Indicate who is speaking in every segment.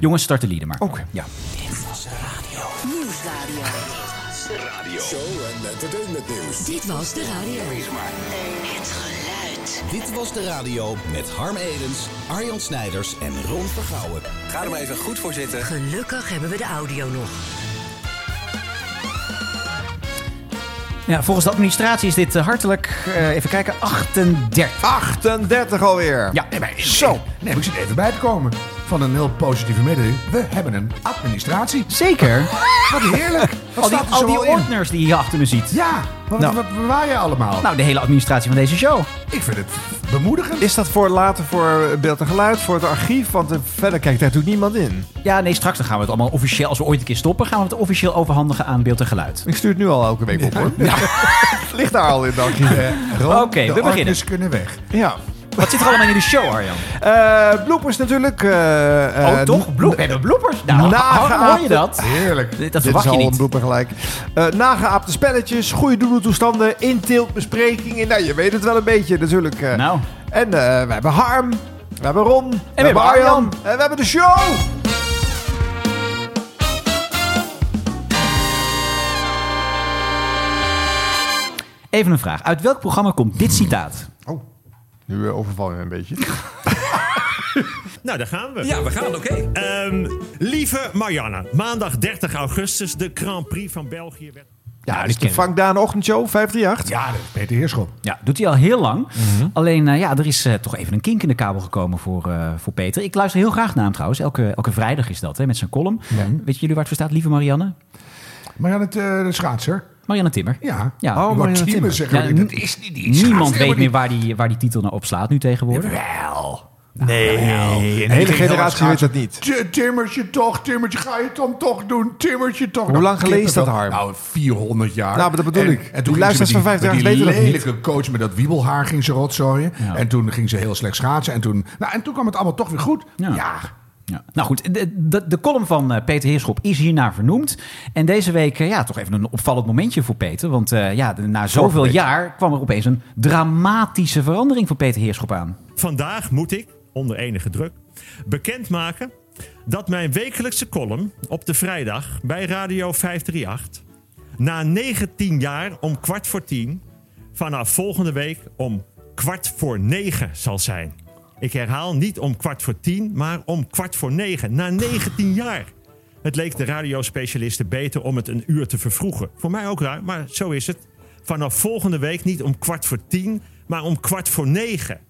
Speaker 1: Jongens, start de lieden maar.
Speaker 2: Oké.
Speaker 1: Ja.
Speaker 3: Nieuwsradio.
Speaker 4: Radio.
Speaker 5: Show en entertainment nieuws.
Speaker 3: Dit was de radio. Het geluid.
Speaker 6: Dit was de radio met Harm Edens, Arjan Snijders en Ron Vergouwen.
Speaker 4: Ga er maar even goed voor zitten.
Speaker 3: Gelukkig hebben we de audio nog.
Speaker 1: Ja, volgens de administratie is dit eh, hartelijk, eh, even kijken, 38.
Speaker 2: 38 alweer.
Speaker 1: Ja,
Speaker 7: Zo, nee, maar ik zit even bij te komen van een heel positieve mededeling. We hebben een administratie.
Speaker 1: zeker.
Speaker 7: Wat heerlijk. Wat
Speaker 1: Al die,
Speaker 7: staat er
Speaker 1: al die
Speaker 7: zoal in?
Speaker 1: ordners die je hier achter me ziet.
Speaker 7: Ja, wat,
Speaker 1: Nou.
Speaker 7: wat, waar je allemaal?
Speaker 1: Nou, de hele administratie van deze show.
Speaker 7: ik vind het bemoedigend.
Speaker 2: Is dat voor later voor beeld en geluid, voor het archief? Want eh, verder kijkt daar natuurlijk niemand in.
Speaker 1: Ja, nee, straks dan gaan we het allemaal officieel, als we ooit een keer stoppen, gaan we het officieel overhandigen aan Beeld en Geluid.
Speaker 2: Ik stuur het nu al elke week op, hoor. Het ligt daar al in het archief.
Speaker 7: Ron,
Speaker 1: Oké, we
Speaker 7: Eh, de
Speaker 1: beginnen.
Speaker 7: ordners kunnen weg.
Speaker 2: Ja.
Speaker 1: Wat zit er allemaal in de show, Arjan?
Speaker 2: Eh bloepers natuurlijk. eh, eh,
Speaker 1: oh, toch? Bloep, we hebben bloepers. Nou,
Speaker 2: Nagaat-
Speaker 1: hoor, hoor je dat?
Speaker 7: Heerlijk.
Speaker 1: Dit- Dat
Speaker 2: Dit
Speaker 1: verwacht
Speaker 2: is
Speaker 1: je
Speaker 2: al een
Speaker 1: niet.
Speaker 2: blooper gelijk. Eh, nageaapte spelletjes, goede doedeltoestanden, inteelt, besprekingen. Nou, je weet het wel een beetje natuurlijk. eh.
Speaker 1: Nou.
Speaker 2: En eh, we hebben Harm, we hebben Ron, en we
Speaker 1: hebben Arjan.
Speaker 2: en we hebben de show.
Speaker 1: Even een vraag. Uit welk programma komt dit citaat?
Speaker 2: Oh, nu eh, overval je me een beetje.
Speaker 8: Nou, daar gaan we.
Speaker 4: Ja, we gaan, oké.
Speaker 8: Ehm, lieve Marianne, maandag 30 augustus de Grand Prix van België werd...
Speaker 2: Ja,
Speaker 1: die
Speaker 2: dus de
Speaker 1: kennen we.
Speaker 2: Frank Daan Ochtendshow, 538.
Speaker 7: Ja, Ah, dat is Peter Heerschop. Mhm.
Speaker 1: Ja, doet hij al heel lang. Alleen, eh, ja, er is eh, toch even een kink in de kabel gekomen voor, eh, voor Peter. Ik luister heel graag naar hem trouwens. Elke, elke vrijdag is dat, hè, met zijn column. Weet jullie waar het voor staat, lieve Marianne?
Speaker 7: Maar aan het eh, de schaatser.
Speaker 1: Marianne Timmer.
Speaker 7: Ja.
Speaker 1: Ja.
Speaker 7: Die
Speaker 1: Oh,
Speaker 2: Marianne
Speaker 7: Martine
Speaker 2: Timmer.
Speaker 7: zeggen we
Speaker 1: Ja,
Speaker 7: niet.
Speaker 1: n-
Speaker 7: dat is niet die
Speaker 1: Niemand
Speaker 7: schaatser,
Speaker 1: weet
Speaker 7: maar
Speaker 1: meer waar die, waar die titel naar opslaat nu tegenwoordig.
Speaker 7: Wel.
Speaker 2: Nee, een hele generatie weet dat niet.
Speaker 7: T- Timmertje toch, Timmertje, ga je het dan toch doen? Timmertje toch.
Speaker 2: Hoe lang geleden is dat,
Speaker 7: kippenvel.
Speaker 2: Harm?
Speaker 7: Nou, 400 jaar.
Speaker 2: Nou, maar dat bedoel
Speaker 7: En-
Speaker 2: ik.
Speaker 7: En
Speaker 2: Die
Speaker 7: toen
Speaker 2: luisteraars
Speaker 7: luisteraars
Speaker 2: van
Speaker 7: van
Speaker 2: 50
Speaker 7: vijf
Speaker 2: jaar
Speaker 7: jaar
Speaker 2: weten
Speaker 7: Die
Speaker 2: dat niet.
Speaker 7: lelijke coach met dat wiebelhaar ging ze rotzooien.
Speaker 1: Ja.
Speaker 7: En toen ging ze heel slecht schaatsen. En toen, nou, en toen kwam het allemaal toch weer goed.
Speaker 1: Ja.
Speaker 7: Ja.
Speaker 1: Ja. Nou goed, de, de, de column van eh, Peter Heerschop is hiernaar vernoemd. En deze week, eh, ja, toch even een opvallend momentje voor Peter. Want eh, ja, de- na zoveel
Speaker 2: week.
Speaker 1: jaar kwam er opeens een dramatische verandering voor Peter Heerschop aan.
Speaker 8: Vandaag moet ik, onder enige druk, bekendmaken dat mijn wekelijkse column op de vrijdag bij Radio 538... na 19 jaar om kwart voor tien vanaf volgende week om kwart voor negen zal zijn. Ik herhaal niet om kwart voor tien, maar om kwart voor negen. Na 19 jaar. Het leek de radiospecialisten beter om het een uur te vervroegen. Voor mij ook raar, maar zo is het. Vanaf volgende week niet om kwart voor tien, maar om kwart voor negen.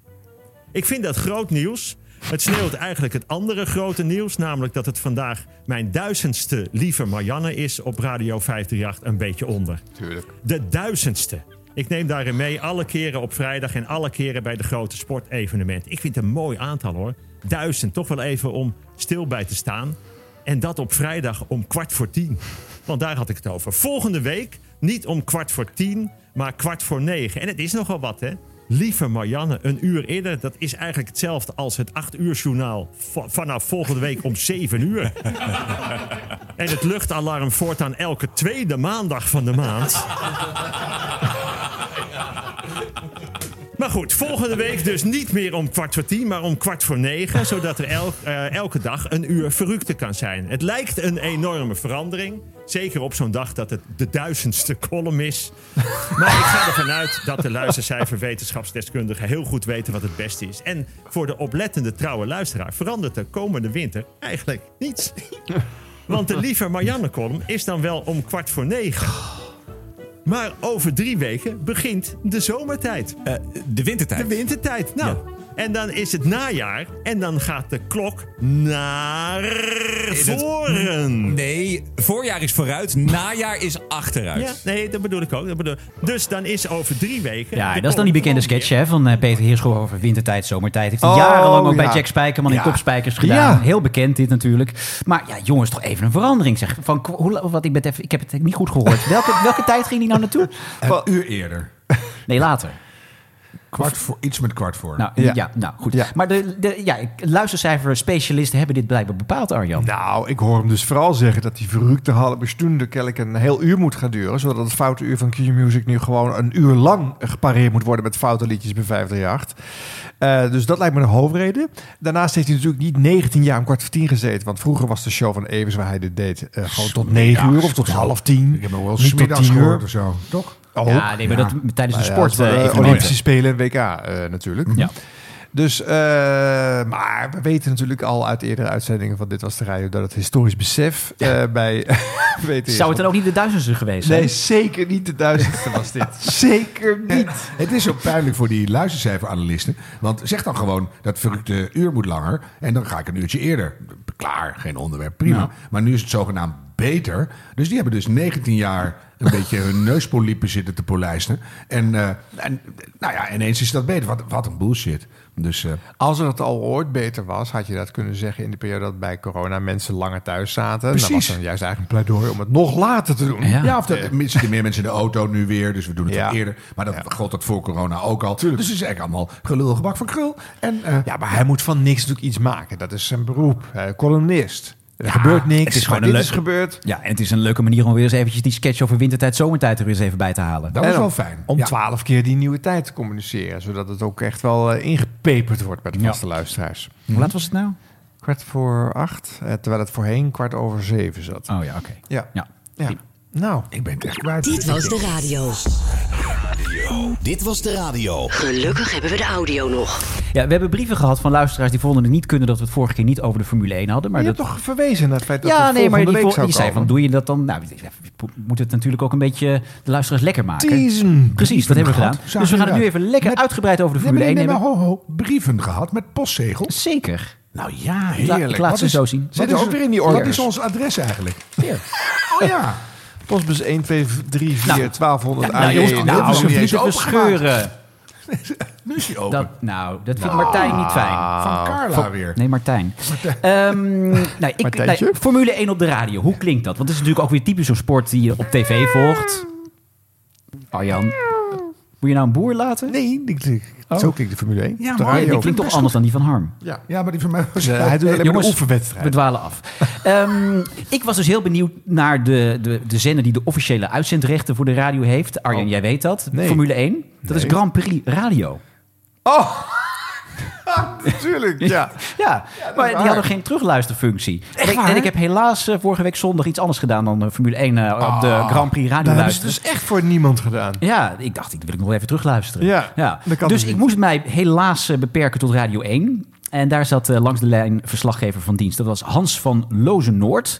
Speaker 8: Ik vind dat groot nieuws. Het sneeuwt eigenlijk het andere grote nieuws, namelijk dat het vandaag mijn duizendste lieve Marianne is op Radio 538 een beetje onder.
Speaker 2: Tuurlijk.
Speaker 8: De duizendste. Ik neem daarin mee alle keren op vrijdag en alle keren bij de grote sportevenementen. Ik vind het een mooi aantal hoor. Duizend, toch wel even om stil bij te staan. En dat op vrijdag om kwart voor tien. Want daar had ik het over. Volgende week niet om kwart voor tien, maar kwart voor negen. En het is nogal wat hè. Lieve Marianne, een uur eerder, dat is eigenlijk hetzelfde als het acht uur journaal va- vanaf volgende week om zeven uur. En het luchtalarm voortaan elke tweede maandag van de maand. Maar goed, volgende week dus niet meer om kwart voor tien, maar om kwart voor negen. Zodat er elk, eh, elke dag een uur verrukte kan zijn. Het lijkt een enorme verandering. Zeker op zo'n dag dat het de duizendste column is. Maar ik ga ervan uit dat de luistercijferwetenschapsdeskundigen heel goed weten wat het beste is. En voor de oplettende trouwe luisteraar verandert de komende winter eigenlijk niets. Want de lieve Marianne-column is dan wel om kwart voor negen. Maar over drie weken begint de zomertijd.
Speaker 4: Eh, de wintertijd.
Speaker 8: De wintertijd. Nou, en dan is het najaar. En dan gaat de klok naar
Speaker 4: dat-
Speaker 8: voren.
Speaker 4: Nee, voorjaar is vooruit, najaar is achteruit.
Speaker 8: Ja, nee, dat bedoel ik ook. Dat bedoel... Dus dan is over drie weken...
Speaker 1: Ja,
Speaker 8: de
Speaker 1: dat is dan
Speaker 8: column
Speaker 1: die bekende
Speaker 8: van weer.
Speaker 1: sketch hè, van eh, Peter Heerschop over wintertijd, zomertijd. Heeft hij
Speaker 2: Oh,
Speaker 1: jarenlang ook bij
Speaker 2: ja.
Speaker 1: Jack Spijkerman in
Speaker 2: Ja.
Speaker 1: Kopspijkers gedaan.
Speaker 2: Ja.
Speaker 1: Heel bekend dit natuurlijk. Maar ja, jongens, toch even een verandering zeg. Van, k- hoe, la- wat, ik, ben het even, ik heb het niet goed gehoord. Welke, welke tijd ging hij nou naartoe?
Speaker 7: Een uur eerder.
Speaker 1: Nee, later.
Speaker 7: Kwart voor, iets met kwart voor.
Speaker 1: Nou, ja.
Speaker 2: Ja.
Speaker 1: nou goed.
Speaker 2: Ja.
Speaker 1: Maar de, de ja, luistercijferspecialisten hebben dit blijkbaar bepaald, Arjan.
Speaker 2: Nou, ik hoor hem dus vooral zeggen dat die verrukte halve bestunde kennelijk een heel uur moet gaan duren. Zodat het foute uur van Q-Music nu gewoon een uur lang gepareerd moet worden met foute liedjes bij 538. Eh dus dat lijkt me de hoofdreden. Daarnaast heeft hij natuurlijk niet 19 jaar om kwart voor tien gezeten. Want vroeger was de show van Evers waar hij dit deed eh, gewoon tot 9 uur of tot half tien.
Speaker 7: Ik heb nog wel
Speaker 2: Niet tot
Speaker 7: smiddags
Speaker 2: 10
Speaker 7: gehoord of zo, toch?
Speaker 2: Ook.
Speaker 1: ja, nee, maar dat tijdens de
Speaker 2: Nou ja,
Speaker 1: sport.
Speaker 2: het,
Speaker 1: eh,
Speaker 2: eh,
Speaker 1: evenementen.
Speaker 2: Olympische Spelen en WK eh, natuurlijk.
Speaker 1: Ja.
Speaker 2: Dus, eh, maar we weten natuurlijk al uit eerdere uitzendingen van Dit Was de Radio dat het historisch besef eh, bij WTS
Speaker 1: Zou het dan ook niet de duizendste geweest zijn?
Speaker 2: Nee, zeker niet de duizendste was dit. zeker niet.
Speaker 7: Het is ook pijnlijk voor die luistercijferanalisten. Want zeg dan gewoon dat verrukte uur moet langer. En dan ga ik een uurtje eerder. Klaar, geen onderwerp, prima.
Speaker 2: Nou.
Speaker 1: Ja.
Speaker 7: Maar nu is het zogenaamd beter. Dus die hebben dus 19 jaar een beetje hun neuspoliepen zitten te polijsten. En, eh, en nou ja, ineens is dat beter. Wat, wat een bullshit. Dus eh,
Speaker 2: Als het al ooit beter was, had je dat kunnen zeggen in de periode dat bij corona mensen langer thuis zaten.
Speaker 7: Precies.
Speaker 2: Dat was dan juist eigenlijk een pleidooi om het nog later te doen.
Speaker 1: Ja.
Speaker 7: ja. of dat, er zitten meer mensen in de auto nu weer. Dus we doen het
Speaker 2: Ja.
Speaker 7: wat eerder. Maar dat gold dat voor corona ook al. Dus het is eigenlijk allemaal gelul, gebak van krul. En eh,
Speaker 2: Ja, maar hij moet van niks natuurlijk iets maken. Dat is zijn beroep. Eh, columnist. Er gebeurt niks.
Speaker 1: het dus is gewoon
Speaker 2: maar
Speaker 1: een
Speaker 2: dit is
Speaker 1: leuk-
Speaker 2: gebeurd.
Speaker 1: Ja, en het is een leuke manier om weer eens eventjes die sketch over wintertijd, zomertijd er weer eens even bij te halen.
Speaker 7: dat is
Speaker 2: En
Speaker 7: wel
Speaker 2: om-
Speaker 7: fijn.
Speaker 2: Om
Speaker 7: Ja.
Speaker 2: twaalf keer die nieuwe tijd te communiceren. Zodat het ook echt wel eh, ingepeperd wordt bij de vaste luisteraars.
Speaker 1: Hoe laat was het nou?
Speaker 2: Kwart voor acht, eh, terwijl het voorheen kwart over zeven zat.
Speaker 1: Oh ja, oké.
Speaker 2: Ja.
Speaker 1: Ja.
Speaker 2: Ja. Nou,
Speaker 7: Ik ben het echt kwijt.
Speaker 9: Dit was de radio.
Speaker 6: Dit was de radio.
Speaker 9: Gelukkig hebben we de audio nog.
Speaker 1: ja, we hebben brieven gehad van luisteraars die vonden het niet kunnen dat we het vorige keer niet over de Formule 1 hadden. Maar
Speaker 2: je
Speaker 1: dat...
Speaker 2: hebt toch verwezen naar het feit dat
Speaker 1: ja,
Speaker 2: het
Speaker 1: nee, maar
Speaker 2: volgende
Speaker 1: die,
Speaker 2: week
Speaker 1: vol-
Speaker 2: zou
Speaker 1: die zei van
Speaker 2: komen.
Speaker 1: doe je dat dan? Nou, we moeten het natuurlijk ook een beetje de luisteraars lekker maken.
Speaker 2: Teasen.
Speaker 1: Precies, dat hebben we
Speaker 7: Mm, Gehad,
Speaker 1: gedaan.
Speaker 7: zagen
Speaker 1: Dus we gaan het
Speaker 7: we
Speaker 1: nu
Speaker 7: dat.
Speaker 1: even lekker uitgebreid over de
Speaker 7: Nee, maar,
Speaker 1: Formule 1
Speaker 7: nee, maar
Speaker 1: hebben.
Speaker 7: ho, ho, brieven gehad met postzegels.
Speaker 1: Zeker.
Speaker 7: Nou ja,
Speaker 1: heerlijk. ik laat
Speaker 7: Wat
Speaker 1: ze
Speaker 7: is-
Speaker 1: zo zien.
Speaker 7: wat
Speaker 1: Zit
Speaker 7: is
Speaker 2: er ook
Speaker 7: het-
Speaker 2: weer in die
Speaker 7: Wat
Speaker 2: orders.
Speaker 7: is ons adres eigenlijk? Oh ja.
Speaker 2: Postbus 1, 2, 3, 4,
Speaker 1: Nou.
Speaker 2: 1200
Speaker 1: Nou, jongens,
Speaker 2: AJ.
Speaker 1: nou,
Speaker 7: dat is
Speaker 1: we
Speaker 7: hem niet
Speaker 1: moeten
Speaker 7: opengemaakt.
Speaker 1: verscheuren.
Speaker 7: Nu is hij open. Ah.
Speaker 1: Dat, nou, dat vindt Martijn niet fijn.
Speaker 7: Van Carla weer.
Speaker 1: Nee, Martijn. Ehm, nou, ik,
Speaker 2: Martijntje?
Speaker 1: nee, Formule 1 op de radio, hoe klinkt dat? Want het is natuurlijk ook weer typisch zo'n sport die je op tv volgt. Arjan, moet je nou een boer laten? Oh.
Speaker 2: Nee, die klinkt- zo klinkt de Formule 1.
Speaker 7: Ja,
Speaker 2: De
Speaker 7: maar-
Speaker 1: Nee,
Speaker 2: radio.
Speaker 1: die klinkt toch anders dan die van Harm?
Speaker 2: Ja.
Speaker 7: Ja, maar die van mij was...
Speaker 2: Eh, hij doet alleen maar de
Speaker 1: Jongens,
Speaker 2: oefenwedstrijd.
Speaker 1: We dwalen af. Ehm, ik was dus heel benieuwd naar de, de, de zender die de officiële uitzendrechten voor de radio heeft. Arjan, jij weet dat.
Speaker 2: Oh. Nee.
Speaker 1: Formule 1. Dat is Grand Prix Radio.
Speaker 2: Oh! Natuurlijk, ja.
Speaker 1: Ja, maar die
Speaker 2: waar.
Speaker 1: hadden geen terugluisterfunctie. En ik, en ik heb helaas eh, vorige week zondag iets anders gedaan dan eh, Formule 1 eh, op de Grand Prix Radio
Speaker 2: Dat Oh, hebben ze
Speaker 1: luisteren.
Speaker 2: dus echt voor niemand gedaan.
Speaker 1: Ja, ik dacht, ik wil ik nog even terugluisteren.
Speaker 2: Ja, dat kan
Speaker 1: Dus
Speaker 2: dus
Speaker 1: ik
Speaker 2: niet.
Speaker 1: moest mij helaas eh, beperken tot Radio 1. En daar zat eh, langs de lijn verslaggever van dienst. Dat was Hans van Lozenoord.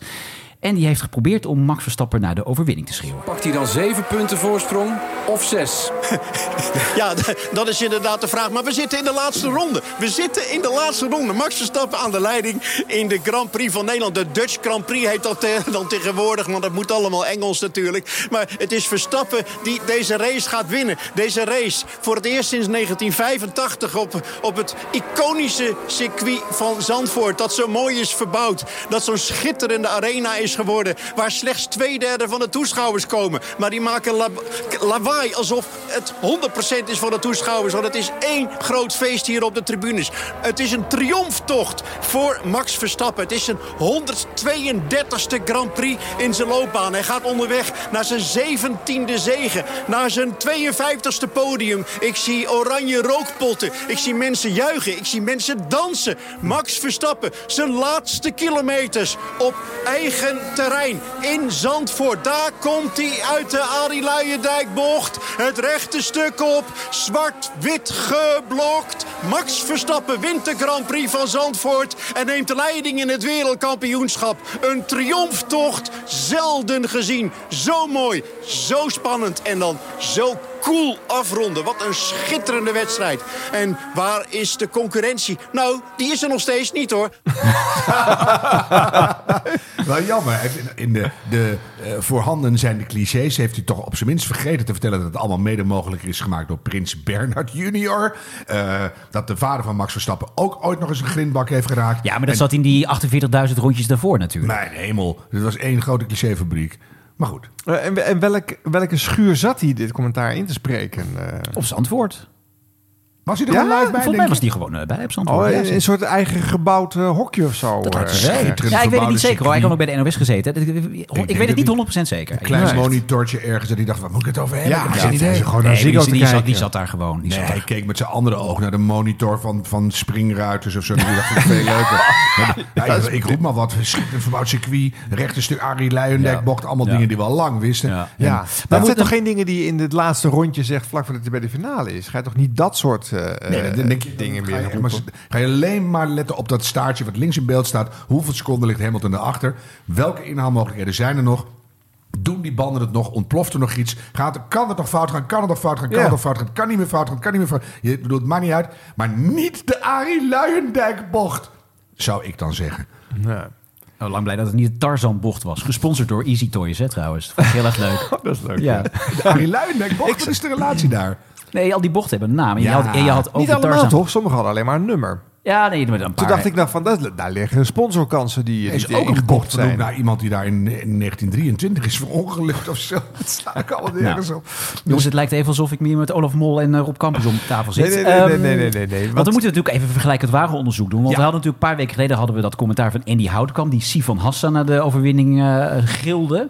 Speaker 1: En die heeft geprobeerd om Max Verstappen naar de overwinning te schreeuwen.
Speaker 10: Pakt hij dan 7 punten voorsprong of 6?
Speaker 11: Ja, d- dat is inderdaad de vraag. Maar we zitten in de laatste ronde. We zitten in de laatste ronde. Max Verstappen aan de leiding in de Grand Prix van Nederland. De Dutch Grand Prix heet dat eh, dan tegenwoordig, want dat moet allemaal Engels natuurlijk. Maar het is Verstappen die deze race gaat winnen. Deze race voor het eerst sinds 1985 op, op het iconische circuit van Zandvoort. Dat zo mooi is verbouwd. Dat zo'n schitterende arena is geworden. Waar slechts twee derde van de toeschouwers komen. Maar die maken la- lawaai alsof het 100% is van de toeschouwers. Want het is één groot feest hier op de tribunes. Het is een triomftocht voor Max Verstappen. Het is zijn 132e Grand Prix in zijn loopbaan. Hij gaat onderweg naar zijn 17e zege. Naar zijn 52e podium. Ik zie oranje rookpotten. Ik zie mensen juichen. Ik zie mensen dansen. Max Verstappen, zijn laatste kilometers op eigen terrein in Zandvoort. Daar komt hij uit de Arie Luijendijkbocht. Het rechte stuk op, zwart-wit geblokt. Max Verstappen wint de Grand Prix van Zandvoort en neemt de leiding in het wereldkampioenschap. Een triomftocht, zelden gezien. Zo mooi, zo spannend en dan zo cool afronden. Wat een schitterende wedstrijd. En waar is de concurrentie? Nou, die is er nog steeds niet hoor.
Speaker 7: Wel jammer. Hij heeft In in de, de eh, voorhanden zijn de clichés. Heeft hij toch op zijn minst vergeten te vertellen dat het allemaal mede mogelijk is gemaakt door Prins Bernhard Junior. Eh, dat de vader van Max Verstappen ook ooit nog eens een grindbak heeft geraakt.
Speaker 1: Ja, maar dat
Speaker 7: En-
Speaker 1: zat in die 48.000 rondjes daarvoor natuurlijk.
Speaker 7: Mijn hemel, dit was één grote clichéfabriek. Maar goed.
Speaker 2: Eh, En, en welk, welke schuur zat hij dit commentaar in te spreken? eh?
Speaker 1: Of zijn antwoord.
Speaker 7: Was hij er gewoon live bij?
Speaker 1: Volgens mij was die gewoon eh, bij op Zandvoort.
Speaker 2: Oh,
Speaker 1: Ja,
Speaker 2: een, een soort eigen gebouwd eh, hokje of zo.
Speaker 1: Dat lijkt
Speaker 2: eh,
Speaker 1: me wel.
Speaker 2: schitterend
Speaker 1: Ja, ik weet het
Speaker 2: verbouwde
Speaker 1: niet zeker hoor. Hij
Speaker 2: circuit.
Speaker 1: kan ook bij de NOS gezeten. Dat- Ik, ik- ik
Speaker 7: denk
Speaker 1: weet het
Speaker 7: dat niet.
Speaker 1: niet 100% zeker.
Speaker 7: Een klein
Speaker 1: Nee.
Speaker 7: monitortje ergens en die dacht, waar moet ik het over hebben?
Speaker 2: Ja,
Speaker 7: Daar
Speaker 2: geen
Speaker 7: zat hij
Speaker 2: idee.
Speaker 7: zo gewoon
Speaker 1: Nee,
Speaker 7: naar
Speaker 1: die-
Speaker 7: Ziggo te
Speaker 1: die zat- die
Speaker 7: kijken.
Speaker 1: zat daar gewoon, die
Speaker 7: nee,
Speaker 1: zat
Speaker 7: hij keek met zijn andere oog naar de monitor van, van springruiters of zo. Die dacht ik veel leuker. Ja, ik- ik roep maar wat. Schiet een verbouwd circuit. Rechte stuk Arie Luijendijk
Speaker 1: Ja.
Speaker 7: bocht. Allemaal
Speaker 1: Ja.
Speaker 7: dingen die we al lang wisten.
Speaker 1: Ja.
Speaker 7: En-
Speaker 2: Ja, maar het zijn toch geen dingen die je in het laatste rondje zegt vlak voordat hij bij de finale is? Ga je toch niet dat soort eh,
Speaker 7: Nee, dan denk je,
Speaker 2: eh, dingen
Speaker 7: ga
Speaker 2: meer
Speaker 7: je,
Speaker 2: roepen?
Speaker 7: maar ga je alleen maar letten op dat staartje wat links in beeld staat. Hoeveel seconden ligt Hamilton erachter? Welke inhaalmogelijkheden zijn er nog? Doen die banden het nog? Ontploft er nog iets? Gaat, kan het nog fout gaan? Kan het nog fout gaan? Kan
Speaker 2: Ja.
Speaker 7: het nog fout gaan? Kan niet meer fout gaan? Kan niet meer fout gaan? Je bedoelt, het maakt niet uit. Maar niet de Arie Luijendijk bocht, zou ik dan zeggen.
Speaker 2: Ja.
Speaker 1: Oh, lang blij dat het niet de Tarzan-bocht was. Gesponsord door Easy Toys, hè, trouwens. Dat vond ik heel erg Oh, leuk.
Speaker 2: Dat is leuk.
Speaker 1: ja.
Speaker 7: De Arie Luijendijk bocht, wat is de relatie daar?
Speaker 1: Nee, al die bochten hebben een naam. En je,
Speaker 7: Ja.
Speaker 1: had, en je had ook
Speaker 2: Niet
Speaker 1: de
Speaker 2: allemaal
Speaker 1: Tarzan.
Speaker 2: toch? Sommigen hadden alleen maar een nummer.
Speaker 1: Ja, nee, maar een paar.
Speaker 2: Toen dacht ik nou van, dat, daar liggen sponsorkansen die
Speaker 7: Er
Speaker 2: niet
Speaker 7: is ook een
Speaker 2: ingekocht
Speaker 7: bocht
Speaker 2: zijn.
Speaker 7: vernoemd naar iemand die daar in, in 1923 is verongelukt of zo. Dat sla ik allemaal nergens op.
Speaker 1: Jongens, het lijkt even alsof ik hier met Olaf Mol en eh, Rob Campus om tafel zit.
Speaker 2: Nee, nee, nee,
Speaker 1: Ehm,
Speaker 2: nee, nee, nee, nee, nee,
Speaker 1: Want
Speaker 2: want-
Speaker 1: dan moeten we natuurlijk even vergelijkend ware onderzoek doen. Want we hadden natuurlijk een paar weken geleden hadden we dat commentaar van Andy Houtkamp... die Sivan Hassan naar de overwinning eh gilde.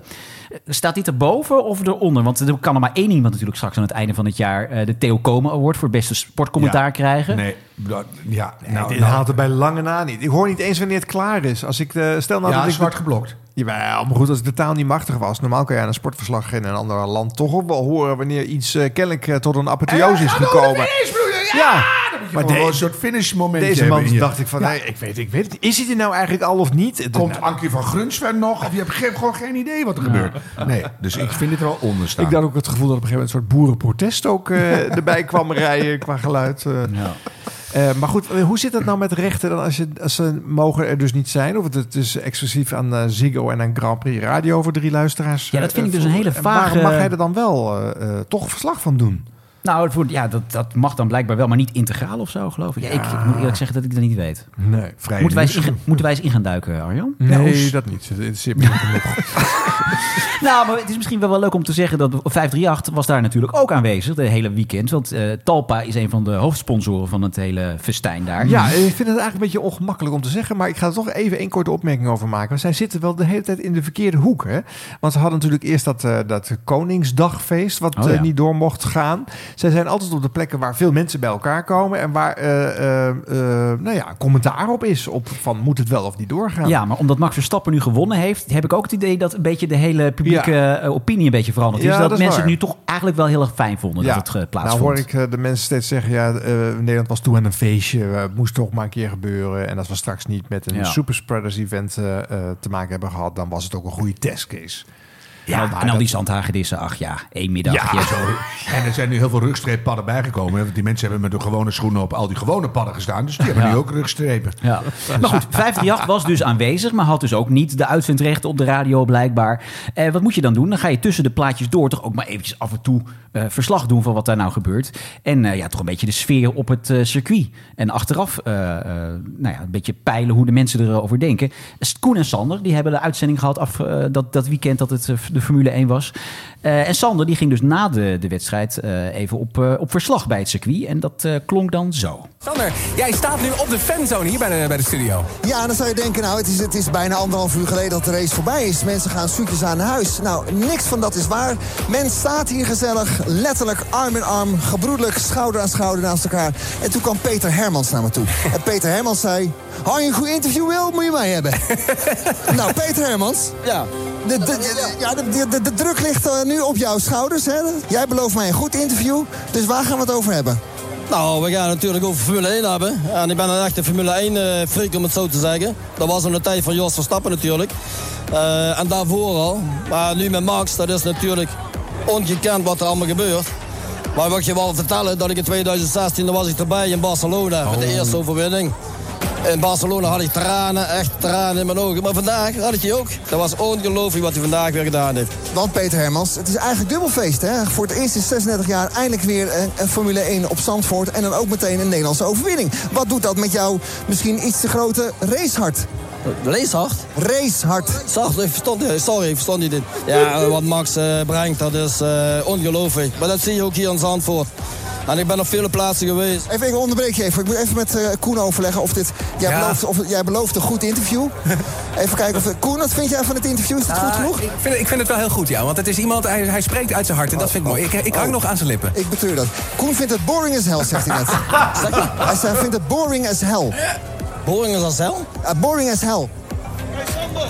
Speaker 1: Eh, Staat dit erboven of eronder? Want er kan er maar één iemand natuurlijk straks aan het einde van het jaar... eh, de Theo Komen Award voor het beste sportcommentaar
Speaker 7: Ja.
Speaker 1: krijgen.
Speaker 7: Nee, dat- ja, nou,
Speaker 2: Nou, dit
Speaker 7: nou,
Speaker 2: haalt er bij lange na niet. Ik hoor niet eens wanneer het klaar is. Als ik de, stel nou
Speaker 7: ja,
Speaker 2: dat ik
Speaker 7: zwart geblokt.
Speaker 2: Jawel, maar goed, als ik de taal niet machtig was. Normaal kan je aan een sportverslag in een ander land toch ook wel horen wanneer iets eh, kennelijk eh, tot een apotheose is gekomen. Ja,
Speaker 7: Maar
Speaker 2: maar
Speaker 7: deze, een
Speaker 2: deze,
Speaker 7: soort finish moment.
Speaker 2: deze man dacht ik van, nee, ik weet, ik weet het. niet. Is hij er nou eigenlijk al of niet? Het-
Speaker 7: Komt
Speaker 2: nou,
Speaker 7: Ankie van Grunsven nog? Of je hebt geen- gewoon geen idee wat er gebeurt. Nee, dus ik vind het er wel onder staan.
Speaker 2: ik had ook het gevoel dat op een gegeven moment een soort boerenprotest ook eh, erbij kwam rijden qua geluid. eh. Eh, maar goed, eh, hoe zit dat nou met rechten dan als, je, als ze mogen er dus niet zijn? Of het, het is exclusief aan eh, Ziggo en aan Grand Prix Radio voor drie luisteraars?
Speaker 1: Ja, dat vind
Speaker 2: eh,
Speaker 1: ik dus een
Speaker 2: voor-
Speaker 1: hele
Speaker 2: En Waarom
Speaker 1: vage-
Speaker 2: mag hij er dan wel eh, eh, toch verslag van doen?
Speaker 1: Nou, voor- ja, dat, dat mag dan blijkbaar wel, maar niet integraal of zo, geloof ik. Ja, ik, ik moet eerlijk zeggen dat ik dat niet weet.
Speaker 2: Nee,
Speaker 7: Vrij
Speaker 1: Moeten wij, eens
Speaker 7: nieuws.
Speaker 1: in, moeten wij eens in gaan duiken, Arjan?
Speaker 2: Nee, dat niet. Dat interesseert me niet genoeg.
Speaker 1: Nou, maar het is misschien wel, wel leuk om te zeggen dat 538 was daar natuurlijk ook aanwezig de hele weekend. Want eh, Talpa is een van de hoofdsponsoren van het hele festijn daar.
Speaker 2: Ja, eh, ik vind het eigenlijk een beetje ongemakkelijk om te zeggen, maar ik ga er toch even één korte opmerking over maken. Want zij zitten wel de hele tijd in de verkeerde hoek, hè? Want ze hadden natuurlijk eerst dat, eh, dat Koningsdagfeest, wat
Speaker 1: Oh, ja.
Speaker 2: eh, niet door mocht gaan. Zij zijn altijd op de plekken waar veel mensen bij elkaar komen en waar, eh, eh, eh, nou ja, commentaar op is op van moet het wel of niet doorgaan.
Speaker 1: Ja, maar omdat Max Verstappen nu gewonnen heeft, heb ik ook het idee dat een beetje de hele publieke eh, opinie een beetje veranderd is.
Speaker 2: Ja,
Speaker 1: dat,
Speaker 2: dat is
Speaker 1: mensen
Speaker 2: waar.
Speaker 1: het nu toch eigenlijk wel heel erg fijn vonden
Speaker 2: Ja.
Speaker 1: dat het eh,
Speaker 2: nou
Speaker 1: plaatsvond.
Speaker 2: hoor ik eh, de mensen steeds zeggen, ja, eh, Nederland was toe aan een feestje. eh, Het moest toch maar een keer gebeuren. En als we straks niet met een
Speaker 1: Ja.
Speaker 2: superspreaders event eh, eh, te maken hebben gehad, dan was het ook een goede testcase.
Speaker 1: ja,
Speaker 2: maar
Speaker 1: en al
Speaker 2: dat-
Speaker 1: die zandhagedissen, ach ja, één middag. Ja, zo.
Speaker 7: En er zijn nu heel veel rugstreeppadden bijgekomen. hè, Want die mensen hebben met hun gewone schoenen op al die gewone padden gestaan. Dus die hebben
Speaker 1: Ja.
Speaker 7: nu ook rugstrepen.
Speaker 1: Ja. Maar goed, 538 was dus aanwezig, maar had dus ook niet de uitzendrechten op de radio blijkbaar. Eh, wat moet je dan doen? Dan ga je tussen de plaatjes door toch ook maar eventjes af en toe eh, verslag doen van wat daar nou gebeurt. En eh, ja, toch een beetje de sfeer op het eh, circuit. En achteraf eh, eh, nou ja, een beetje peilen hoe de mensen erover denken. S- Koen en Sander, die hebben de uitzending gehad af, eh, dat, dat weekend dat het eh, de Formule 1 was. Eh, en Sander, die ging dus na de, de wedstrijd eh, even op, eh, op verslag bij het circuit. En dat eh, klonk dan zo.
Speaker 10: Sander, jij staat nu op de fanzone hier bij de, bij de studio.
Speaker 12: Ja, dan zou je denken, nou, het is, het is bijna anderhalf uur geleden dat de race voorbij is. Mensen gaan zoetjes aan naar huis. Nou, niks van dat is waar. Men staat hier gezellig, letterlijk arm in arm, gebroedelijk, schouder aan schouder naast elkaar. En toen kwam Peter Hermans naar me toe. En Peter Hermans zei, hou je een goed interview wil, moet je mij hebben. nou, Peter Hermans. Ja. De, de- ja, de, de, de, de druk ligt eh, nu op jouw schouders. Hè? Jij belooft mij een goed interview, dus waar gaan we het over hebben?
Speaker 13: Nou, we gaan het natuurlijk over Formule 1 hebben. En ik ben een echte Formule 1 eh freak om het zo te zeggen. Dat was in de tijd van Jos Verstappen natuurlijk. Eh, en daarvoor al. Maar nu met Max, dat is natuurlijk ongekend wat er allemaal gebeurt. Maar wat je wel vertellen, dat ik in 2016, daar was ik erbij in Barcelona. Met de eerste overwinning. In Barcelona had ik tranen, echt tranen in mijn ogen. Maar vandaag had ik die ook. Dat was ongelooflijk wat hij vandaag weer gedaan heeft.
Speaker 12: Want Peter Hermans, het is eigenlijk dubbelfeest. Hè? Voor het eerst in 36 jaar eindelijk weer eh, een, een Formule 1 op Zandvoort. En dan ook meteen een Nederlandse overwinning. Wat doet dat met jouw misschien iets te grote racehart?
Speaker 13: Leeshard?
Speaker 12: Racehard.
Speaker 13: Sorry, ik verstond, niet- sorry, Oh, ik verstond niet dit. Ja, wat Max eh, brengt, dat is eh, ongelooflijk. Maar dat zie je ook hier in Zandvoort. En ik ben op vele plaatsen geweest.
Speaker 12: Even, ik onderbreek je even. Ik moet even met eh, Koen overleggen of dit... Jij,
Speaker 13: Ja.
Speaker 12: belooft, of, jij belooft een goed interview. even kijken of... Koen, wat vind jij van het interview? Is het goed
Speaker 10: Ah,
Speaker 12: genoeg?
Speaker 10: Ik vind, ik vind het wel heel goed, ja. Want het is iemand, hij, hij spreekt uit zijn hart. En dat vind ik mooi. Ik, ik hang
Speaker 12: Oh.
Speaker 10: nog aan zijn lippen.
Speaker 12: Ik betreur dat. Koen vindt het boring as hell, zegt hij net. Zegt hij. hij zei, vindt het boring as hell. Eh,
Speaker 13: Boring as hell?
Speaker 12: boring as hell.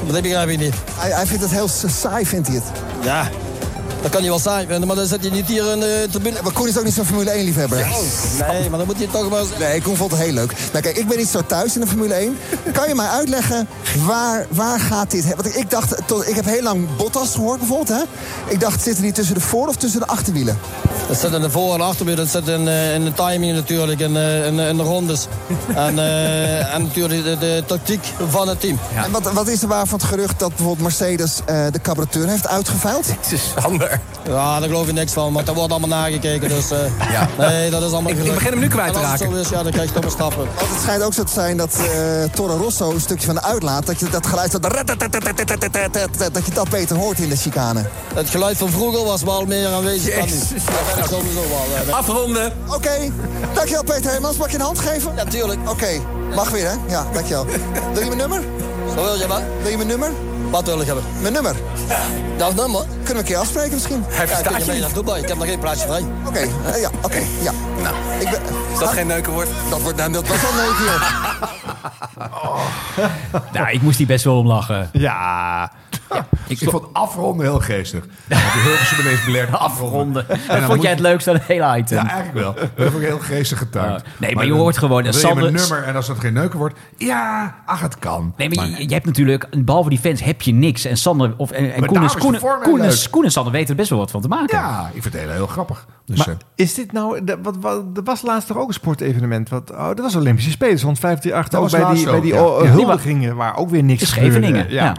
Speaker 13: Dat begrijp ik niet.
Speaker 12: Hij, hij vindt het heel s- saai, vindt hij het.
Speaker 13: Ja. Dat kan je wel saai vinden, maar dan zit je niet hier in eh, de tribune.
Speaker 12: Maar Koen is ook niet zo'n Formule 1 liefhebber.
Speaker 13: Nee, maar dan moet je toch maar...
Speaker 12: Nee, Koen vond het heel leuk. Nou kijk, ik ben niet zo thuis in de Formule 1. Kan je mij uitleggen waar, waar gaat dit... heen? Want ik dacht, tot, ik heb heel lang Bottas gehoord bijvoorbeeld. Hè? Ik dacht, zitten die tussen de voor- of tussen de achterwielen?
Speaker 13: Dat zit in de voor- en achterwiel, dat zit in, eh, in de timing natuurlijk, in, eh, in, in de rondes. en, eh, en natuurlijk de, de tactiek van het team.
Speaker 12: En wat, wat is er waar van het gerucht dat bijvoorbeeld Mercedes eh, de carburateur heeft uitgeveild?
Speaker 10: Sander.
Speaker 13: Ja, daar geloof ik niks van, want daar wordt allemaal nagekeken. Dus eh,
Speaker 10: Ja.
Speaker 13: nee, dat is allemaal
Speaker 10: Ik- ik
Speaker 13: gelukt.
Speaker 10: begin hem nu kwijt te
Speaker 13: En als het
Speaker 10: raken.
Speaker 13: zo is, ja, dan krijg je toch maar stappen.
Speaker 12: Want het schijnt ook zo te zijn dat eh Toro Rosso een stukje van de uitlaat... dat je dat geluid van... dat je dat beter hoort in de chicane.
Speaker 13: Het geluid van vroeger was wel meer aanwezig dan nu.
Speaker 10: Jezus.
Speaker 13: Dat ben ik sowieso wel. eh,
Speaker 10: Afronden.
Speaker 12: Oké, dankjewel Peter Heemans. Mag ik je een hand geven? Ja,
Speaker 13: tuurlijk.
Speaker 12: Oké, mag weer hè? Ja, dankjewel. Wil je mijn nummer?
Speaker 13: Zo wil je wat?
Speaker 12: Wil je mijn nummer?
Speaker 13: Wat wil ik hebben?
Speaker 12: Mijn nummer.
Speaker 13: Dat nummer?
Speaker 12: Kunnen we een keer afspreken misschien?
Speaker 10: Hij
Speaker 13: Ja, kun
Speaker 10: verstaat
Speaker 13: je
Speaker 10: je
Speaker 13: mee
Speaker 10: niet.
Speaker 13: naar Dubai? Ik heb nog geen plaatsje vrij.
Speaker 12: Oké, eh, ja, oké, ja.
Speaker 10: Nou,
Speaker 12: Ik ben...
Speaker 10: is dat geen neukenwoord?
Speaker 12: Dat wordt nou, dat was wel leuk hier.
Speaker 1: Nou, ik moest die best wel om lachen.
Speaker 7: Ja. Ik, vond afronden heel geestig. Want de Hilversum ineens beleerd afronden. En dan
Speaker 1: Dat vond
Speaker 7: moet
Speaker 1: jij het
Speaker 7: je-
Speaker 1: leukste aan het hele item.
Speaker 7: Ja, eigenlijk wel. Dat vond ik heel geestig getuigd.
Speaker 1: Ja. Nee, maar je hoort gewoon,
Speaker 7: Wil je
Speaker 1: Sander-
Speaker 7: mijn nummer en als dat geen neuken wordt... Ja, ach, het kan.
Speaker 1: Nee, maar je, je hebt natuurlijk, behalve die fans, heb je niks. En Sander, of, en, en
Speaker 7: Maar
Speaker 1: Koen,
Speaker 7: daarom
Speaker 1: en,
Speaker 7: is de
Speaker 1: Koen,
Speaker 7: vorm heel
Speaker 1: Koen, en,
Speaker 7: leuk.
Speaker 1: Koen en Sander weten er best wel wat van te maken.
Speaker 7: Ja, ik vind het heel, heel grappig. Dus,
Speaker 2: Maar
Speaker 7: eh,
Speaker 2: is dit nou... de- wat, wat, er was laatst toch ook een sportevenement? Wat, oh, dat was Olympische Spelen, want 158.
Speaker 7: Dat
Speaker 2: Ook bij
Speaker 7: was
Speaker 2: die,
Speaker 7: laatst
Speaker 2: bij
Speaker 7: ook,
Speaker 2: die
Speaker 7: ja.
Speaker 2: oh,
Speaker 7: Ja.
Speaker 2: huldigingen waar ook weer niks
Speaker 1: In Scheveningen,
Speaker 2: gebeurde.
Speaker 1: ja.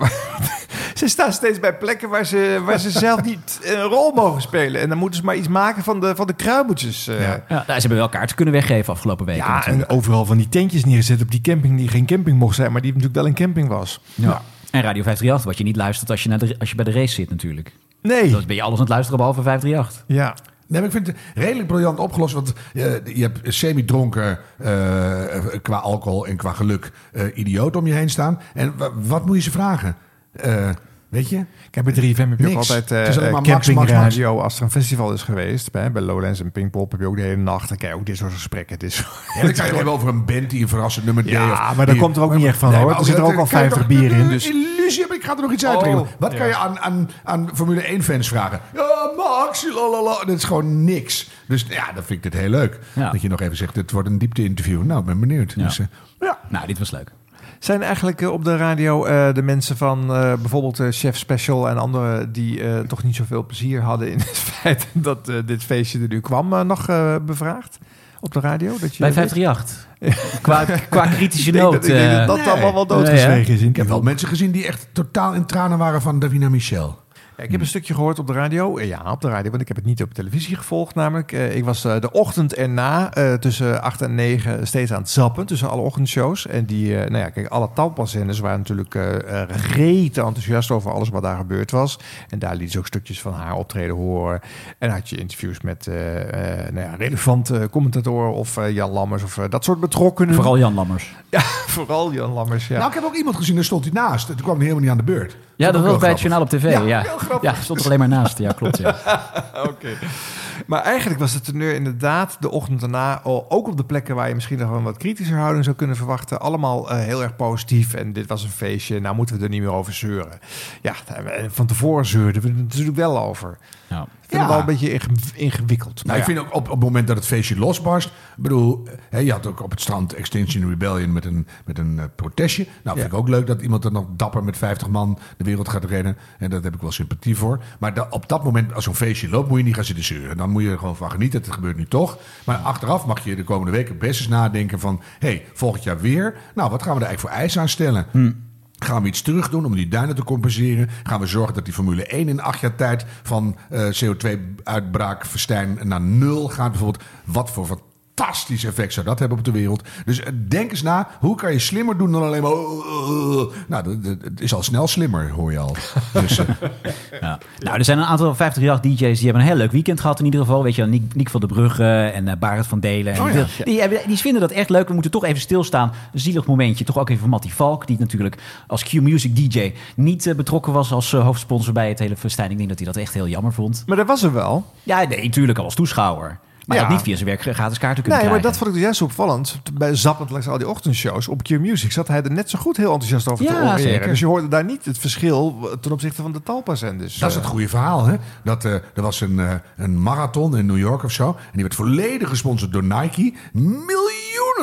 Speaker 2: ze staan steeds bij plekken waar ze, waar ze zelf niet eh, een rol mogen spelen. En dan moeten ze maar iets maken van de, van de kruimeltjes. eh.
Speaker 7: Ja.
Speaker 1: Ja, nou, ze hebben wel kaarten kunnen weggeven afgelopen weken.
Speaker 2: Ja,
Speaker 1: natuurlijk.
Speaker 2: en overal van die tentjes neergezet op die camping die geen camping mocht zijn, maar die natuurlijk wel een camping was.
Speaker 1: Ja. En Radio 538, wat je niet luistert als je, naar de, als je bij de race zit natuurlijk.
Speaker 2: Nee.
Speaker 1: Dan ben je alles aan het luisteren behalve 538.
Speaker 2: Ja.
Speaker 7: Nee, maar ik vind het redelijk briljant opgelost. Want je, je hebt semi-dronken eh, qua alcohol en qua geluk eh idioot om je heen staan. En wa- wat moet je ze vragen? Eh, weet je?
Speaker 2: Kijk, bij 3FM heb je ook
Speaker 7: Niks.
Speaker 2: altijd eh,
Speaker 7: Het is alleen maar Max, Max,
Speaker 2: campingradio als er een festival is geweest. Bij, bij Lowlands en Pinkpop heb je ook de hele nacht. Dan krijg je ook dit soort gesprekken. Het is,
Speaker 7: Ja, dan kan je het hebben over een band die een verrassend nummer deed.
Speaker 2: Ja, maar
Speaker 7: of
Speaker 2: daar
Speaker 7: die-
Speaker 2: komt er ook niet echt van,
Speaker 7: Nee,
Speaker 2: hoor.
Speaker 7: maar
Speaker 2: Er zitten
Speaker 7: ook
Speaker 2: er ook al
Speaker 7: kan je toch-
Speaker 2: 50 bier in, dus-
Speaker 7: Illusie heb ik, ga er nog iets uitbrengen.
Speaker 2: Oh.
Speaker 7: Wat
Speaker 2: Ja.
Speaker 7: kan je aan, aan, aan Formule 1-fans vragen? Ja, Max, lalala. Dat is gewoon niks. Dus ja, dat vind ik dit heel leuk.
Speaker 1: Ja.
Speaker 7: Dat je nog even zegt, het wordt een diepte-interview. Nou, ik ben benieuwd.
Speaker 1: Ja.
Speaker 7: Dus, eh, ja.
Speaker 1: Nou, dit was leuk.
Speaker 2: Zijn eigenlijk eh, op de radio eh, de mensen van eh, bijvoorbeeld eh, Chef Special en anderen die eh, toch niet zoveel plezier hadden in het feit dat eh, dit feestje er nu kwam eh, nog eh, bevraagd? Op de radio? Dat je
Speaker 1: Bij 538. qua, qua kritische
Speaker 2: Ik denk
Speaker 1: noot.
Speaker 2: dat, ik denk dat,
Speaker 1: eh,
Speaker 2: dat
Speaker 7: Nee.
Speaker 2: allemaal wel doodgeschreven is. in
Speaker 7: Ik heb wel mensen gezien die echt totaal in tranen waren van Davina Michel.
Speaker 2: Ja, ik heb een stukje gehoord op de radio. Eh, Ja, op de radio, want ik heb het niet op televisie gevolgd namelijk. Eh, ik was eh, de ochtend erna eh, tussen 8 en 9 steeds aan het zappen tussen alle ochtendshows. En die, eh, nou ja, kijk, alle tandpastzenders waren natuurlijk eh eh, rete enthousiast over alles wat daar gebeurd was. En daar liet ze ook stukjes van haar optreden horen. En had je interviews met eh, eh, nou ja, relevante commentatoren of eh, Jan Lammers of eh, dat soort betrokkenen.
Speaker 1: Vooral Jan Lammers.
Speaker 2: ja, vooral Jan Lammers, ja.
Speaker 7: Nou, ik heb ook iemand gezien, daar stond hij naast. Toen kwam hij helemaal niet aan de beurt.
Speaker 1: Ja, dat
Speaker 7: Vond ik
Speaker 1: was
Speaker 7: ook
Speaker 1: bij
Speaker 7: heel
Speaker 1: het journaal op tv. Ja, ja. stond er alleen maar naast. Ja, klopt. Ja.
Speaker 2: Maar eigenlijk was de teneur inderdaad de ochtend daarna, al- ook op de plekken waar je misschien nog wel een wat kritischer houding zou kunnen verwachten, allemaal eh, heel erg positief. En dit was een feestje, nou moeten we er niet meer over zeuren. Ja, en van tevoren zeurden we er natuurlijk wel over.
Speaker 1: Ja.
Speaker 2: Ik vind
Speaker 7: Ja.
Speaker 2: het wel een beetje inge- ingewikkeld.
Speaker 7: Nou, ik vind ook op, op het moment dat het feestje losbarst. Ik bedoel, hè, je had ook op het strand Extinction Rebellion met een, met een eh, protestje. Nou, vind ik ook leuk dat iemand dan nog dapper met 50 man de wereld gaat redden. En daar heb ik wel sympathie voor. Maar da- op dat moment, als zo'n feestje loopt, moet je niet gaan zitten zeuren. Dan moet je er gewoon van genieten. Het gebeurt nu toch. Maar achteraf mag je de komende weken best eens nadenken van... hé, hey, volgend jaar weer. Nou, wat gaan we er eigenlijk voor eisen aan stellen? Gaan we iets terug doen om die duinen te compenseren? Gaan we zorgen dat die Formule 1 in acht jaar tijd eh, van CO2-uitbraak verstijn naar nul gaat? Bijvoorbeeld, wat voor fantastisch effect zou dat hebben op de wereld. Dus eh, denk eens na, hoe kan je slimmer doen dan alleen maar... "Oh, Nou, dat- dat- het is al snel slimmer, hoor je al. Dus, eh,
Speaker 1: Ja. Nou, er zijn een aantal 538 DJ's die hebben een heel leuk weekend gehad in ieder geval. Weet je, wel, Niek, Niek van der Brugge en eh Barend van Delen. En
Speaker 7: Oh ja.
Speaker 1: die, die, hebben- die vinden dat echt leuk. We moeten toch even stilstaan. Een zielig momentje. Toch ook even voor Matty Valk, die natuurlijk als Q-Music DJ niet eh, betrokken was als eh, hoofdsponsor bij het hele festijn. Ik denk dat hij dat echt heel jammer vond.
Speaker 2: Maar dat was er wel.
Speaker 1: Ja, nee, tuurlijk, al als toeschouwer. Maar hij
Speaker 2: Ja.
Speaker 1: had niet via zijn werk gratis kaarten kunnen
Speaker 2: Nee, maar
Speaker 1: krijgen.
Speaker 2: dat vond ik dus juist opvallend. Bij Zappend langs al die ochtendshows op Q Music zat hij er net zo goed heel enthousiast over te
Speaker 7: Ja,
Speaker 2: oreren.
Speaker 7: zeker.
Speaker 2: Dus je hoorde daar niet het verschil ten opzichte van de Talpa-zenders. Eh,
Speaker 7: Dat is het goede verhaal, hè? Dat, eh, er was een, eh, een marathon in New York of zo. En die werd volledig gesponsord door Nike. Miljoenen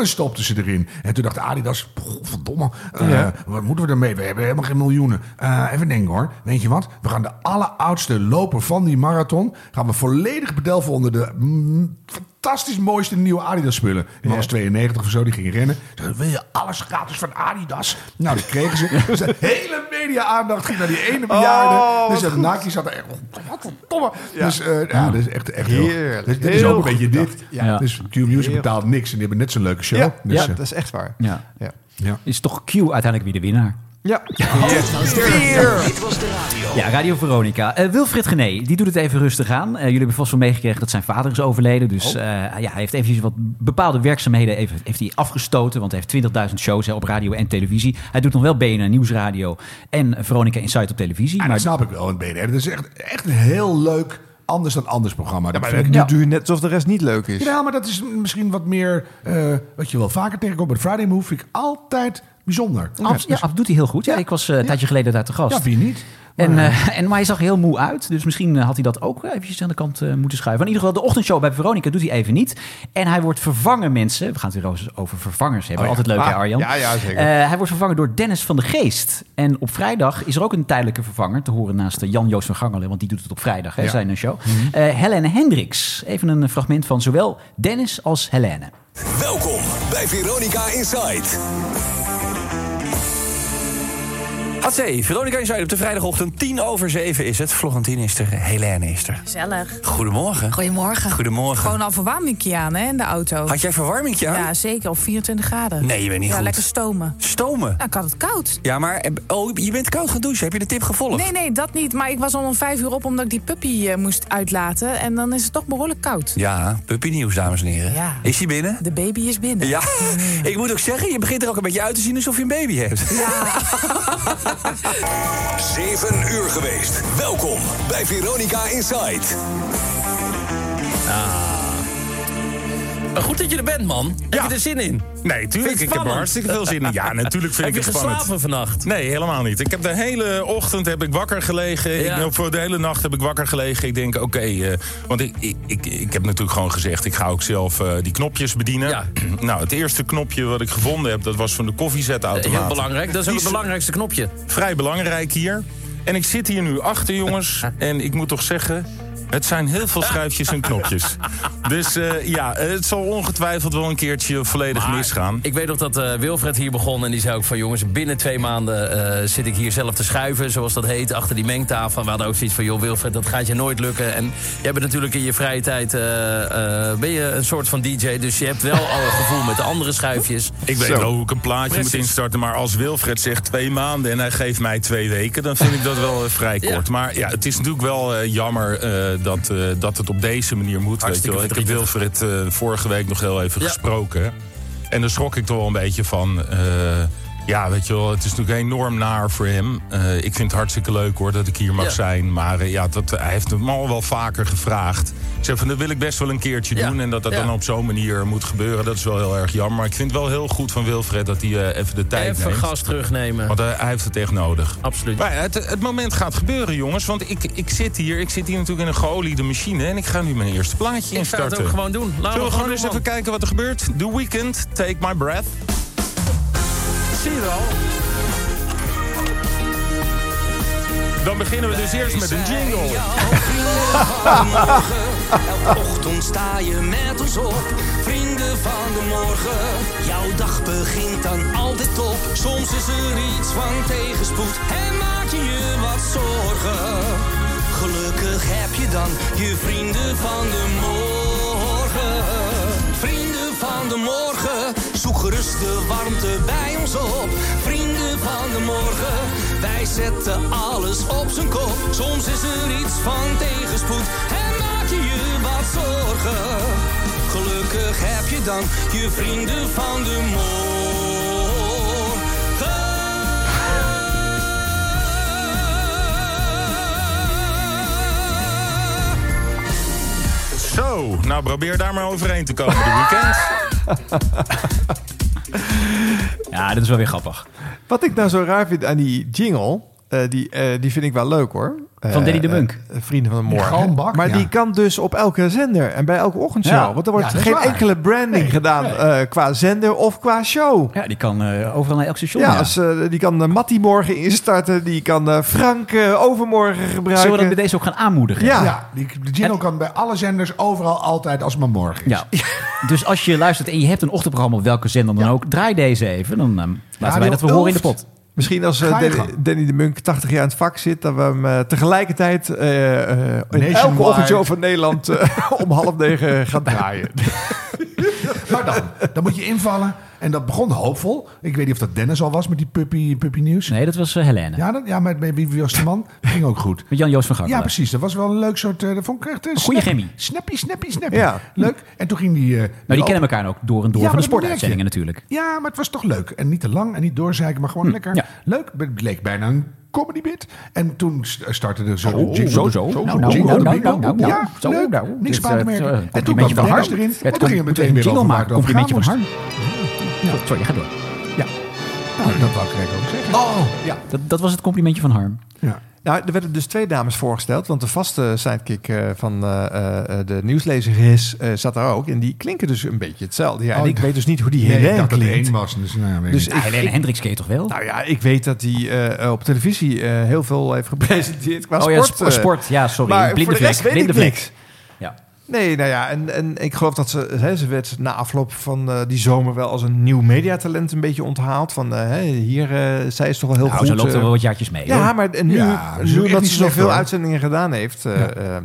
Speaker 7: stopten ze erin. En toen dacht Adidas, verdomme, eh,
Speaker 2: Ja.
Speaker 7: wat moeten we ermee? We hebben helemaal geen miljoenen. Eh, even denken hoor. Weet je wat? We gaan de alleroudste loper van die marathon... gaan we volledig bedelven onder de mm, fantastisch mooiste nieuwe Adidas spullen. Die man was 92 of zo, die ging rennen. Ze wil je alles gratis van Adidas? Nou, dat kregen ze. Dus de hele media-aandacht ging naar die ene bejaarde.
Speaker 2: Oh,
Speaker 7: dus
Speaker 2: wat
Speaker 7: dat
Speaker 2: goed.
Speaker 7: Nike zat er echt... Wat verdomme.
Speaker 2: Ja.
Speaker 7: Dus eh, ja, dat is echt, echt heel...
Speaker 2: Heerlijk.
Speaker 7: Dus dit is
Speaker 2: Heel
Speaker 7: ook een beetje
Speaker 2: goed
Speaker 7: dit.
Speaker 2: bedacht. Ja.
Speaker 7: Dus Q-Music betaalt niks en die hebben net zo'n leuke show.
Speaker 2: Ja,
Speaker 7: dus,
Speaker 2: ja,
Speaker 7: eh,
Speaker 2: dat is echt waar.
Speaker 1: Oh, Ja.
Speaker 2: Ja.
Speaker 1: Is toch Q uiteindelijk wie de winnaar?
Speaker 2: Ja.
Speaker 3: Dit was de radio.
Speaker 1: Ja, Radio Veronica. Eh, Wilfried Gené, die doet het even rustig aan. Eh, jullie hebben vast wel meegekregen dat zijn vader is overleden.
Speaker 7: Oh.
Speaker 1: Dus eh, ja, hij heeft eventjes wat bepaalde werkzaamheden even, heeft hij afgestoten. Want hij heeft 20.000 shows hè, op radio en televisie. Hij doet nog wel BNR Nieuwsradio en Veronica Insight op televisie.
Speaker 7: En Ah, dat snap ik wel in BNR. Dat is echt, echt een heel leuk, anders dan anders programma.
Speaker 2: Ja,
Speaker 7: Dat
Speaker 2: maar
Speaker 7: vind
Speaker 2: nu
Speaker 7: ik-
Speaker 2: doe je net alsof de rest niet leuk is.
Speaker 7: Ja, maar dat is misschien wat meer eh, wat je wel vaker tegenkomt. Maar Friday Move vind ik altijd bijzonder.
Speaker 1: Abs- ja, ab- doet hij heel goed. Ja, ik was eh, een tijdje geleden daar te gast.
Speaker 7: dus Ja, wie niet?
Speaker 1: En, eh, en, maar hij zag heel moe uit. Dus misschien eh, had hij dat ook eh, eventjes aan de kant eh, moeten schuiven. Maar in ieder geval, de ochtendshow bij Veronica doet hij even niet. En hij wordt vervangen, mensen. We gaan het weer over- over vervangers hebben.
Speaker 2: Oh ja.
Speaker 1: Altijd leuk, hè,
Speaker 2: Ah,
Speaker 1: Arjan?
Speaker 2: ja, ja, zeker.
Speaker 1: Eh, hij wordt vervangen door Dennis van de Geest. En op vrijdag is er ook een tijdelijke vervanger. Te horen naast eh, Jan-Joost van Gangelen. Want die doet het op vrijdag, hè,
Speaker 7: Ja.
Speaker 1: zijn show. Eh, Helene Hendricks. Even een eh, fragment van zowel Dennis als Helene.
Speaker 5: Welkom bij Veronica Inside.
Speaker 14: Hatsé, Veronica Inside op de vrijdagochtend. 10 over 7 is het. Florentine is er, Helene is er.
Speaker 15: Gezellig.
Speaker 14: Goedemorgen.
Speaker 15: Goedemorgen.
Speaker 14: Goedemorgen.
Speaker 15: Gewoon al verwarmingje aan hè, in de auto.
Speaker 14: Had jij verwarmingje aan?
Speaker 15: Ja, zeker. Op 24 graden.
Speaker 14: Nee, je bent niet
Speaker 15: ja,
Speaker 14: goed.
Speaker 15: lekker stomen.
Speaker 14: Stomen?
Speaker 15: Nou, ik had het koud.
Speaker 14: Ja, maar eh, oh, je bent koud gaan douchen. Heb je de tip gevolgd?
Speaker 15: Nee, nee, dat niet. Maar ik was al om vijf uur op omdat ik die puppy eh, moest uitlaten. En dan is het toch behoorlijk koud.
Speaker 14: Ja, puppy nieuws, dames en heren.
Speaker 15: Ja.
Speaker 14: Is hij binnen?
Speaker 15: De baby is binnen.
Speaker 14: Ja, ik moet ook zeggen, je begint er ook een beetje uit te zien alsof je een baby hebt.
Speaker 15: Ja.
Speaker 5: 7 uur geweest. Welkom bij Veronica Inside.
Speaker 16: Ah. Goed dat je er bent, man. Heb je er zin in?
Speaker 17: Nee,
Speaker 16: Vind je het
Speaker 17: tuurlijk. Ik heb er
Speaker 16: spannend?
Speaker 17: hartstikke veel zin in. Ja, natuurlijk vind
Speaker 16: Heb
Speaker 17: ik het
Speaker 16: je
Speaker 17: spannend.
Speaker 16: geslapen vannacht?
Speaker 17: Nee, helemaal niet. Ik heb de hele ochtend heb ik wakker gelegen. Ik,
Speaker 16: Ja.
Speaker 17: ben voor de hele nacht heb ik wakker gelegen. Ik denk, oké, eh, want ik, ik, ik, ik heb natuurlijk gewoon gezegd... ik ga ook zelf eh, die knopjes bedienen. nou, het eerste knopje wat ik gevonden heb... dat was van de koffiezetautomaat.
Speaker 16: Eh, Heel belangrijk. Dat is
Speaker 17: Die
Speaker 16: ook het belangrijkste knopje.
Speaker 17: vrij belangrijk hier. En ik zit hier nu achter, jongens. En ik moet toch zeggen... Het zijn heel veel schuifjes en knopjes. Dus eh, ja, het zal ongetwijfeld wel een keertje volledig
Speaker 16: Maar
Speaker 17: misgaan.
Speaker 16: Ik weet nog dat eh, Wilfred hier begon en die zei ook van... jongens, binnen twee maanden eh, zit ik hier zelf te schuiven, zoals dat heet... achter die mengtafel. We hadden ook zoiets van, joh Wilfred, dat gaat je nooit lukken. En jij bent natuurlijk in je vrije tijd eh, eh, ben je een soort van DJ... dus je hebt wel al een gevoel met de andere schuifjes.
Speaker 17: Ik weet wel hoe ik een plaatje moet instarten, maar als Wilfred zegt twee maanden en hij geeft mij twee weken, dan vind ik dat wel eh, vrij kort. Maar ja, het is natuurlijk wel eh, jammer eh, dat, eh, dat het op deze manier moet. Weet je
Speaker 16: Hartstikke
Speaker 17: wel. Ik heb Wilfred eh, vorige week nog heel even
Speaker 16: Ja.
Speaker 17: gesproken. En daar schrok ik toch wel een beetje van. eh, ja, weet je wel, het is natuurlijk enorm naar voor hem. Eh, ik vind het hartstikke leuk hoor dat ik hier mag
Speaker 16: Ja.
Speaker 17: zijn. Maar eh, ja, dat, hij heeft hem al wel vaker gevraagd. Ik zeg van, dat wil ik best wel een keertje
Speaker 16: Ja.
Speaker 17: doen. En dat dat
Speaker 16: Ja.
Speaker 17: dan op zo'n manier moet gebeuren, dat is wel heel erg jammer. Maar ik vind het wel heel goed van Wilfred dat hij eh, even de tijd
Speaker 16: Even
Speaker 17: neemt.
Speaker 16: gas terugnemen.
Speaker 17: Want eh, hij heeft het echt nodig.
Speaker 16: Absoluut.
Speaker 17: Maar ja, het, het moment gaat gebeuren, jongens. Want ik, ik zit hier. Ik zit hier natuurlijk in een geoliede machine. En ik ga nu mijn eerste plaatje
Speaker 16: Ik ga
Speaker 17: instarten.
Speaker 16: het ook gewoon doen. Laten
Speaker 17: Zullen
Speaker 16: we
Speaker 17: we gewoon
Speaker 16: gewoon
Speaker 17: eens
Speaker 16: doen,
Speaker 17: even
Speaker 16: man.
Speaker 17: kijken wat er gebeurt? The Weekend, Take My Breath.
Speaker 16: Zie je wel?
Speaker 17: Dan beginnen we dus eerst met een jingle.
Speaker 3: Elke ochtend sta je met ons op. Vrienden van de morgen. Jouw dag begint dan altijd top. Soms is er iets van tegenspoed. En maak je je wat zorgen. Gelukkig heb je dan je vrienden van de morgen. Vrienden van de morgen. Zoek gerust de warmte bij ons op. Vrienden van de morgen, wij zetten alles op zijn kop. Soms is er iets van tegenspoed en maak je je wat zorgen. Gelukkig heb je dan je vrienden van de morgen.
Speaker 17: Zo, nou probeer daar maar overheen te komen dit weekend.
Speaker 1: Ja, dat is wel weer grappig.
Speaker 2: Wat ik nou zo raar vind aan die jingle, eh, die, eh, die vind ik wel leuk hoor. Eh,
Speaker 1: Van Danny de Munk.
Speaker 2: eh, Vrienden van de Morgen.
Speaker 1: Die galmbak,
Speaker 2: maar
Speaker 1: ja.
Speaker 2: die kan dus op elke zender en bij elke ochtendshow.
Speaker 1: Ja.
Speaker 2: Want er wordt
Speaker 1: Ja, dat is
Speaker 2: geen
Speaker 1: waar.
Speaker 2: enkele branding gedaan eh, qua zender of qua show.
Speaker 1: Ja, die kan eh, overal naar elk station.
Speaker 2: Ja,
Speaker 1: ja.
Speaker 2: Als, eh, die kan eh, Mattie morgen instarten. Die kan eh, Frank eh, overmorgen gebruiken.
Speaker 1: Zullen we dat bij deze ook gaan aanmoedigen?
Speaker 2: Ja.
Speaker 7: die, de jingle kan bij alle zenders overal altijd als het maar morgen is.
Speaker 1: Ja. dus als je luistert en je hebt een ochtendprogramma op welke zender dan ook, draai deze even. Dan ehm, laten wij dat we horen in de pot.
Speaker 2: Misschien als eh,
Speaker 1: Ga je
Speaker 2: Danny,
Speaker 1: gang.
Speaker 2: Danny de Munk 80 jaar in het vak zit, dat we hem eh, tegelijkertijd eh, eh, in elke
Speaker 7: Nationwide.
Speaker 2: ochtendshow van Nederland eh, om half negen gaat draaien.
Speaker 7: Maar dan, dan moet je invallen. En dat begon hoopvol. Ik weet niet of dat Dennis al was met die puppy, puppy nieuws.
Speaker 1: Nee, dat was eh, Helene.
Speaker 7: Ja, dat, ja maar bij wie was de man? Ging ook goed.
Speaker 1: Met Jan-Joost van Gakkelen.
Speaker 7: Ja, precies. Dat was wel een leuk soort... eh, dat vond ik echt... een
Speaker 1: goede chemie.
Speaker 7: Snappy, snappy, snappy.
Speaker 1: Ja.
Speaker 7: Leuk. En toen ging die... eh,
Speaker 1: Nou, die
Speaker 7: lopen.
Speaker 1: kennen elkaar ook door en door
Speaker 7: Ja,
Speaker 1: van de
Speaker 7: maar dat merk je.
Speaker 1: sportuitzendingen natuurlijk. Hm,
Speaker 7: Ja, maar het was toch leuk. En niet te lang en niet doorzeiken, maar gewoon lekker. Leuk. Het leek bijna een comedy bit. En toen st- startte er zo...
Speaker 1: Oh,
Speaker 7: jingle
Speaker 1: zo,
Speaker 7: de-
Speaker 1: zo.
Speaker 7: jingle
Speaker 1: Nou,
Speaker 7: de
Speaker 1: nou,
Speaker 7: jingle
Speaker 1: nou,
Speaker 7: de
Speaker 1: nou,
Speaker 7: bingo.
Speaker 1: nou, nou,
Speaker 7: Ja,
Speaker 1: zo,
Speaker 7: leuk.
Speaker 1: nou.
Speaker 7: Niks
Speaker 1: Dit,
Speaker 7: van te
Speaker 1: eh, het, eh,
Speaker 7: merken. En toen
Speaker 1: complimentje
Speaker 7: kwam
Speaker 1: van
Speaker 7: Dennis
Speaker 1: Harm.
Speaker 7: erin.
Speaker 1: Het
Speaker 7: Want toen ging het
Speaker 1: komt-
Speaker 7: meteen weer
Speaker 1: jingle
Speaker 7: over
Speaker 1: maken,
Speaker 7: waar het over gaan
Speaker 1: complimentje van
Speaker 7: moest.
Speaker 1: Ja, Sorry, ga door.
Speaker 7: Ja. Nou, dat wou ik eigenlijk ook zeggen. Oh, ja.
Speaker 1: Dat, dat was het complimentje van Harm.
Speaker 2: Nou, er werden dus twee dames voorgesteld, want de vaste sidekick eh, van eh, eh, eh, de nieuwslezeres eh, zat daar ook. En die klinken dus een beetje hetzelfde. Ja, en
Speaker 7: Oh,
Speaker 2: ik weet dus niet hoe die
Speaker 7: nee, ik
Speaker 2: Helene
Speaker 7: dacht dat er
Speaker 2: klinkt.
Speaker 7: één was. Dus, nou, weet ik
Speaker 2: Dus
Speaker 7: niet.
Speaker 2: ik- ik-
Speaker 1: Hendricks keer toch wel?
Speaker 2: Nou ja, ik weet dat hij eh, op televisie eh, heel veel heeft gepresenteerd qua
Speaker 1: oh ja,
Speaker 2: sport.
Speaker 1: spo-
Speaker 2: eh.
Speaker 1: sport. Ja, sorry.
Speaker 2: Maar
Speaker 1: blinde
Speaker 2: voor de rest
Speaker 1: vlek,
Speaker 2: weet ik
Speaker 1: blinde
Speaker 2: niks.
Speaker 1: vlek. Ja.
Speaker 2: Nee, nou ja, en, en ik geloof dat ze, hè, ze werd na afloop van eh, die zomer wel als een nieuw mediatalent een beetje onthaald. Van eh, hè, hier, eh, zij is toch wel heel
Speaker 1: Nou,
Speaker 2: goed.
Speaker 1: ze loopt er
Speaker 2: eh,
Speaker 1: wel wat jaartjes mee,
Speaker 2: Ja,
Speaker 1: hoor.
Speaker 2: maar en nu,
Speaker 1: Ja, ze is
Speaker 2: nu
Speaker 1: ook echt
Speaker 2: dat
Speaker 1: niet
Speaker 2: ze
Speaker 1: slecht,
Speaker 2: zoveel
Speaker 7: eh,
Speaker 1: hoor.
Speaker 2: uitzendingen gedaan heeft. eh, eh,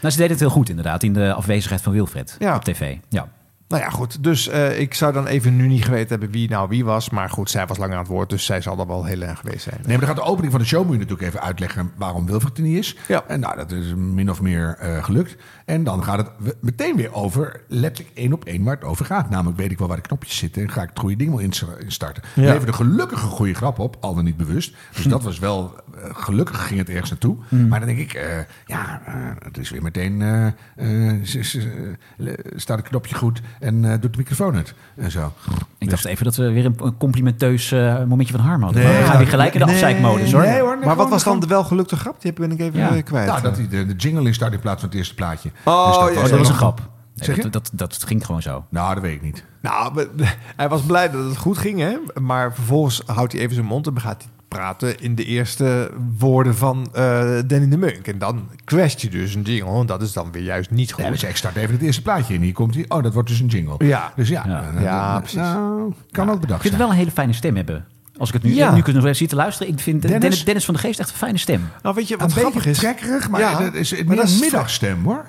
Speaker 1: Nou, ze deed het heel goed inderdaad in de afwezigheid van Wilfred
Speaker 2: Ja.
Speaker 1: op tv. Ja.
Speaker 2: nou ja, goed. Dus eh, ik zou dan even nu niet geweten hebben wie nou wie was. Maar goed, zij was langer aan het woord, dus zij zal er wel heel erg geweest zijn.
Speaker 7: Nee, maar dan gaat de opening van de show moet je natuurlijk even uitleggen waarom Wilfred er niet is. En nou, dat is min of meer eh, gelukt. En dan gaat het we- meteen weer over, letterlijk één op één waar het over gaat. Namelijk weet ik wel waar de knopjes zitten en ga ik het goede ding wel ins- instarten.
Speaker 2: Ja.
Speaker 7: Leverde gelukkig een goede grap op, al dan niet bewust. Dus dat was wel, eh, gelukkig ging het ergens naartoe.
Speaker 2: Mm.
Speaker 7: Maar dan denk ik, eh, ja, eh, het is weer meteen, eh, eh, ze- ze- le- staat het knopje goed en eh, doet de microfoon uit. En zo.
Speaker 1: Ik
Speaker 7: Dus-
Speaker 1: dacht even dat we weer een een complimenteus eh, momentje van Harm hadden.
Speaker 7: Nee,
Speaker 1: maar we gaan
Speaker 7: nou,
Speaker 1: weer gelijk in de
Speaker 7: nee,
Speaker 1: afzeikmodus hoor.
Speaker 7: nee, hoor.
Speaker 2: maar wat
Speaker 7: gewoon-
Speaker 2: was dan de wel gelukte grap? Die heb- ben ik even eh, kwijt.
Speaker 7: Nou, dat hij de, de jingle instart in plaats van het eerste plaatje.
Speaker 2: Oh,
Speaker 7: Dus
Speaker 2: ja, dat was een
Speaker 1: grap. Nee,
Speaker 7: Zeg je?
Speaker 1: dat, dat, dat ging gewoon zo.
Speaker 7: Nou, dat weet ik niet.
Speaker 2: Nou, we- hij was blij dat het goed ging, hè? Maar vervolgens houdt hij even zijn mond en gaat hij praten in de eerste woorden van eh Danny de Munk. En dan crasht je dus een jingle. En dat is dan weer juist niet goed.
Speaker 7: Ja, dus ik start even het eerste plaatje in. Hier komt hij. Oh, dat wordt dus een jingle.
Speaker 2: Ja.
Speaker 7: Dus ja.
Speaker 1: Ja.
Speaker 7: eh,
Speaker 1: Ja,
Speaker 7: eh,
Speaker 1: precies.
Speaker 7: nou, kan ook
Speaker 1: Ik
Speaker 7: bedacht
Speaker 1: vind
Speaker 7: zijn.
Speaker 1: het wel een hele fijne stem hebben. Als ik het nu,
Speaker 7: Ja.
Speaker 1: nu kunnen nog even zitten luisteren. Ik vind eh,
Speaker 7: Dennis?
Speaker 1: Dennis, Dennis, van de Geest echt een fijne stem.
Speaker 2: Nou, weet je
Speaker 7: Een
Speaker 2: wat
Speaker 7: beetje
Speaker 2: grappig is?
Speaker 7: trekkerig, maar
Speaker 2: Ja,
Speaker 7: dat is
Speaker 2: maar
Speaker 7: meer een
Speaker 2: dat is-
Speaker 7: middagstem, hoor.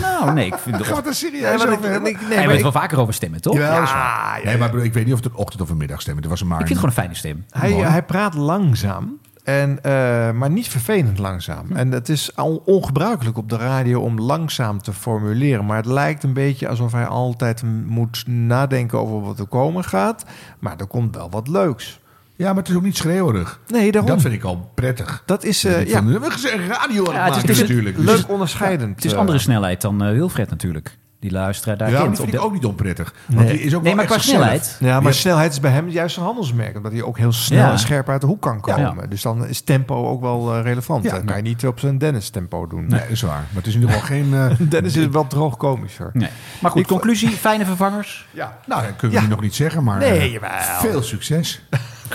Speaker 1: Nou, nee. Ik vind
Speaker 7: Gaan we het er serieus
Speaker 2: Nee, maar ik-
Speaker 7: over hebben?
Speaker 2: ik- nee,
Speaker 1: Hij
Speaker 2: maar
Speaker 1: weet
Speaker 2: ik-
Speaker 1: wel vaker over stemmen, toch?
Speaker 7: Ja, dat is waar.
Speaker 2: Ah, ja,
Speaker 7: Nee, maar ik bedoel, ik weet niet of het een ochtend- of een middagstem is. Het was maar
Speaker 1: Ik vind het gewoon een fijne stem.
Speaker 2: Hij,
Speaker 7: Mooi.
Speaker 2: hij praat langzaam, en, eh, maar niet vervelend langzaam. En het is al ongebruikelijk op de radio om langzaam te formuleren. Maar het lijkt een beetje alsof hij altijd m- moet nadenken over wat er komen gaat. Maar er komt wel wat leuks.
Speaker 7: Ja, maar het is ook niet schreeuwerig.
Speaker 2: Nee, daarom.
Speaker 7: Dat vind ik al prettig.
Speaker 2: Dat is...
Speaker 7: Dat
Speaker 2: eh,
Speaker 7: ik
Speaker 2: ja.
Speaker 7: van, we hebben gezegd radio aan
Speaker 1: Ja, het is
Speaker 7: het maken
Speaker 1: dus-
Speaker 7: natuurlijk. Dus
Speaker 2: Leuk onderscheidend.
Speaker 1: Het is
Speaker 2: eh.
Speaker 1: andere snelheid dan eh, Wilfred natuurlijk. Die luisteraar daar
Speaker 7: Ja, dat
Speaker 1: kent.
Speaker 7: vind
Speaker 1: Op
Speaker 7: ik
Speaker 1: de-
Speaker 7: ook niet onprettig. Want
Speaker 1: Nee.
Speaker 7: die is
Speaker 1: Nee,
Speaker 7: ook wel
Speaker 1: maar
Speaker 7: echt
Speaker 1: qua
Speaker 7: zichzelf.
Speaker 1: snelheid.
Speaker 2: Ja, maar
Speaker 7: Je hebt-
Speaker 2: snelsheid is bij hem juist een handelsmerk. Omdat hij ook heel snel
Speaker 1: Ja.
Speaker 2: en scherp uit de hoek kan komen.
Speaker 1: Ja.
Speaker 2: Dus dan is tempo ook wel eh, relevant.
Speaker 7: Ja,
Speaker 2: dat kan je niet op zijn Dennis tempo doen.
Speaker 7: Nee, dat is waar. Maar het is in ieder geval geen... eh,
Speaker 2: Dennis is wel droog komischer.
Speaker 1: Nee. Maar goed,
Speaker 2: Ik-
Speaker 1: conclusie, fijne vervangers.
Speaker 2: Ja.
Speaker 7: Nou, dat kunnen we
Speaker 2: Ja.
Speaker 7: nog niet zeggen, maar
Speaker 2: Nee,
Speaker 7: eh,
Speaker 2: jawel.
Speaker 7: veel succes.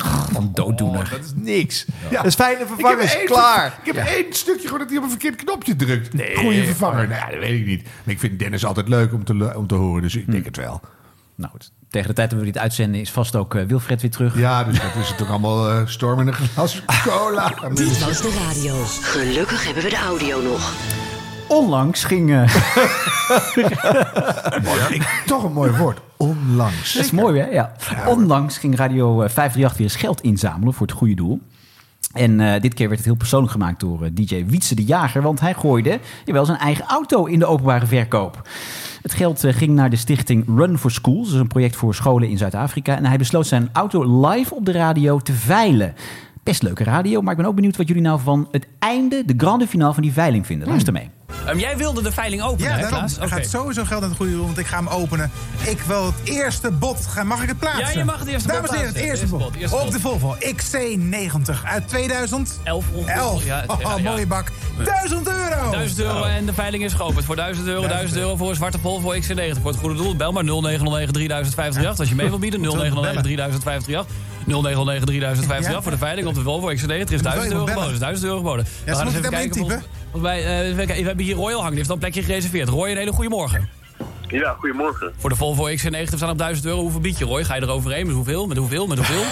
Speaker 7: Oh,
Speaker 1: Een dooddoener.
Speaker 2: Dat is niks.
Speaker 7: Ja.
Speaker 2: Dat is fijne vervangers.
Speaker 7: één
Speaker 2: Klaar.
Speaker 7: ver- Ik heb één stukje gewoon dat hij op een verkeerd knopje drukt.
Speaker 2: Nee.
Speaker 7: Goeie vervanger. Nou, ja, dat weet ik niet. Maar ik vind Dennis altijd leuk om te, lu- om te horen, dus ik denk het wel.
Speaker 1: Hm. Nou goed, tegen de tijd dat we dit uitzenden is vast ook eh, Wilfred weer terug.
Speaker 7: Ja, dus dat is het toch allemaal eh, storm in een glas cola.
Speaker 9: Dit was de radio. Gelukkig hebben we de audio nog.
Speaker 1: onlangs ging... eh,
Speaker 7: toch een mooi woord. Onlangs.
Speaker 1: Dat is mooi, hè? Ja. Onlangs ging Radio eh, 538 weer eens geld inzamelen voor het goede doel. En eh, dit keer werd het heel persoonlijk gemaakt door eh, DJ Wietse de Jager. Want hij gooide jawel, zijn eigen auto in de openbare verkoop. Het geld eh, ging naar de stichting Run for Schools. Dat is een project voor scholen in Zuid-Afrika. En hij besloot zijn auto live op de radio te veilen. Best leuke radio, maar ik ben ook benieuwd wat jullie nou van het einde, de grande finale van die veiling vinden. Luister mee.
Speaker 16: Ehm, jij wilde de veiling openen,
Speaker 18: Ja,
Speaker 16: hè,
Speaker 18: daarom.
Speaker 16: Klaas?
Speaker 18: Er
Speaker 16: Oké.
Speaker 18: gaat sowieso geld aan het goede doel, want ik ga hem openen. Ik wil het eerste bot. Ga- Mag ik het plaatsen?
Speaker 16: Ja, je mag het eerste bot
Speaker 18: Dames en heren, het
Speaker 16: plaatsen.
Speaker 18: eerste
Speaker 16: Eerste
Speaker 18: bot.
Speaker 16: bot, eerste
Speaker 18: Op
Speaker 16: bot.
Speaker 18: de Volvo XC90 uit 2011.
Speaker 16: ongeveer.
Speaker 18: 11.
Speaker 16: Ja, het-
Speaker 18: Oh,
Speaker 16: ja, ja.
Speaker 18: mooie bak. 1000 euro!
Speaker 16: 1000 euro en de veiling is geopend. Voor 1000 euro, 1000 euro voor een zwarte pol voor XC90. Voor het goede doel, bel maar 0909-3058 als je mee wilt bieden. 0909-3058. 0909-3058 voor de veiling op de Volvo XC90. Er is 1000 euro
Speaker 18: bellen.
Speaker 16: geboden. Er is 1000 euro geboden. We
Speaker 18: ze
Speaker 16: gaan eens
Speaker 18: moeten
Speaker 16: even
Speaker 18: daarmee
Speaker 16: kijken. volgens- volgens mij, eh, even kijken. We hebben hier Royal hangen. Die heeft al een plekje gereserveerd. Roy, een hele goede morgen.
Speaker 19: Ja, goedemorgen.
Speaker 16: Voor de Volvo XC90 staan op 1000 euro. Hoeveel bied je, Roy? Ga je er overheen? Met hoeveel? Met hoeveel? Met hoeveel?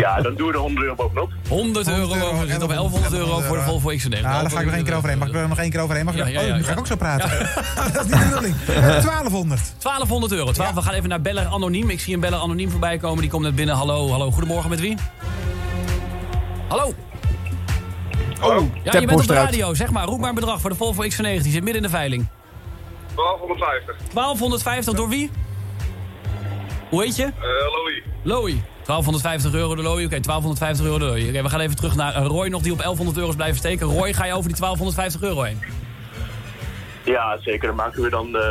Speaker 19: Ja, dan doen we de 100 euro bovenop.
Speaker 16: 100 euro. We zitten op 1100 euro voor de Volvo XC90.
Speaker 18: Ja, daar ga ik nog één keer overheen. Mag ik er nog één keer overheen? Mag ik
Speaker 16: Ja,
Speaker 18: er-
Speaker 16: ja,
Speaker 18: oh,
Speaker 16: ja,
Speaker 18: nu ga ik ook zo praten. Dat is niet de bedoeling. 1200.
Speaker 16: 1200 euro. 12, We gaan even naar Beller Anoniem. Ik zie een Beller Anoniem voorbij komen. Die komt net binnen. Hallo, hallo. Goedemorgen, met wie? Hallo.
Speaker 2: Oh,
Speaker 16: Ja, je bent op de radio. Zeg maar, roep maar een bedrag voor de Volvo X90. Die zit midden in de veiling.
Speaker 19: 1250.
Speaker 16: 1250 door wie? Hoe heet je?
Speaker 19: Louis.
Speaker 16: Lowy. 1250 euro de Lowy. Oké, 1250 euro de Lowy. Oké, we gaan even terug naar eh, Roy nog, die op 1100 euro is blijven steken. Roy, ga je over die 1250 euro heen?
Speaker 19: Ja, zeker. Dan maken we dan eh,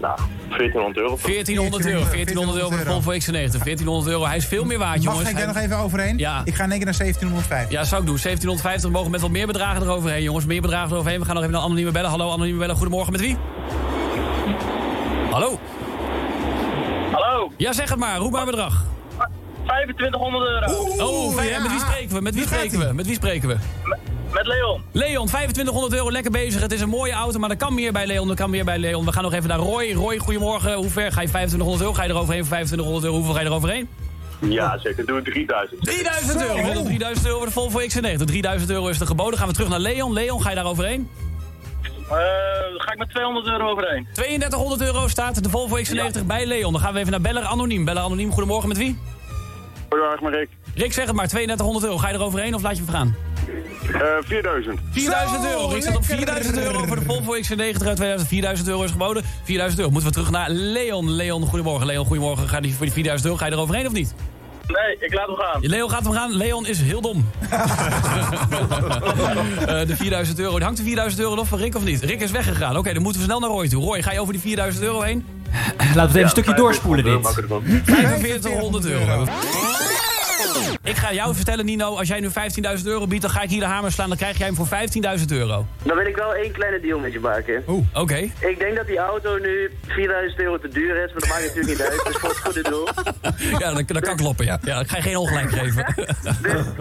Speaker 19: nou, 1400 euro.
Speaker 16: 1400 euro. 1400 euro voor de Volvo X90. 1400 euro. Hij is veel meer waard, jongens.
Speaker 18: Mag ik daar
Speaker 16: Hij-
Speaker 18: nog even overheen?
Speaker 16: Ja.
Speaker 18: Ik ga in één keer naar 1750.
Speaker 16: Ja, zou ik doen. 1750 mogen met wat meer bedragen eroverheen, jongens. Meer bedragen eroverheen. We gaan nog even naar anonieme bellen. Hallo, anonieme bellen. Goedemorgen, met wie? Hallo?
Speaker 19: Hallo?
Speaker 16: Ja, zeg het maar. Roep maar een bedrag.
Speaker 19: 2500 euro.
Speaker 16: oh, fijn. En met wie spreken we? Met wie spreken we? Met wie spreken we?
Speaker 19: Met Leon.
Speaker 16: Leon, 2500 euro. Lekker bezig. Het is een mooie auto, maar er kan meer bij Leon. Er kan meer bij Leon. We gaan nog even naar Roy. Roy, goedemorgen. Hoe ver ga je 2500 euro? Ga je eroverheen voor 2500 euro? Hoeveel ga je eroverheen?
Speaker 19: Ja, zeker. Doen we 3000.
Speaker 16: 3000 euro. Wat een 3000 euro voor de Volvo X90. 3000 euro is er geboden. Gaan we terug naar Leon. Leon, ga je daar overheen?
Speaker 19: Eh, ga ik met 200 euro overheen.
Speaker 16: 3200 euro staat de Volvo X90 bij Leon. Dan gaan we even naar Beller Anoniem. Beller Anoniem, goedemorgen met wie?
Speaker 19: Goedendag, maar Rick.
Speaker 16: Rick, zeg het maar, 3200 euro. Ga je eroverheen of laat je me gaan?
Speaker 19: Eh, 4000.
Speaker 16: 4000 euro. Rick staat op 4000 euro voor de Volvo X90 uit 2000. 4000 euro is geboden. 4000 euro. Moeten we terug naar Leon. Leon, goedemorgen. Leon, goedemorgen. Ga je voor die 4000 euro, ga je eroverheen of niet?
Speaker 19: Nee, ik laat hem gaan.
Speaker 16: Leon gaat hem gaan. Leon is heel dom. Eh, de 4000 euro. Hangt de 4000 euro nog van Rick of niet? Rick is weggegaan. Oké, dan moeten we snel naar Roy toe. Roy, ga je over die 4000 euro heen?
Speaker 1: Laten we het even een stukje doorspoelen dit.
Speaker 16: 4500 euro. Hm? Ik ga jou vertellen, Nino, als jij nu 15.000 euro biedt, dan ga ik hier de hamer slaan. Dan krijg jij hem voor 15.000 euro.
Speaker 19: Dan wil ik wel één kleine deal met je maken.
Speaker 16: Oké.
Speaker 19: Ik denk dat die auto nu 4000 euro te duur is, maar dat maakt natuurlijk niet uit. Dus voor het goede doel.
Speaker 16: Ja, dat, dat kan kloppen, ja. ja. Ik ga je geen ongelijk geven.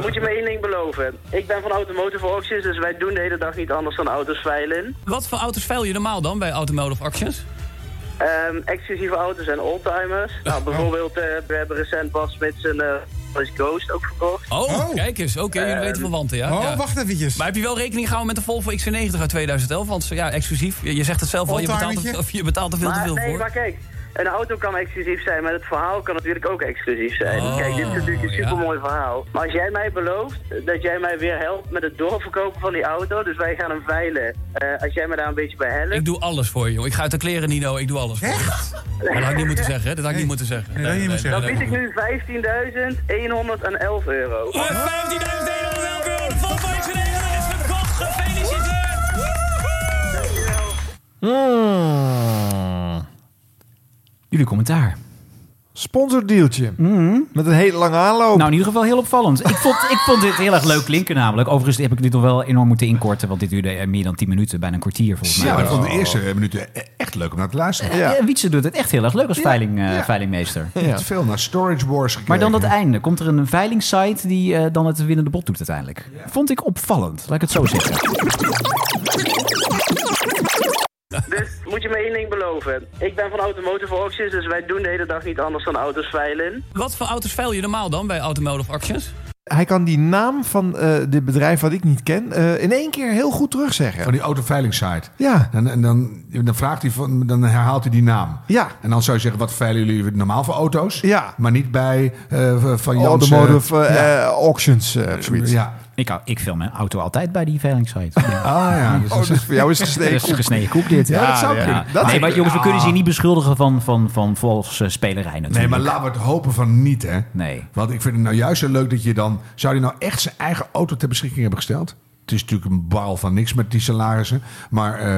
Speaker 19: Moet je me één ding beloven. Ik ben van Automotive Auctions, dus wij doen de hele dag niet anders dan auto's veilen.
Speaker 16: Wat voor auto's veil je normaal dan bij Automotive Auctions?
Speaker 19: Ehm, exclusieve auto's en oldtimers. Nou, bijvoorbeeld, eh, we hebben recent Bas met zijn eh, Ghost ook verkocht.
Speaker 16: Oh, kijk eens. Oké, jullie weten van wanten, ja.
Speaker 19: oh,
Speaker 16: ja.
Speaker 19: wacht
Speaker 18: eventjes.
Speaker 16: Maar heb je wel rekening gehouden met de Volvo XC90 uit 2011? Want ja, exclusief. Je, je zegt het zelf al, je betaalt, er-
Speaker 19: Oldtimertje?
Speaker 16: of je betaalt er veel te
Speaker 19: maar,
Speaker 16: veel
Speaker 19: nee,
Speaker 16: voor.
Speaker 19: maar kijk, een auto kan exclusief zijn, maar het verhaal kan natuurlijk ook exclusief zijn.
Speaker 16: Oh,
Speaker 19: kijk, dit is natuurlijk een supermooi verhaal. Maar als jij mij belooft dat jij mij weer helpt met het doorverkopen van die auto, dus wij gaan hem veilen. eh, als jij me daar een beetje bij helpt.
Speaker 16: Ik doe alles voor je, joh. Ik ga uit de kleren, Nino. Ik doe alles voor je. Maar Dat had ik niet moeten zeggen, hè. Dat had ik niet moeten zeggen. Nee, nee, nee,
Speaker 19: Dan
Speaker 16: nee,
Speaker 19: bied ik nu 15.111
Speaker 16: Oh.
Speaker 19: euro.
Speaker 16: Eh, 15.111 euro! Volvo XC90 is verkocht! Gefeliciteerd!
Speaker 1: Hmm. Jullie commentaar. Hmm.
Speaker 2: Sponsordealtje. Met een hele lange aanloop.
Speaker 1: Nou, in ieder geval heel opvallend. Ik vond, ik vond dit heel erg leuk klinken namelijk. Overigens heb ik dit nog wel enorm moeten inkorten, want dit duurde eh, meer dan 10 minuten, bijna een kwartier volgens mij.
Speaker 7: Ja, maar ik vond de eerste minuten e- echt leuk om naar te luisteren.
Speaker 1: Ja. Wietse doet het echt heel erg leuk als
Speaker 7: Ja,
Speaker 1: veiling, eh,
Speaker 7: ja.
Speaker 1: veilingmeester.
Speaker 7: Je hebt veel naar Storage Wars gekeken.
Speaker 1: Maar dan dat einde. Komt er een veilingsite die eh, dan het winnende bot doet uiteindelijk? Vond ik opvallend, laat ik het zo zeggen.
Speaker 19: Dus moet je me één ding beloven. Ik ben van Automotive Auctions, dus wij doen de hele dag niet anders dan auto's veilen.
Speaker 16: Wat voor auto's veil je normaal dan bij Automotive Auctions?
Speaker 2: Hij kan die naam van eh, dit bedrijf wat ik niet ken eh, in één keer heel goed terugzeggen.
Speaker 7: Van die autoveilingssite.
Speaker 2: Ja.
Speaker 7: En, en dan, dan, vraagt hij van, dan herhaalt hij die naam.
Speaker 2: Ja.
Speaker 7: En dan zou je zeggen, wat veilen jullie normaal voor auto's?
Speaker 2: Ja.
Speaker 7: Maar niet bij eh van Jans...
Speaker 2: Automotive
Speaker 7: eh, ja.
Speaker 2: eh, auctions eh, of zoiets.
Speaker 7: Ja.
Speaker 1: Ik, hou- ik film mijn auto altijd bij die veilingssite. Ja.
Speaker 7: Ah ja. Dus
Speaker 2: Oh, dus voor jou is het gesneden
Speaker 1: Dat is
Speaker 2: koek.
Speaker 1: gesneden koek dit.
Speaker 2: Ja, dat zou kunnen.
Speaker 1: nee,
Speaker 2: Dat zou
Speaker 1: maar
Speaker 2: kunnen.
Speaker 1: jongens, we
Speaker 2: Ah.
Speaker 1: kunnen ze hier niet beschuldigen van, van, van valse spelerij natuurlijk.
Speaker 7: Nee, maar laten we het hopen van niet, hè?
Speaker 1: Nee.
Speaker 7: Want ik vind het nou juist zo leuk dat je dan... Zou hij nou echt zijn eigen auto ter beschikking hebben gesteld? Het is natuurlijk een bal van niks met die salarissen. Maar... eh,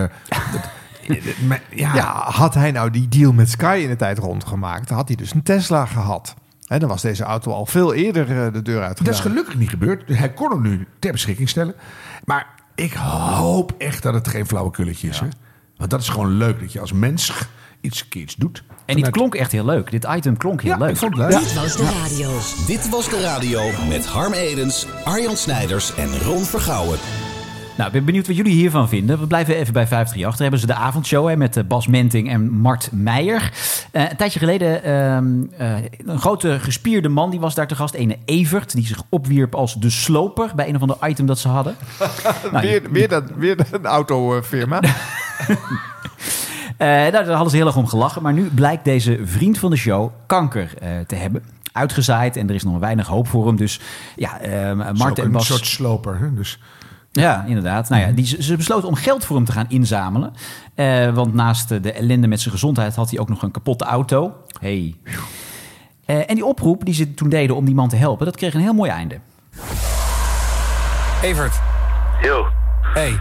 Speaker 7: het- het- maar- ja.
Speaker 2: Ja. had hij nou die deal met Sky in de tijd rondgemaakt, dan had hij dus een Tesla gehad. En dan was deze auto al veel eerder eh, de deur uitgegaan.
Speaker 7: Dat is gelukkig niet gebeurd. Hij kon hem nu ter beschikking stellen. Maar ik hoop echt dat het geen flauwekulletje is. Hè? Want dat is gewoon leuk dat je als mens iets, een keer iets doet.
Speaker 1: En dit klonk echt heel leuk. Dit item klonk heel
Speaker 7: Ja,
Speaker 1: leuk.
Speaker 7: ik vond het leuk.
Speaker 6: Dit was de radio. Dit was de radio met Harm Edens, Arjan Snijders en Ron Vergouwen.
Speaker 1: Nou, ik ben benieuwd wat jullie hiervan vinden. We blijven even bij 538. Daar hebben ze de avondshow hè, met eh, Bas Menting en Mart Meijer. Eh, een tijdje geleden, ehm, eh, een grote gespierde man die was daar te gast. Ene Evert, die zich opwierp als de sloper bij een of ander item dat ze hadden. Nou, je-
Speaker 2: weer, weer, dat, weer een autofirma.
Speaker 1: Eh, nou, daar hadden ze heel erg om gelachen. Maar nu blijkt deze vriend van de show kanker eh, te hebben. Uitgezaaid en er is nog weinig hoop voor hem. Dus ja, eh
Speaker 7: Mart
Speaker 1: Mart en
Speaker 7: een
Speaker 1: Bas...
Speaker 7: soort sloper. Hè? Dus
Speaker 1: Ja, inderdaad. Nou ja, die, ze ze besloten om geld voor hem te gaan inzamelen. Eh, want naast eh, de ellende met zijn gezondheid had hij ook nog een kapotte auto. Hey. Eh, en die oproep die ze toen deden om die man te helpen, dat kreeg een heel mooi
Speaker 7: Eh,
Speaker 1: einde.
Speaker 14: Evert.
Speaker 20: Yo.
Speaker 14: Hey.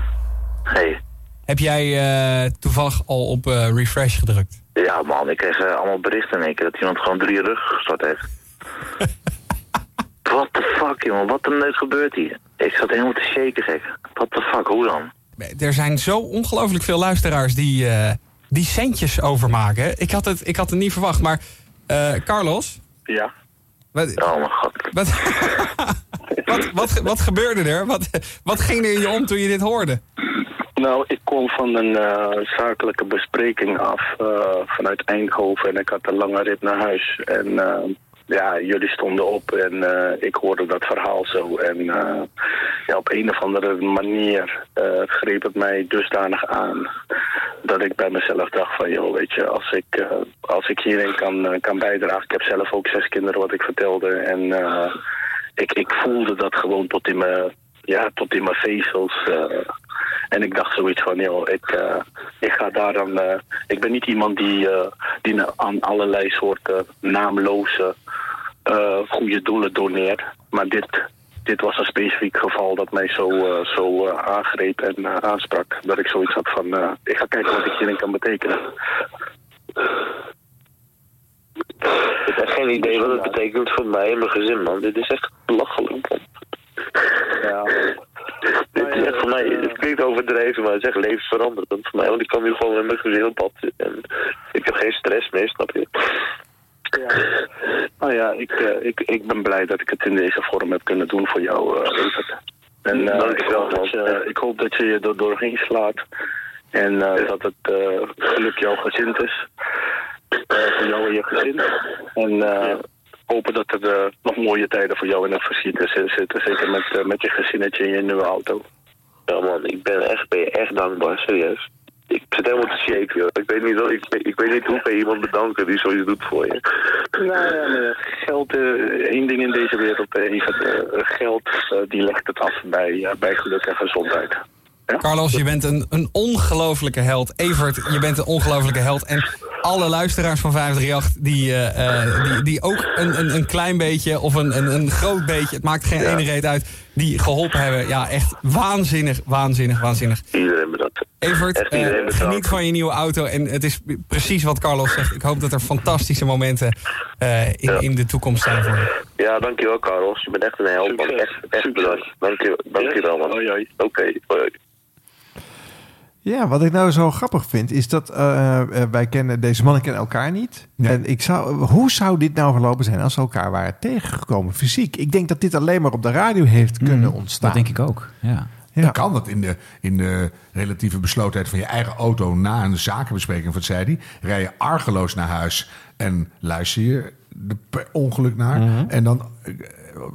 Speaker 20: Hey.
Speaker 14: Heb jij eh, toevallig al op eh, refresh gedrukt?
Speaker 20: Ja, man, ik kreeg eh, allemaal berichten in één keer dat iemand gewoon drie ruggen gestort heeft. What the fuck, jongen, wat de neus gebeurt hier? Ik zat helemaal te shaken, gek. What the fuck, hoe dan?
Speaker 14: Er zijn zo ongelooflijk veel luisteraars die, eh, die centjes overmaken. Ik had, het, ik had het niet verwacht, maar eh, Carlos?
Speaker 20: Ja?
Speaker 14: Wat,
Speaker 20: Oh mijn god.
Speaker 14: Wat, wat, wat, ge- wat gebeurde er? Wat, wat ging er in je om toen je dit hoorde?
Speaker 20: Nou, ik kwam van een eh, zakelijke bespreking af eh, vanuit Eindhoven en ik had een lange rit naar huis. En eh, ja, jullie stonden op en eh, ik hoorde dat verhaal zo. En eh, ja, op een of andere manier eh, greep het mij dusdanig aan dat ik bij mezelf dacht van, joh, weet je, als ik, eh, als ik hierin kan, eh, kan bijdragen. Ik heb zelf ook zes kinderen wat ik vertelde en eh, ik, ik voelde dat gewoon tot in mijn, ja, tot in mijn vezels. eh. En ik dacht zoiets van, joh, ik, eh, ik ga daar dan... eh, ik ben niet iemand die, eh, die na- aan allerlei soorten naamloze eh, goede doelen doneert. Maar dit, dit was een specifiek geval dat mij zo, eh, zo eh, aangreep en eh, aansprak. Dat ik zoiets had van, eh, ik ga kijken wat ik hierin kan betekenen.
Speaker 21: Ik heb echt geen idee wat het betekent voor mij en mijn gezin, man. Dit is echt belachelijk, man.
Speaker 20: Ja.
Speaker 21: Dit is echt voor mij, het klinkt overdreven, maar het is echt levensveranderend voor mij. Want ik kan nu gewoon met mijn gezin op pad zitten en ik heb geen stress meer, snap je?
Speaker 20: Nou ja, ik, eh, ik, ik ben blij dat ik het in deze vorm heb kunnen doen voor jou, eh, Evert. En eh, ik, hoop dat je, ik hoop dat je je er doorheen slaat. En eh, dat het eh, geluk jouw gezind is. Eh, voor jou en je gezin. En eh hopen dat er eh, nog mooie tijden voor jou in het verschiet is- zitten. Zeker met, eh, met je gezinnetje en je nieuwe auto.
Speaker 21: Ja, man, ik ben echt, ben echt dankbaar, serieus. Ik zit helemaal te shaken, joh. Ik weet niet, wat- ik, ik weet niet hoe kan je iemand bedanken die zoiets doet voor je.
Speaker 20: Nou ja, maar geld, eh, één ding in deze wereld, eh, Evert. eh, geld, eh, die legt het af bij, eh, bij geluk en gezondheid.
Speaker 14: Carlos, je bent een, een ongelofelijke held. Evert, je bent een ongelofelijke held. En alle luisteraars van 538 die, eh, eh, die, die ook een, een, een klein beetje of een, een, een groot beetje, het maakt geen ene reet uit, die geholpen hebben. Ja, echt waanzinnig, waanzinnig, waanzinnig.
Speaker 21: Iedereen bedankt.
Speaker 14: Evert,
Speaker 21: Echt iedereen
Speaker 14: eh,
Speaker 21: bedankt.
Speaker 14: geniet van je nieuwe auto. En het is precies wat Carlos zegt. Ik hoop dat er fantastische momenten eh, in, in de toekomst zijn voor je.
Speaker 21: Ja, dankjewel, Carlos. Je bent echt een held, man. Echt, echt bedankt. Dankjewel, dankjewel man. Oké, hoi, hoi.
Speaker 2: Ja, wat ik nou zo grappig vind, is dat eh, eh, wij kennen deze mannen kennen elkaar niet. En ik zou, hoe zou dit nou verlopen zijn als ze elkaar waren tegengekomen fysiek? Ik denk dat dit alleen maar op de radio heeft kunnen ontstaan.
Speaker 1: Dat denk ik ook. Ja.
Speaker 7: Dan kan dat in de, in de relatieve beslotenheid van je eigen auto na een zakenbespreking, wat zei hij, rij je argeloos naar huis en luister je de per ongeluk naar. En dan eh,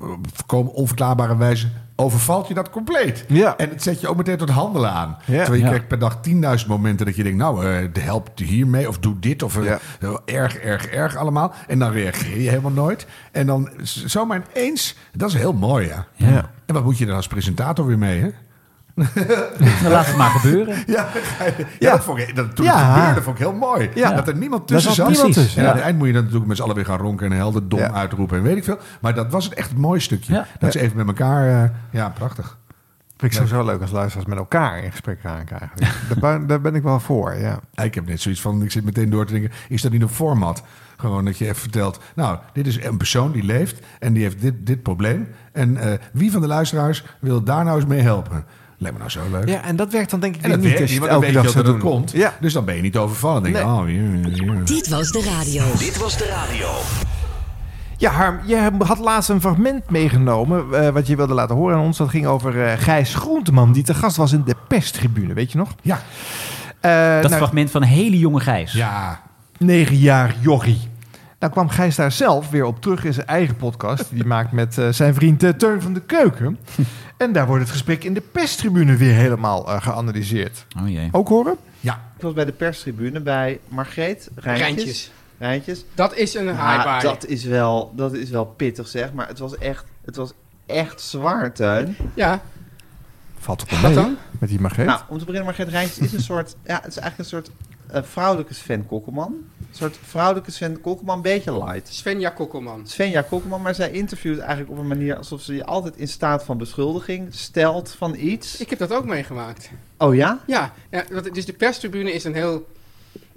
Speaker 7: op voorkomen onverklaarbare wijze overvalt je dat compleet. Ja. En het zet je ook meteen tot handelen aan. Terwijl je
Speaker 2: Ja.
Speaker 7: krijgt per dag 10.000 momenten dat je denkt... nou, eh help hiermee of doe dit. Of eh, eh, erg, erg, erg allemaal. En dan reageer je helemaal nooit. En dan z- zomaar ineens... Dat is heel mooi, ja. En wat moet je dan als presentator weer mee, hè?
Speaker 1: Laat het maar gebeuren.
Speaker 7: Ja, ja, Dat vond ik, dat, toen
Speaker 2: Ja.
Speaker 7: het gebeurde, vond ik heel mooi.
Speaker 2: Ja.
Speaker 7: Dat er niemand
Speaker 2: Daar
Speaker 7: tussen
Speaker 2: zat
Speaker 7: zat.
Speaker 2: niemand tussen,
Speaker 7: En
Speaker 2: ja.
Speaker 7: aan het eind moet je dan natuurlijk met z'n allen weer gaan ronken... en helder dom uitroepen en weet ik veel. Maar dat was het echt het mooie stukje. Dat ze even met elkaar... eh, ja, prachtig.
Speaker 2: Vind ik sowieso leuk als luisteraars met elkaar in gesprek gaan krijgen. daar, ben, daar ben ik wel voor, ja.
Speaker 7: Ik heb net zoiets van, ik zit meteen door te denken, is dat niet een format? Gewoon dat je even vertelt, nou, dit is een persoon die leeft en die heeft dit, dit probleem. En eh, wie van de luisteraars wil daar nou eens mee helpen? Lijkt me nou zo leuk.
Speaker 2: Ja, en dat werkt dan denk ik
Speaker 7: En dat
Speaker 2: niet
Speaker 7: weet
Speaker 2: als
Speaker 7: je,
Speaker 2: je
Speaker 7: want
Speaker 2: het
Speaker 7: dan
Speaker 2: elke
Speaker 7: weet je
Speaker 2: dag
Speaker 7: dat
Speaker 2: zou
Speaker 7: het
Speaker 2: doen.
Speaker 7: komt. Dus dan ben je niet overvallen. Dan denk je, oh, ja, ja.
Speaker 9: Dit was de radio.
Speaker 6: Dit was de radio.
Speaker 2: Ja, Harm, jij had laatst een fragment meegenomen eh, wat je wilde laten horen aan ons. Dat ging over eh, Gijs Groenteman, die te gast was in de perstribune, weet je nog? Eh, nou,
Speaker 7: Ja.
Speaker 1: dat fragment van hele jonge Gijs.
Speaker 7: nou- Ja.
Speaker 2: Negen jaar jochie. Nou kwam Gijs daar zelf weer op terug in zijn eigen podcast. Die maakt met eh, zijn vriend eh, Teun van de Keuken. En daar wordt het gesprek in de perstribune weer helemaal eh, geanalyseerd.
Speaker 1: Oh jee.
Speaker 2: Ook horen?
Speaker 7: Ja.
Speaker 4: Ik was bij de perstribune bij Margreet Rijntjes.
Speaker 22: Rijntjes.
Speaker 4: Rijntjes.
Speaker 22: Dat is een
Speaker 4: Ja,
Speaker 22: high
Speaker 4: dat, is wel, dat is wel pittig zeg, maar het was echt, het was echt zwaar, Tuin.
Speaker 22: Ja.
Speaker 2: Valt op
Speaker 4: Wat
Speaker 2: mee,
Speaker 4: dan?
Speaker 2: met die Margreet.
Speaker 4: Nou, om te beginnen, Margreet Rijntjes is een soort, ja, het is eigenlijk een soort eh, vrouwelijke Sven Kokkelman. Een soort vrouwelijke Sven Kokkelman, een beetje light.
Speaker 22: Svenja Kokkelman.
Speaker 4: Svenja Kokkelman, maar zij interviewt eigenlijk op een manier alsof ze je altijd in staat van beschuldiging stelt van iets.
Speaker 22: Ik heb dat ook meegemaakt.
Speaker 4: Oh ja?
Speaker 22: Ja, ja want- dus de perstribune is een heel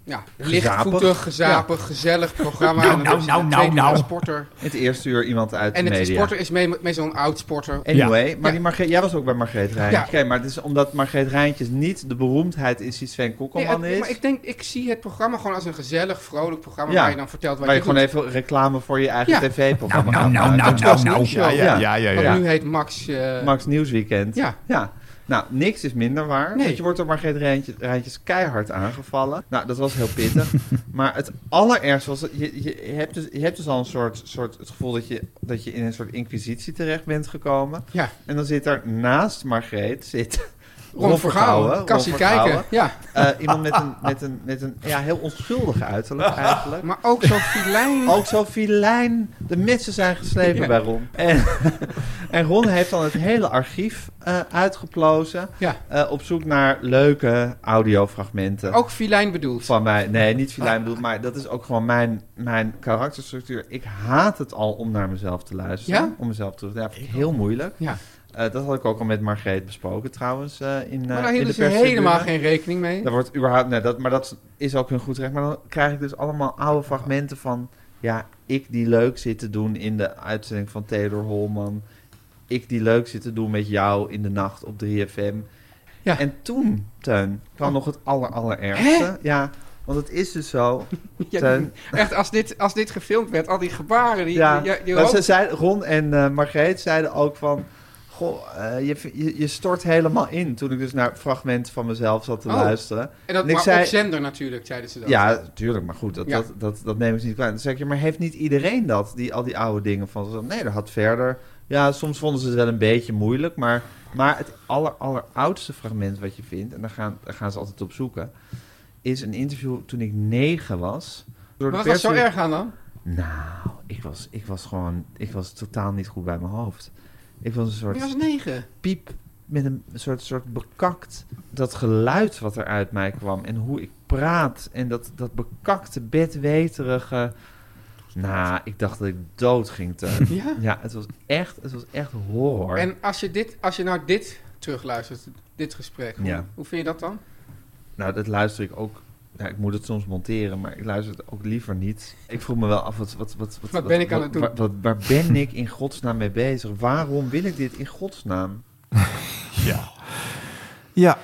Speaker 22: ja,
Speaker 4: Gezapig. Nou,
Speaker 22: lichtvoetig, gezapig, gezellig programma. En dan is het tweede uur sporter.
Speaker 4: Het eerste uur iemand uit de
Speaker 22: En het
Speaker 4: media.
Speaker 22: is sporter is mee, mee zo'n oud sporter.
Speaker 4: Anyway,
Speaker 22: Ja.
Speaker 4: maar die Margreet, jij was ook bij Margreet Rijntjes.
Speaker 22: Ja.
Speaker 4: Oké, maar het is omdat Margreet Rijntjes niet de beroemdheid is die Sven
Speaker 22: Nee,
Speaker 4: Kokkelman
Speaker 22: het-
Speaker 4: is.
Speaker 22: maar ik denk, ik zie het programma gewoon als een gezellig, vrolijk programma
Speaker 4: Ja.
Speaker 22: waar je dan vertelt wat
Speaker 4: waar
Speaker 22: je
Speaker 4: je gewoon
Speaker 22: doet.
Speaker 4: even reclame voor je eigen
Speaker 22: Ja.
Speaker 4: tv-programma
Speaker 22: Nou,
Speaker 4: gaat
Speaker 22: nou, nou,
Speaker 4: maken.
Speaker 22: nou,
Speaker 4: Dat dus was
Speaker 22: nou, nou.
Speaker 4: Nieuwshow.
Speaker 22: Ja, ja, ja, ja, ja. Wat nu heet Max, eh,
Speaker 4: Max Nieuwsweekend.
Speaker 22: Ja.
Speaker 4: ja. Nou, niks is minder waar.
Speaker 22: Nee.
Speaker 4: Want je wordt door Margreet Rijntjes, Rijntjes keihard aangevallen. Nou, dat was heel pittig. maar het allerergste was... dat Je, je, hebt dus, je hebt dus al een soort, soort het gevoel dat je, dat je in een soort inquisitie terecht bent gekomen.
Speaker 22: Ja.
Speaker 4: En dan zit er naast Margreet... Zit
Speaker 22: Ron Vergouwen,
Speaker 4: Ron
Speaker 22: Cassie
Speaker 4: Vergouwen.
Speaker 22: Kijker, ja.
Speaker 4: Eh, iemand met een, met een, met een ja, heel onschuldig uiterlijk eigenlijk.
Speaker 22: Maar ook zo filijn.
Speaker 4: ook zo filijn. De mitsen zijn geslepen Ja. bij Ron. En, en Ron heeft dan het hele archief eh, uitgeplozen. Eh, op zoek naar leuke audiofragmenten.
Speaker 22: Ook filijn bedoeld. Ah.
Speaker 4: Van mij. Nee, niet filijn bedoeld. Maar dat is ook gewoon mijn, mijn karakterstructuur. Ik haat het al om naar mezelf te luisteren.
Speaker 22: Ja?
Speaker 4: Om mezelf terug te Ja, vind ik heel moeilijk.
Speaker 22: Ja.
Speaker 4: Eh, dat had ik ook al met Margreet besproken trouwens eh, in, eh,
Speaker 22: Maar daar
Speaker 4: in de
Speaker 22: hielden ze
Speaker 4: perstribune.
Speaker 22: helemaal geen rekening mee.
Speaker 4: Daar wordt überhaupt, nee, dat, maar dat is ook hun goed recht. Maar dan krijg ik dus allemaal oude fragmenten van... Ja, ik die leuk zit te doen in de uitzending van Theodor Holman. Ik die leuk zit te doen met jou in de nacht op 3FM. En toen, Teun, kwam
Speaker 22: Oh.
Speaker 4: nog het aller, allerergste.
Speaker 22: Hè?
Speaker 4: Ja, want het is dus zo,
Speaker 22: Ja,
Speaker 4: Teun...
Speaker 22: echt, als dit, als dit gefilmd werd, al die gebaren. Die,
Speaker 4: Ja,
Speaker 22: die- die- die
Speaker 4: want ze
Speaker 22: hoofd-
Speaker 4: zei, Ron en eh Margreet zeiden ook van... Goh, eh, je, je, je stort helemaal in. Toen ik dus naar fragmenten van mezelf zat te
Speaker 22: Oh.
Speaker 4: luisteren.
Speaker 22: En dat,
Speaker 4: ik
Speaker 22: maar op zender natuurlijk, zeiden ze dat.
Speaker 4: Ja, tuurlijk, maar goed, dat,
Speaker 22: Ja.
Speaker 4: dat, dat, dat neem ik niet kwaad. Dan zeg ik, ja, maar heeft niet iedereen dat, die, al die oude dingen van zichzelf? Nee, dat had verder... Ja, soms vonden ze het wel een beetje moeilijk, maar, maar het aller, alleroudste fragment wat je vindt... en daar gaan, daar gaan ze altijd op zoeken... is een interview toen ik negen was. Door de
Speaker 22: Maar wat was zo
Speaker 4: pers-
Speaker 22: erg aan dan?
Speaker 4: Nou, ik was, ik was gewoon... Ik was totaal niet goed bij mijn hoofd. Ik was een soort...
Speaker 22: Je was negen.
Speaker 4: Piep met een soort, soort bekakt... Dat geluid wat er uit mij kwam en hoe ik praat... en dat, dat bekakte, bedweterige... Nou, ik dacht dat ik dood ging te.
Speaker 22: Ja?
Speaker 4: het was echt, het was echt horror.
Speaker 22: En als je, dit, als je nou dit terugluistert, dit gesprek, hoe,
Speaker 4: Ja.
Speaker 22: hoe vind je dat dan?
Speaker 4: Nou, dat luister ik ook. Ja, ik moet het soms monteren, maar ik luister het ook liever niet. Ik vroeg me wel af, wat, wat, wat, wat,
Speaker 22: Wat ben ik aan het doen?
Speaker 4: Waar, wat- waar ben ik in godsnaam mee bezig? Waarom wil ik dit in godsnaam?
Speaker 2: Ja. Ja.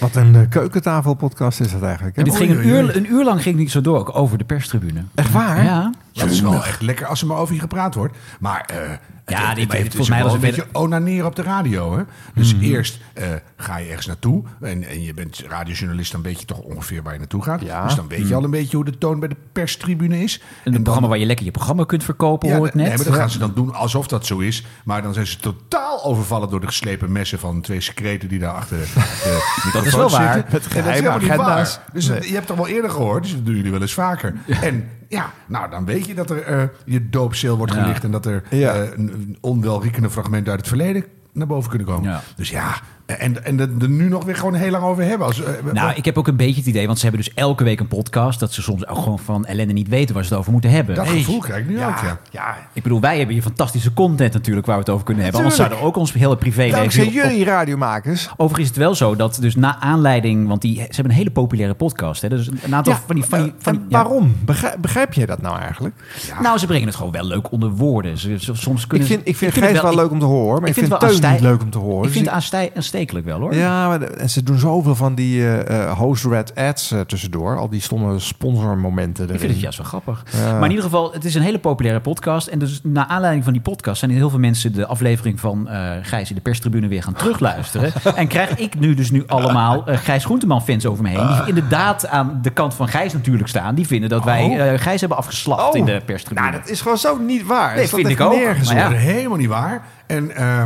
Speaker 2: Wat een eh, keukentafelpodcast is dat eigenlijk. Hè?
Speaker 1: En dit ging een
Speaker 2: Oei, oei,
Speaker 1: uur, een uur lang ging niet zo door, ook over de perstribune.
Speaker 2: Echt waar?
Speaker 1: Ja.
Speaker 7: Dat is wel echt lekker als er maar over je gepraat wordt. Maar eh, het-
Speaker 1: Ja, die-
Speaker 7: het heeft-
Speaker 1: volgens
Speaker 7: is
Speaker 1: mij
Speaker 7: wel
Speaker 1: was
Speaker 7: een
Speaker 1: het Mhm.
Speaker 7: beetje onaneren op de radio. Hè? Dus eerst eh, ga je ergens naartoe. En, en je bent radiojournalist, dan weet je toch ongeveer waar je naartoe gaat. Dus dan weet je
Speaker 1: Mm.
Speaker 7: al een beetje hoe de toon bij de perstribune is.
Speaker 1: Een programma waar je lekker je programma kunt verkopen, hoor ik net.
Speaker 7: Nee, maar dat
Speaker 1: Ja.
Speaker 7: gaan ze dan doen alsof dat zo is. Maar dan zijn ze totaal overvallen door de geslepen messen van twee secreten die daar achter de microfoon
Speaker 1: is wel waar. Met
Speaker 7: zitten. En dat is
Speaker 1: geheime
Speaker 7: helemaal niet
Speaker 1: agenda's.
Speaker 7: waar. Dus
Speaker 1: Nee.
Speaker 7: het- je hebt het toch wel eerder gehoord, dus dat doen jullie wel eens vaker. En ja, nou dan weet je dat er eh, je doopcel wordt
Speaker 1: Ja.
Speaker 7: gelicht en dat er eh, een, een onwelriekende fragmenten uit het verleden naar boven kunnen komen. Dus ja, en, en dat er nu nog weer gewoon heel lang over hebben. Als, eh,
Speaker 1: Nou, ik heb ook een beetje het idee, want ze hebben dus elke week een podcast... dat ze soms ook gewoon van ellende niet weten waar ze het over moeten hebben.
Speaker 7: dat
Speaker 1: Hey.
Speaker 7: gevoel krijg ik nu ook, ja.
Speaker 1: Ik bedoel, wij hebben hier fantastische content natuurlijk waar we het over kunnen hebben.
Speaker 2: Tuurlijk.
Speaker 1: Anders zouden we ook ons hele privéleven...
Speaker 2: Dankzij
Speaker 1: hier op-
Speaker 2: jullie radiomakers.
Speaker 1: oh, Overigens is het wel zo dat dus na aanleiding... want die, ze hebben een hele populaire podcast. Hè, dus een aantal
Speaker 2: Ja, eh,
Speaker 1: van die... Van die, van die- ja.
Speaker 2: Waarom? Begrijp, begrijp jij dat nou eigenlijk?
Speaker 1: Nou, ze brengen het gewoon wel leuk onder woorden. Ze, ze- soms
Speaker 2: Ik
Speaker 1: kunnen
Speaker 2: vind, ik vind
Speaker 1: het
Speaker 2: Gijs wel, leuk om te horen, maar ik, vind,
Speaker 1: het
Speaker 2: Teun
Speaker 1: wel
Speaker 2: niet
Speaker 1: aanstij-
Speaker 2: leuk om te horen.
Speaker 1: Ik
Speaker 2: Dus
Speaker 1: vind
Speaker 2: ik-
Speaker 1: het aanstij- aanstekelijk wel, hoor.
Speaker 2: Ja, maar de- en ze doen zoveel van die eh, eh, host red ads eh, tussendoor. Al die stomme sponsormomenten erin.
Speaker 1: Ik vind het juist wel grappig.
Speaker 2: Ja.
Speaker 1: Maar in ieder geval, het is een hele populaire podcast. En dus naar aanleiding van die podcast zijn heel veel mensen de aflevering van eh Gijs in de perstribune weer gaan terugluisteren. en krijg ik nu dus nu allemaal eh, Gijs Groenteman fans over me heen. Die
Speaker 2: Ah.
Speaker 1: inderdaad aan de kant van Gijs natuurlijk staan. Die vinden dat wij
Speaker 2: Oh.
Speaker 1: eh, Gijs hebben afgeslacht
Speaker 2: Oh.
Speaker 1: in de perstribune.
Speaker 2: Nou, dat is gewoon zo niet waar.
Speaker 1: Nee,
Speaker 2: Dat staat
Speaker 1: vind ik
Speaker 2: echt
Speaker 1: ook.
Speaker 2: nergens
Speaker 1: Maar ja.
Speaker 2: op.
Speaker 7: Dat is helemaal niet waar. En eh,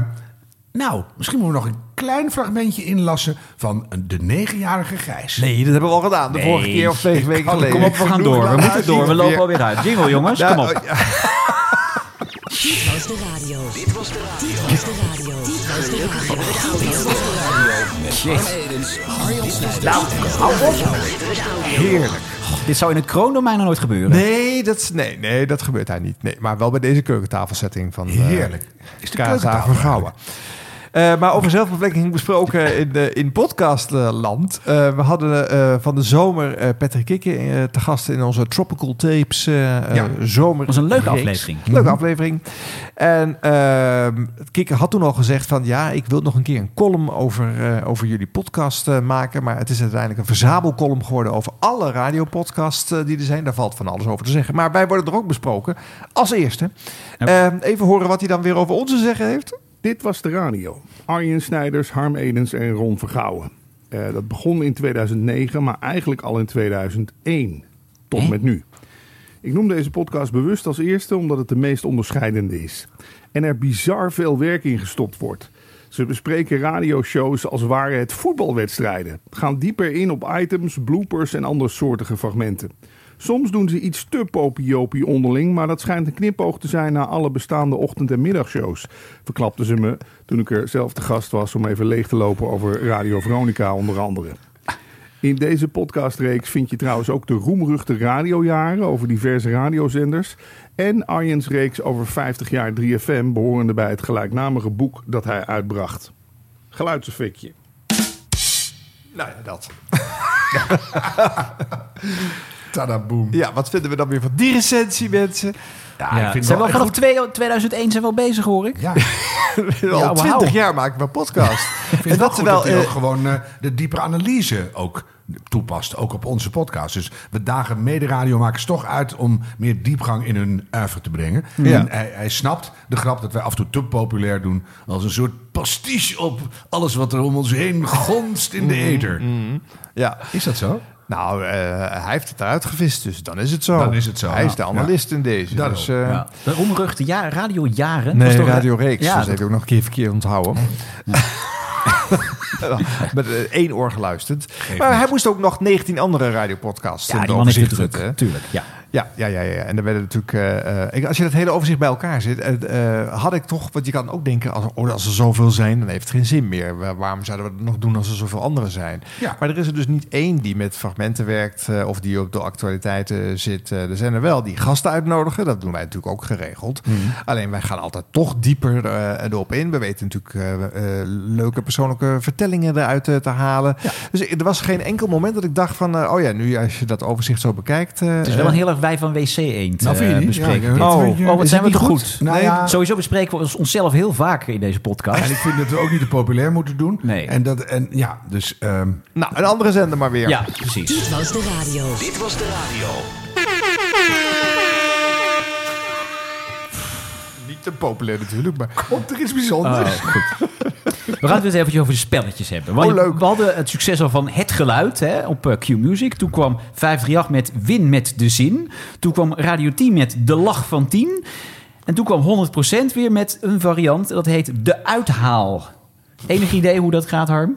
Speaker 7: nou, misschien moeten we nog een klein fragmentje inlassen van de negenjarige Gijs.
Speaker 2: Nee, dat hebben we al gedaan. De vorige keer of twee weken
Speaker 7: kan-
Speaker 2: geleden.
Speaker 7: Oh, kom op, we gaan
Speaker 2: Genoeg
Speaker 7: door. We
Speaker 2: laten
Speaker 7: moeten door.
Speaker 2: zien
Speaker 7: We lopen
Speaker 2: weer.
Speaker 1: alweer uit. Jingle, jongens,
Speaker 2: Ja,
Speaker 1: kom op.
Speaker 2: oh, ja.
Speaker 9: Dit was de radio. Dit was de radio. Dit was de radio. Dit was de radio. Gelukkig hebben we de audio.
Speaker 1: Shit.
Speaker 9: Arjan Snijders.
Speaker 1: Nou, hou op. Heerlijk. Dit zou in het kroondomein nog nooit gebeuren.
Speaker 2: Nee dat, is- nee, nee, dat gebeurt daar niet. Nee, maar wel bij deze keukentafelsetting van eh,
Speaker 7: Heerlijk. Is de
Speaker 2: KSA
Speaker 7: keukentafel
Speaker 2: van Gouwen. Eh, maar over zelfbevlekking besproken in, eh, in podcastland. Eh, we hadden eh, van de zomer eh, Patrick Kikken eh, te gast in onze Tropical Tapes eh eh, zomer.
Speaker 1: was een leuke
Speaker 2: reeks.
Speaker 1: aflevering. Mhm.
Speaker 2: Leuke aflevering. En ehm Kikker had toen al gezegd van... ja, ik wil nog een keer een column over, eh, over jullie podcast eh, maken. Maar het is uiteindelijk een verzamelcolumn geworden... over alle radiopodcasts eh, die er zijn. Daar valt van alles over te zeggen. Maar wij worden er ook besproken als eerste. Ehm, even horen wat hij dan weer over ons te zeggen heeft.
Speaker 8: Dit was de radio. Arjen Snijders, Harm Edens en Ron Vergouwen. Eh, dat begon in 2009, maar eigenlijk al in 2001. Tot met nu. Ik noem deze podcast bewust als eerste omdat het de meest onderscheidende is. En er bizar veel werk in gestopt wordt. Ze bespreken radioshows als waren het voetbalwedstrijden. Gaan dieper in op items, bloopers en andersoortige fragmenten. Soms doen ze iets te popiopie onderling, maar dat schijnt een knipoog te zijn naar alle bestaande ochtend- en middagshows. Verklapten ze me toen ik er zelf te gast was om even leeg te lopen over Radio Veronica onder andere. In deze podcastreeks vind je trouwens ook de roemruchte radiojaren over diverse radiozenders. En Arjen's reeks over 50 jaar 3FM, behorende bij het gelijknamige boek dat hij uitbracht. Geluidseffectje.
Speaker 2: Nou ja, dat.
Speaker 7: Tadaboom.
Speaker 2: Ja, wat vinden we dan weer van die recensie, mensen?
Speaker 1: Ja, ze zijn wel vanaf twee- 2001 zijn we al bezig, hoor ik.
Speaker 7: Ja.
Speaker 2: al
Speaker 7: Ja, wauw.
Speaker 2: 20 jaar maken we podcast.
Speaker 7: En dat ze wel
Speaker 2: eh,
Speaker 7: ook gewoon eh, de diepere analyse ook toepast, ook op onze podcast. Dus we dagen mede-radiomakers toch uit om meer diepgang in hun uiver te brengen.
Speaker 2: Ja.
Speaker 7: En hij, hij snapt de grap dat wij af en toe te populair doen als een soort pastiche op alles wat er om ons heen gonst
Speaker 1: Mm.
Speaker 7: in de
Speaker 2: Mhm,
Speaker 7: eter.
Speaker 2: Ja.
Speaker 7: Is dat zo?
Speaker 2: Nou, eh, hij heeft het eruit gevist, dus dan is het zo.
Speaker 7: Dan is het zo.
Speaker 2: Hij is
Speaker 7: Ja.
Speaker 2: de analist in deze.
Speaker 7: Daarom.
Speaker 2: dus, eh,
Speaker 1: Ja. De onruchte ja, radio jaren.
Speaker 2: Nee,
Speaker 1: Was toch- eh,
Speaker 2: Radio Reeks. dus
Speaker 1: Ja,
Speaker 2: dat
Speaker 1: dat-
Speaker 2: heb ik ook nog een keer verkeerd onthouden. Met eh, één oor geluisterd. maar hij moest ook nog 19 andere radiopodcasts
Speaker 1: Ja,
Speaker 2: eh,
Speaker 1: die man heeft het
Speaker 2: overzichten,
Speaker 1: druk.
Speaker 2: hè?
Speaker 1: Tuurlijk, ja.
Speaker 2: Ja, ja, ja, ja. En dan werden natuurlijk. eh, eh, ik- als je dat hele overzicht bij elkaar zit, eh, eh, had ik toch. Want je kan ook denken: als, oh, als er zoveel zijn, dan heeft het geen zin meer. Wa- Waarom zouden we het nog doen als er zoveel anderen zijn? Maar er is er dus niet één die met fragmenten werkt eh, of die op de actualiteiten zit. Eh, er zijn er wel die gasten uitnodigen. Dat doen wij natuurlijk ook geregeld.
Speaker 7: Mm-hmm.
Speaker 2: Alleen wij gaan altijd toch dieper eh, erop in. We weten natuurlijk eh, eh, leuke persoonlijke vertellingen eruit eh, te halen. Dus er was geen enkel moment dat ik dacht van... eh, oh ja, nu als je dat overzicht zo bekijkt... eh,
Speaker 1: Het is wel een heel erg wij van WC Eend
Speaker 2: Nou,
Speaker 1: nou,
Speaker 2: vind je niet?
Speaker 1: bespreken.
Speaker 2: Ja,
Speaker 1: dit.
Speaker 2: dat vind
Speaker 1: oh,
Speaker 2: je-
Speaker 1: oh, wat
Speaker 2: is
Speaker 1: zijn we
Speaker 2: het
Speaker 1: toch
Speaker 2: niet
Speaker 1: goed?
Speaker 2: goed? Nou ja.
Speaker 1: Sowieso bespreken we ons- onszelf heel vaak in deze podcast.
Speaker 7: En ik vind dat we ook niet te populair moeten doen.
Speaker 1: Nee.
Speaker 7: En, dat, en ja, dus...
Speaker 2: nou, een andere zender maar weer.
Speaker 1: Ja, precies.
Speaker 9: Dit was de radio. Dit was de radio.
Speaker 2: niet te populair natuurlijk, maar komt er iets bijzonders?
Speaker 1: Oh, goed. We gaan het weer even over de spelletjes hebben. Want
Speaker 2: Oh, leuk.
Speaker 1: We hadden het succes al van Het Geluid hè, op eh, Q-Music. Toen kwam 538 met Win met de Zin. Toen kwam Radio 10 met De Lach van 10. En toen kwam 100% weer met een variant. Dat heet De Uithaal. Enig idee hoe dat gaat, Harm?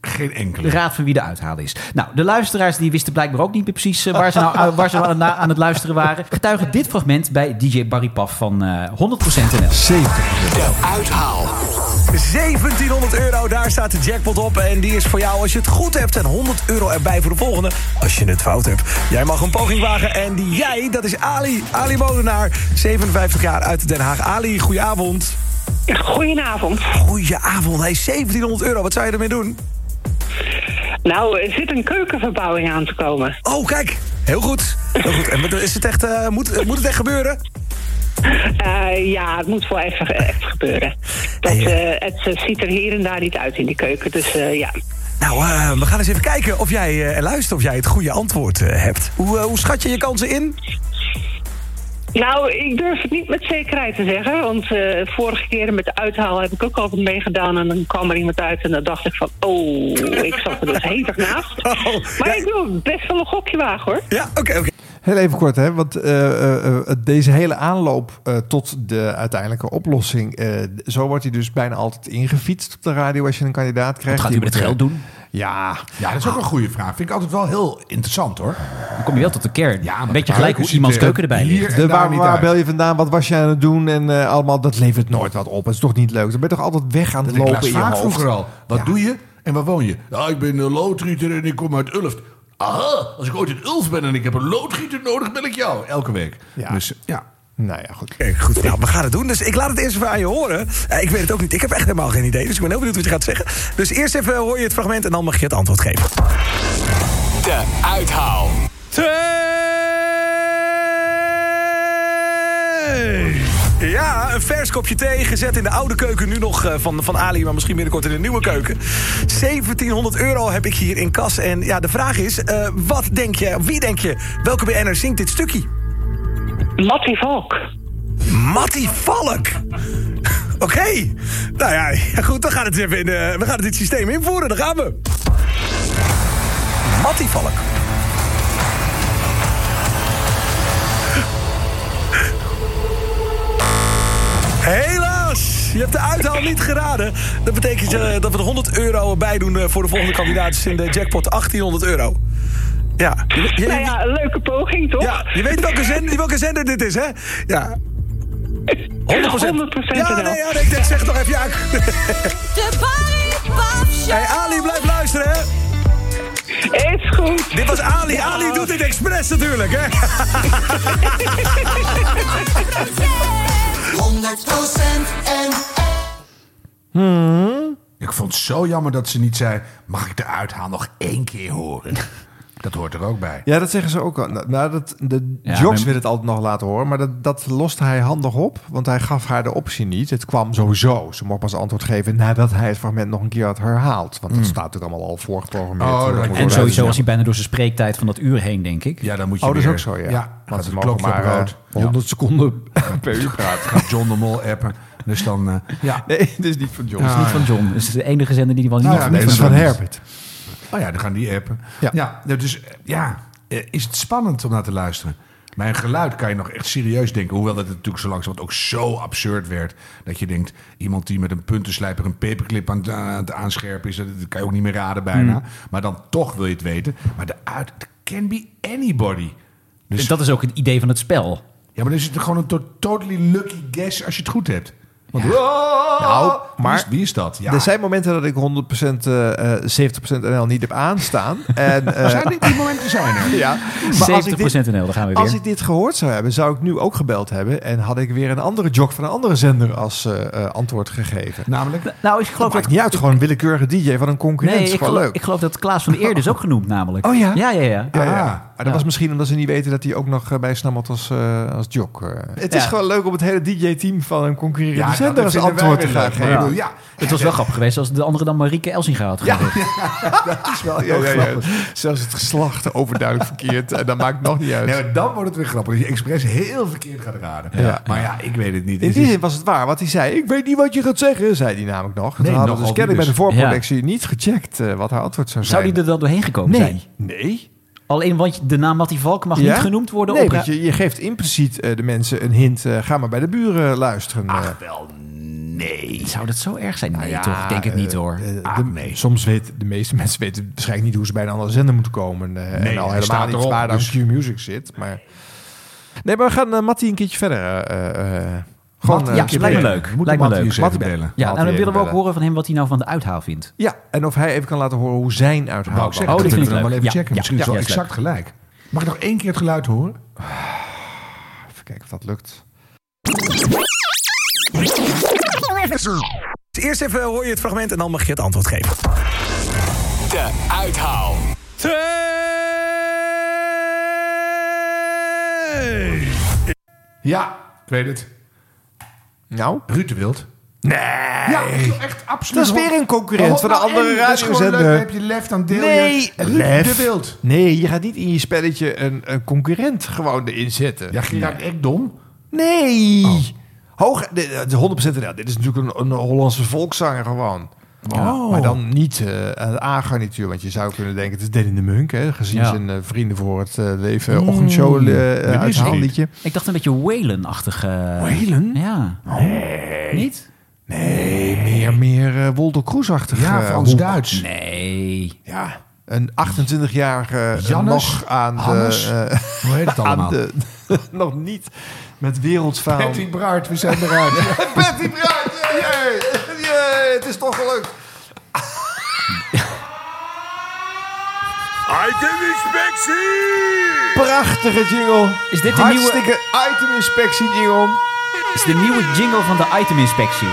Speaker 7: Geen enkele.
Speaker 1: De raad van wie de uithaal is. Nou, de luisteraars die wisten blijkbaar ook niet meer precies eh, waar ze, nou, eh, waar ze aan, het na- aan het luisteren waren. Getuige dit fragment bij DJ Barry Paf van eh 100% NL.
Speaker 23: De uithaal. 1700 euro, daar staat de jackpot op. En die is voor jou als je het goed hebt. En 100 euro erbij voor de volgende als je het fout hebt. Jij mag een poging wagen. En die jij, dat is Ali. Ali Molenaar, 57 jaar uit Den Haag. Ali, goedenavond.
Speaker 3: Goedenavond.
Speaker 23: Goedenavond. Hey, 1700 euro, wat zou je ermee doen?
Speaker 3: Nou, er zit een keukenverbouwing aan te komen.
Speaker 23: Oh, kijk. Heel goed. Heel goed. En wat- is het echt, eh, moet, moet het echt gebeuren?
Speaker 3: Eh, ja, het moet wel even echt gebeuren. Dat, eh, het eh, ziet er hier en daar niet uit in die keuken, dus eh, ja.
Speaker 23: Nou, eh, we gaan eens even kijken of jij, eh, en luisteren of jij het goede antwoord eh, hebt. Hoe, eh, hoe schat je je kansen in?
Speaker 3: Nou, ik durf het niet met zekerheid te zeggen. Want eh, vorige keer met de uithaal heb ik ook altijd meegedaan. En dan kwam er iemand uit en dan dacht ik van... Oh, ik zat er dus hevig naast.
Speaker 7: Oh,
Speaker 3: maar ik wil best wel een gokje wagen, hoor.
Speaker 23: Ja, oké, oké.
Speaker 2: Heel even kort, hè, want eh, eh, eh, deze hele aanloop eh, tot de uiteindelijke oplossing, eh, d- zo wordt hij dus bijna altijd ingefietst op de radio als je een kandidaat krijgt.
Speaker 7: gaat
Speaker 2: Je
Speaker 7: hij met
Speaker 2: moet,
Speaker 7: het
Speaker 2: eh,
Speaker 7: geld doen?
Speaker 2: Ja.
Speaker 7: Ja, dat is ook een goede vraag. Vind ik altijd wel heel interessant hoor.
Speaker 1: Dan kom je wel tot de kern.
Speaker 7: Ja, maar
Speaker 1: Beetje
Speaker 7: daar
Speaker 1: gelijk hoe
Speaker 7: ziet
Speaker 1: iemands
Speaker 7: er
Speaker 1: keuken erbij
Speaker 7: hier
Speaker 1: ligt.
Speaker 7: en
Speaker 2: De
Speaker 7: daar
Speaker 2: waar,
Speaker 7: niet
Speaker 2: waar
Speaker 7: uit.
Speaker 2: bel je vandaan? Wat was je aan het doen? En eh, allemaal, dat levert nooit wat op. Het is toch niet leuk? Dan ben je toch altijd weg aan het
Speaker 7: Dat ik
Speaker 2: lopen in
Speaker 7: las
Speaker 2: je hoofd.
Speaker 7: vaak vroeger al. Wat doe je en waar woon je? Ja, ik ben een loodgieter en ik kom uit Ulft. Aha, als ik ooit in Ulft ben en ik heb een loodgieter nodig, bel ik jou. Elke week. Dus ja.
Speaker 2: Nou ja, goed.
Speaker 23: goed. Nou, we gaan het doen. Dus ik laat het eerst even aan je horen. Eh, ik weet het ook niet. Ik heb echt helemaal geen idee. Dus ik ben heel benieuwd wat je gaat zeggen. Dus eerst even hoor je het fragment en dan mag je het antwoord geven.
Speaker 24: De uithaal.
Speaker 23: Ja, een vers kopje thee gezet in de oude keuken. Nu nog eh, van, van Ali, maar misschien binnenkort in de nieuwe keuken. 1700 euro heb ik hier in kas. En ja, de vraag is, eh, wat denk je, wie denk je, welke BN'er zingt dit stukje?
Speaker 3: Mattie Valk.
Speaker 23: Mattie Valk? Oké. Nou ja, ja, goed, dan gaan we het even in, eh, we gaan het dit systeem invoeren. Daar gaan we. Mattie Valk. Helaas! Je hebt de uithaal niet geraden. Dat betekent eh, dat we er 100 euro bij doen eh, voor de volgende kandidaat. Dus in de jackpot 1800 euro. Ja. Je, je-
Speaker 3: Nou ja, een leuke poging, toch?
Speaker 23: ja, je weet welke zender, welke zender dit is, hè? Ja. 100%.
Speaker 3: 100%
Speaker 23: ja,
Speaker 3: NL.
Speaker 23: nee, ja, nee, ik denk, zeg het nog even, ja. De Barry Hey, Ali, blijf luisteren, hè?
Speaker 3: Is goed.
Speaker 23: Dit was Ali. Ali doet dit expres natuurlijk, hè?
Speaker 25: 100% en
Speaker 7: Ik vond het zo jammer dat ze niet zei... mag ik de uithaal nog één keer horen? dat hoort er ook bij.
Speaker 2: Ja, dat zeggen ze ook al. Nou, nou, dat, de
Speaker 7: Ja,
Speaker 2: Jocks
Speaker 7: maar-
Speaker 2: wil het altijd nog laten horen, maar dat, dat lost hij handig op. Want hij gaf haar de optie niet. Het kwam sowieso. Ze mocht pas antwoord geven nadat hij het fragment nog een keer had herhaald. Want dat staat natuurlijk allemaal al
Speaker 7: Oh,
Speaker 2: voorgeprogrammeerd. Hoe dat Oh, moet
Speaker 1: Mm. en sowieso was
Speaker 2: worden.
Speaker 1: hij bijna door zijn spreektijd van dat uur heen, denk ik.
Speaker 7: Ja, dan moet
Speaker 2: Oh, dat is ook zo, ja.
Speaker 7: gaat
Speaker 2: Want
Speaker 7: de
Speaker 2: ze
Speaker 7: klok
Speaker 2: mogen maar
Speaker 7: maar rood.
Speaker 2: eh, 100 seconden per uur
Speaker 7: praten. Gaat John de Mol appen. Dus dan... eh, ja.
Speaker 2: Nee, dit is niet van John.
Speaker 1: Dat is niet van John. Dat is de enige zender die wel
Speaker 7: Nou
Speaker 1: niet
Speaker 7: ja,
Speaker 1: van
Speaker 7: nee,
Speaker 1: John
Speaker 7: dat is
Speaker 1: is.
Speaker 7: van Herbert. Oh ja, dan gaan die appen. Ja. nou, dus eh, ja, eh, is het spannend om naar te luisteren? Bij een geluid kan je nog echt serieus denken. Hoewel dat het natuurlijk zo langzamerhand ook zo absurd werd. Dat je denkt, iemand die met een puntenslijper een paperclip aan, aan het aanscherpen is. Dat dat kan je ook niet meer raden bijna.
Speaker 1: Hmm.
Speaker 7: Maar dan toch wil je het weten. Maar de uit, it can be anybody.
Speaker 1: Dus dat is ook het idee van het spel.
Speaker 7: Ja, maar dan is het gewoon een to- totally lucky guess als je het goed hebt. Want,
Speaker 2: Nou,
Speaker 7: maar...
Speaker 2: maar-
Speaker 7: Wie is, wie is dat? Ja.
Speaker 2: Er zijn momenten dat ik 100% eh, eh, 70% NL niet heb aanstaan. En, eh,
Speaker 7: Zijn die, die momenten zijn er.
Speaker 2: Ja, maar als ik
Speaker 1: 70%
Speaker 2: dit-
Speaker 1: NL, daar gaan we weer.
Speaker 2: Als ik dit gehoord zou hebben, zou ik nu ook gebeld hebben. En had ik weer een andere jog van een andere zender als eh, eh, antwoord gegeven.
Speaker 7: Namelijk?
Speaker 1: Nou, ik geloof
Speaker 2: dat... Maakt niet uit, gewoon een willekeurige DJ van een concurrent.
Speaker 1: Nee,
Speaker 2: is
Speaker 1: ik
Speaker 2: gewoon
Speaker 1: geloof,
Speaker 2: leuk.
Speaker 1: ik geloof dat Klaas van de Eerde is ook genoemd namelijk.
Speaker 2: Oh ja?
Speaker 1: Ja, ja, ja.
Speaker 2: Ja, ja. Maar dat was misschien omdat ze niet weten dat hij ook nog eh, bij Snammelt als, eh als jog. eh. Het is
Speaker 1: Ja.
Speaker 2: gewoon leuk om het hele DJ-team van een concurrerende
Speaker 7: Ja,
Speaker 2: zender als antwoord te gaan geven.
Speaker 1: Ja. Het was wel grappig geweest als de andere dan Marieke Elsinga had gehad.
Speaker 2: dat is wel heel
Speaker 1: Ja, ja, ja.
Speaker 2: grappig. Zelfs het geslacht overduidelijk verkeerd. En dat maakt het nog niet uit.
Speaker 7: Nee, maar dan wordt het weer grappig. Dat je expres heel verkeerd gaat raden.
Speaker 2: Ja.
Speaker 7: Maar ja, dus ik weet het niet.
Speaker 2: In die zin was het waar wat hij zei. Ik weet niet wat je gaat zeggen, zei hij namelijk nog.
Speaker 7: Nee,
Speaker 2: Nee, hadden we
Speaker 7: nogal
Speaker 2: dus kennelijk bij de
Speaker 7: dus.
Speaker 2: voorproductie niet gecheckt eh, wat haar antwoord zou zijn.
Speaker 1: Zou die er wel doorheen gekomen
Speaker 2: Nee.
Speaker 1: zijn?
Speaker 2: Nee.
Speaker 1: Alleen, want de naam Mattie Valk mag
Speaker 2: Ja?
Speaker 1: niet genoemd worden
Speaker 2: Nee,
Speaker 1: op...
Speaker 2: want je, je geeft impliciet eh, de mensen een hint. eh, ga maar bij de buren luisteren. eh.
Speaker 7: wel, nee.
Speaker 1: Zou dat zo erg zijn? Nee,
Speaker 2: Ja,
Speaker 1: toch? Ik denk het
Speaker 2: eh,
Speaker 1: niet, hoor.
Speaker 2: eh, de- Soms weten de meeste mensen weten waarschijnlijk niet hoe ze bij een andere zender moeten komen. eh,
Speaker 7: hij
Speaker 2: en al
Speaker 7: staat
Speaker 2: helemaal niet
Speaker 7: erop,
Speaker 2: waar dan
Speaker 7: dus-
Speaker 2: Q-Music zit. Maar... Nee, maar we gaan eh, Mattie een keertje verder. eh, eh, eh, gewoon,
Speaker 1: Mattie,
Speaker 2: eh,
Speaker 1: ja,
Speaker 2: een keer
Speaker 1: lijkt me
Speaker 2: bellen.
Speaker 1: leuk.
Speaker 2: Moet
Speaker 1: Lijkt me
Speaker 2: Mattie
Speaker 1: leuk.
Speaker 2: eens even bellen.
Speaker 1: Ja, en
Speaker 2: Mattie
Speaker 1: dan willen we
Speaker 2: even
Speaker 1: ook horen van hem wat hij nou van de uithaal vindt.
Speaker 2: Ja, en of hij even kan laten horen hoe zijn
Speaker 7: Wou
Speaker 2: uithaal
Speaker 7: ik zeggen,
Speaker 1: Oh, die
Speaker 7: dat kunnen
Speaker 1: vind
Speaker 7: we
Speaker 1: ik
Speaker 7: dan wel
Speaker 1: leuk.
Speaker 7: even
Speaker 1: Ja,
Speaker 7: checken.
Speaker 1: ja,
Speaker 7: Misschien is
Speaker 1: ja,
Speaker 7: wel
Speaker 1: is leuk.
Speaker 7: exact gelijk. Mag ik nog één keer het geluid horen?
Speaker 2: Even kijken of dat lukt.
Speaker 23: Eerst even eh, hoor je het fragment en dan mag je het antwoord geven.
Speaker 3: De uithaal.
Speaker 7: Ja, ik weet het.
Speaker 2: Nou?
Speaker 7: Ruud de Wild.
Speaker 2: Nee.
Speaker 7: Ja, echt absoluut.
Speaker 2: Dat is weer een concurrent
Speaker 7: Waarom
Speaker 2: van de
Speaker 7: nou
Speaker 2: andere
Speaker 7: en? Dat is gewoon
Speaker 2: radiozender.
Speaker 7: leuk, Heb je lef, dan deel
Speaker 2: Nee,
Speaker 7: je.
Speaker 2: lef.
Speaker 7: Ruud de Wild.
Speaker 2: Nee, je gaat niet in je spelletje een, een concurrent gewoon erin zetten.
Speaker 7: Ja, Gerard Ekdom?
Speaker 2: Nee.
Speaker 7: Oh.
Speaker 2: Hoog, nee, dat is 100% inderdaad. Dit is natuurlijk een, een Hollandse volkszanger gewoon.
Speaker 7: Oh.
Speaker 2: Maar dan niet eh, een A-garnituur. Want je zou kunnen denken, het is Danny de Munk. Hè, gezien
Speaker 1: Ja.
Speaker 2: zijn eh, vrienden voor het eh, leven ochtendshow eh eh, uithaalliedje.
Speaker 1: Ik dacht een beetje Whalen-achtig. eh.
Speaker 2: Whalen?
Speaker 1: Ja.
Speaker 2: Nee.
Speaker 1: Niet?
Speaker 2: Nee, meer, meer eh Wolter Kroes-achtig.
Speaker 7: Ja,
Speaker 2: eh,
Speaker 7: Frans-Duits.
Speaker 1: Nee.
Speaker 2: Ja. Een 28-jarige eh,
Speaker 7: Jannes,
Speaker 2: nog aan
Speaker 7: Hannes,
Speaker 2: de... eh,
Speaker 7: hoe heet het
Speaker 2: aan
Speaker 7: allemaal?
Speaker 2: de- nog niet met wereldfaal.
Speaker 7: Patty Braart, we zijn eruit.
Speaker 2: Patty Braart, jee! Jee, het is toch gelukt.
Speaker 3: Iteminspectie!
Speaker 2: Prachtige jingle.
Speaker 1: Is dit de
Speaker 2: Hartstikke iteminspectie jingle.
Speaker 1: Is de nieuwe jingle van de iteminspectie.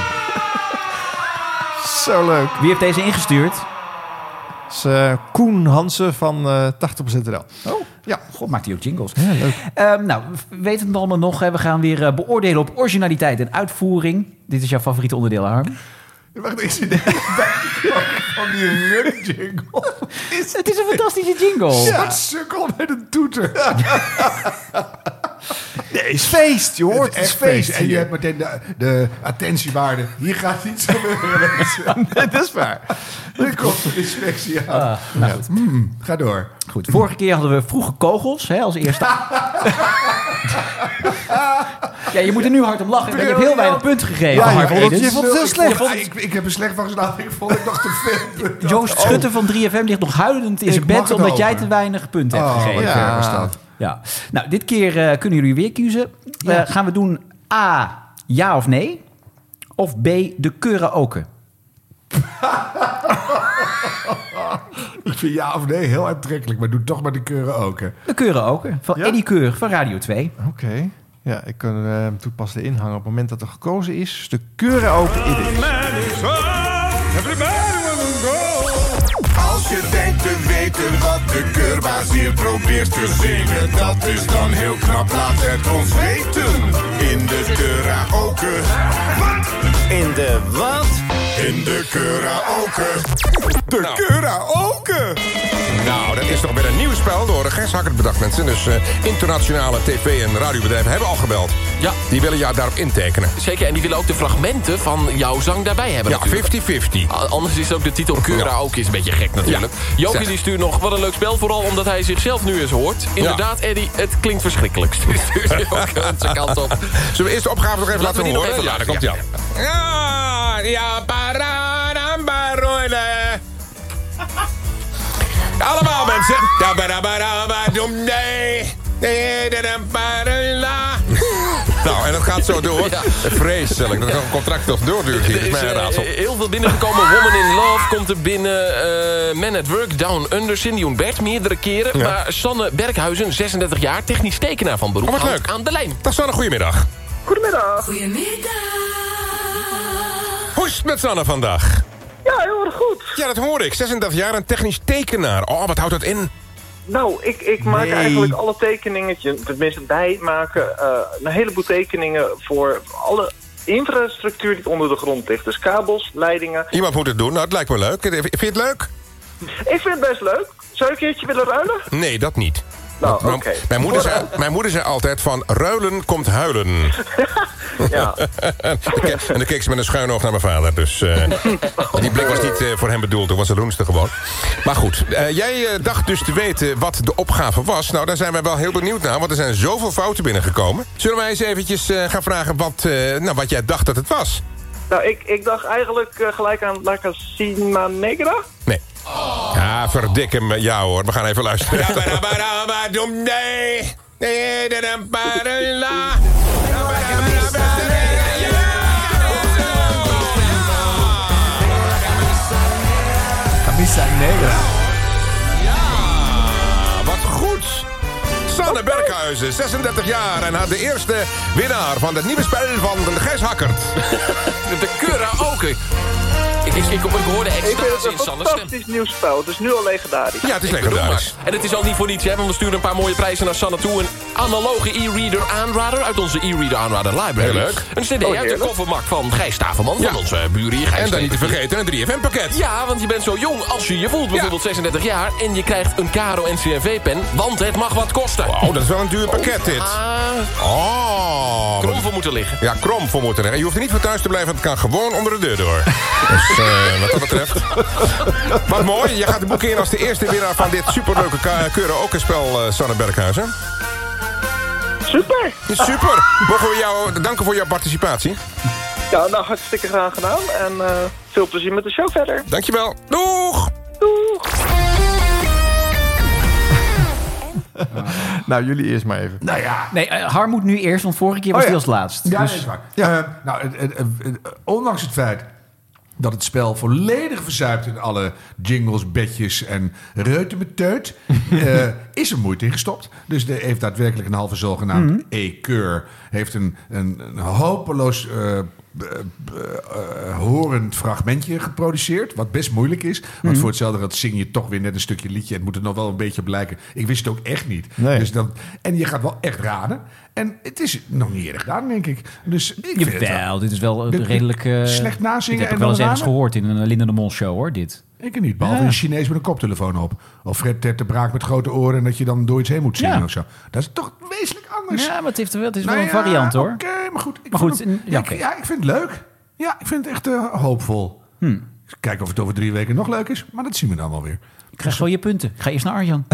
Speaker 2: Zo leuk.
Speaker 1: Wie heeft deze ingestuurd?
Speaker 2: Dat is, eh, Koen Hansen van eh 80% NL.
Speaker 1: Oh,
Speaker 2: ja.
Speaker 1: God, maakt hij ook jingles.
Speaker 2: Ja, leuk.
Speaker 1: Ehm, nou, we weten het allemaal nog. Hè. We gaan weer eh, beoordelen op originaliteit en uitvoering. Dit is jouw favoriete onderdeel, Harm.
Speaker 7: Wacht, is het van die ruk jingle?
Speaker 1: Het is een fantastische jingle.
Speaker 7: Ja. sukkel met een toeter.
Speaker 2: Nee, het is feest. Je hoort, het is
Speaker 7: Echt
Speaker 2: feest.
Speaker 7: feest. En je
Speaker 2: hier.
Speaker 7: hebt meteen de, de attentiewaarde. Hier gaat iets gebeuren, mensen.
Speaker 2: Dat is waar. Ah.
Speaker 7: Er komt een inspectie aan.
Speaker 1: nou
Speaker 7: Ja. Mm, ga door.
Speaker 1: Goed, vorige keer hadden we vroege kogels hè, als eerste. ja, je moet er nu hard om lachen. Ik heb heel weinig punten gegeven.
Speaker 2: Ja, je
Speaker 1: Harm
Speaker 2: vond het- je
Speaker 1: Edens.
Speaker 2: vond het heel
Speaker 1: Ik
Speaker 2: slecht.
Speaker 1: vond het-
Speaker 7: ik, ik heb er slecht van geslapen. Ik vond het nog te veel. punten.
Speaker 1: Joost Schutte van 3FM ligt nog huilend in
Speaker 7: Oh. Ik
Speaker 1: zijn
Speaker 7: mag
Speaker 1: bed...
Speaker 7: het
Speaker 1: omdat jij
Speaker 7: over.
Speaker 1: te weinig punten hebt
Speaker 7: Oh,
Speaker 1: gegeven.
Speaker 7: wat ver was dat.
Speaker 1: Ja. Nou, dit keer eh, kunnen jullie weer kiezen. Eh, gaan we doen A, ja of nee? Of B, de karaoke?
Speaker 7: Ik vind ja of nee heel aantrekkelijk. Maar doe toch maar de keuren ook. hè.
Speaker 1: De karaoke van Eddy Keur van Radio 2.
Speaker 2: Oké. Ja, ik kan eh, hem toepassen de inhanger op het moment dat er gekozen is. De keuren open in is.
Speaker 3: Als je denkt te weten wat de keurbaas hier probeert te zingen, dat is dan heel knap. Laat het ons weten in de karaoke. Wat? In de wat? In de karaoke.
Speaker 13: De nou. karaoke! Nou, dat is toch weer een nieuw spel door Gers Hakkert bedacht, mensen. Dus eh, internationale tv- en radiobedrijven hebben al gebeld.
Speaker 26: Ja.
Speaker 13: Die willen jou daarop intekenen.
Speaker 26: Zeker, en die willen ook de fragmenten van jouw zang daarbij hebben.
Speaker 13: Ja,
Speaker 26: natuurlijk.
Speaker 13: 50-50.
Speaker 26: A- Anders is ook de titel Cura ook is een beetje gek natuurlijk.
Speaker 13: Ja.
Speaker 26: Jokie
Speaker 13: Zeg.
Speaker 26: die stuurt nog, wat een leuk spel, vooral omdat hij zichzelf nu eens hoort. Inderdaad, Eddy, het klinkt verschrikkelijk. Stuurt hij ook onze kant op.
Speaker 13: Zullen we eerst de opgave nog even
Speaker 26: Laten
Speaker 13: laten,
Speaker 26: we die nog
Speaker 13: horen?
Speaker 26: even
Speaker 13: ja, daar komt
Speaker 26: laten,
Speaker 13: hij aan. Ja, paranambaroide. Allemaal mensen. Dabarabarabadomdee. Dededemparela. Nou, en dat gaat zo door. Vreselijk dat zo'n contract nog doorduurt hier.
Speaker 26: Er is
Speaker 13: Dat is mijn
Speaker 26: eh,
Speaker 13: raadsel.
Speaker 26: heel veel binnengekomen. Woman in Love komt er binnen. eh Man at Work, Down Under, Cindy en Bert meerdere keren.
Speaker 13: Ja.
Speaker 26: Maar Sanne Berghuizen, 36 jaar, technisch tekenaar van beroep,
Speaker 13: Oh, wat
Speaker 26: hangt
Speaker 13: leuk.
Speaker 26: aan de lijn.
Speaker 13: Dat is wel een goede middag.
Speaker 23: Goedemiddag.
Speaker 13: Hoe is het met Sanne vandaag?
Speaker 23: Ja, heel erg goed.
Speaker 13: Ja, dat hoor ik. 36 jaar en technisch tekenaar. Oh, wat houdt dat in?
Speaker 23: Nou, ik, ik maak
Speaker 13: Nee.
Speaker 23: eigenlijk alle tekeningen, tenminste wij maken eh, een heleboel tekeningen voor alle
Speaker 12: infrastructuur die onder de grond ligt. Dus kabels, leidingen.
Speaker 13: Iemand moet het doen. Nou, het lijkt me leuk. Vind je het leuk?
Speaker 12: Ik vind het best leuk. Zou ik een keertje willen ruilen?
Speaker 13: Nee, dat niet.
Speaker 12: Nou,
Speaker 13: Mijn-
Speaker 12: oké.
Speaker 13: mijn, moeder zei, mijn moeder zei altijd van ruilen komt huilen.
Speaker 12: Ja.
Speaker 13: en dan keek ze met een schuin oog naar mijn vader. Dus eh, die blik was niet eh, voor hem bedoeld. Toen was het loenste gewoon. Maar goed, eh, jij eh, dacht dus te weten wat de opgave was. Nou, daar zijn wij wel heel benieuwd naar. Want er zijn zoveel fouten binnengekomen. Zullen wij eens eventjes eh, gaan vragen wat, eh, nou, wat jij dacht dat het was?
Speaker 12: Nou, ik, ik dacht eigenlijk eh, gelijk aan La Casina Negra.
Speaker 13: Nee. Ja, verdik hem. Ja hoor, we gaan even luisteren.
Speaker 15: Camisa Negra.
Speaker 13: Ah, wat goed! Sanne Berkhuizen, 36 jaar en haar de eerste winnaar van het nieuwe spel van de Gijs Hakkert.
Speaker 16: De karaoke. Ik, ik, ik, ik hoorde
Speaker 12: Ik vind het
Speaker 16: extase
Speaker 12: een
Speaker 16: in Sander's stem.
Speaker 12: fantastisch nieuw spel. Het is nu al legendarisch.
Speaker 16: Ik bedoel maar. En het is al niet voor niets, hè, want we sturen een paar mooie prijzen naar Sanne toe. Een analoge e-reader aanrader uit onze e-reader aanrader library.
Speaker 13: Heel leuk.
Speaker 16: Een
Speaker 13: Oh,
Speaker 16: cd uit de
Speaker 13: heerlijk.
Speaker 16: koffermak van Gijs Taverman,
Speaker 13: Ja.
Speaker 16: van onze buren hier. Gijs
Speaker 13: En dan niet te
Speaker 16: Taverman.
Speaker 13: vergeten een 3FM-pakket.
Speaker 16: Ja, want je bent zo jong als je je voelt. Bijvoorbeeld 36 jaar en je krijgt een Caro NCRV-pen, want het mag wat kosten.
Speaker 13: Oh, dat is wel een duur pakket dit.
Speaker 7: Ah.
Speaker 13: Oh.
Speaker 16: Krom voor moeten liggen.
Speaker 13: Ja, krom voor moeten liggen. Je hoeft er niet voor thuis te blijven, want het kan gewoon onder de deur door. Dus eh, wat dat betreft. Wat mooi, je gaat de boeken in als de eerste winnaar van dit superleuke ka- karaoke-spel, eh, Sanne Berghuizen.
Speaker 12: Super!
Speaker 13: Super! Mogen we jou danken voor jouw participatie?
Speaker 12: Ja, nou hartstikke graag gedaan. En eh, veel plezier met de show verder.
Speaker 13: Dankjewel. Doeg!
Speaker 2: Nou, jullie eerst maar even.
Speaker 7: Nou ja.
Speaker 1: Nee, eh, Harm moet nu eerst, want vorige keer was
Speaker 7: Oh
Speaker 1: hij
Speaker 7: ja.
Speaker 1: als laatst.
Speaker 7: Ja,
Speaker 1: Dus-
Speaker 7: dat is waar. Eh, nou, het- het- het- het- ondanks het feit dat het spel volledig verzuipt in alle jingles, bedjes en reutemeteut... eh is er moeite in gestopt. Dus de heeft daadwerkelijk een halve zogenaamd
Speaker 15: Mhm.
Speaker 7: E-keur. Heeft een, een, een hopeloos... eh, b- b- eh, horend fragmentje geproduceerd, wat best moeilijk is. Want
Speaker 15: Mhm.
Speaker 7: voor hetzelfde dat zing je toch weer net een stukje liedje. en Het moet er nog wel een beetje op lijken. Ik wist het ook echt niet.
Speaker 15: Nee.
Speaker 7: Dus dan, en je gaat wel echt raden. En het is nog niet erg gedaan, denk ik. Dus ik vind het
Speaker 1: Jawel, dit is wel eh,
Speaker 7: Dit-
Speaker 1: redelijk... eh,
Speaker 7: Slecht nazingen
Speaker 1: Dit heb ik
Speaker 7: en
Speaker 1: wel eens ergens
Speaker 7: dan raden?
Speaker 1: gehoord in een Linda de Mol show, hoor, dit.
Speaker 7: Ik niet, behalve
Speaker 1: Ja.
Speaker 7: een Chinees met een koptelefoon op. Of Fred Ter te braak met grote oren en dat je dan door iets heen moet zingen of zo. Dat is toch wezenlijk anders.
Speaker 1: Ja, maar het, heeft wel, het is
Speaker 7: Nou
Speaker 1: wel een
Speaker 7: ja,
Speaker 1: variant, hoor.
Speaker 7: Oké, maar goed. Ik
Speaker 1: Maar
Speaker 7: vond
Speaker 1: goed,
Speaker 7: hem-
Speaker 1: ja,
Speaker 7: ik-
Speaker 1: oké.
Speaker 7: ja, ik vind het leuk. Ja, ik vind het echt eh, hoopvol.
Speaker 1: Hm.
Speaker 7: Kijken of het over drie weken nog leuk is. Maar dat zien we dan wel weer.
Speaker 1: Ik krijg wel je punten. Ik ga eerst naar Arjan.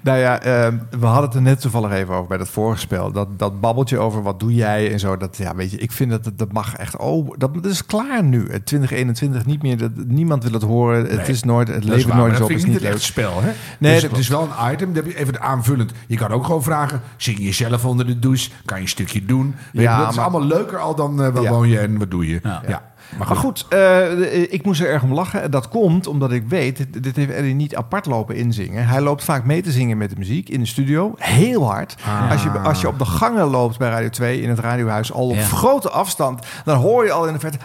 Speaker 2: Nou ja, ehm, we hadden het er net toevallig even over bij dat vorige spel. Dat, dat babbeltje over wat doe jij en zo. Dat, ja, weet je, ik vind dat dat, dat mag echt. Oh, dat, dat is klaar nu. Eh, 2021 niet meer. Dat, niemand wil het horen.
Speaker 7: Nee,
Speaker 2: het is nooit.
Speaker 7: dat
Speaker 2: Het
Speaker 7: is
Speaker 2: levert
Speaker 7: waar,
Speaker 2: nooit
Speaker 7: maar
Speaker 2: eens
Speaker 7: dat
Speaker 2: op. Het
Speaker 7: vind
Speaker 2: is
Speaker 7: ik
Speaker 2: niet
Speaker 7: niet
Speaker 2: leuk.
Speaker 7: echt spel, hè?
Speaker 2: Nee,
Speaker 7: dus
Speaker 2: dat
Speaker 7: het is wel een item. Dat heb je even aanvullend. Je kan ook gewoon vragen: zing je zelf onder de douche? Kan je een stukje doen? Weet
Speaker 2: Ja,
Speaker 7: je, dat
Speaker 2: maar-
Speaker 7: is allemaal leuker al dan eh, waar woon je en wat doe je. Ja. Maar
Speaker 2: Maar
Speaker 7: goed.
Speaker 2: goed, eh, ik moest er erg om lachen. En Dat komt omdat ik weet, dit- dit heeft Eddie niet apart lopen inzingen. Hij loopt vaak mee te zingen met de muziek in de studio. Heel hard.
Speaker 7: Ah.
Speaker 2: Als, je, als je op de gangen loopt bij Radio 2 in het radiohuis, al op
Speaker 7: Ja.
Speaker 2: grote afstand, dan hoor je al in de verte...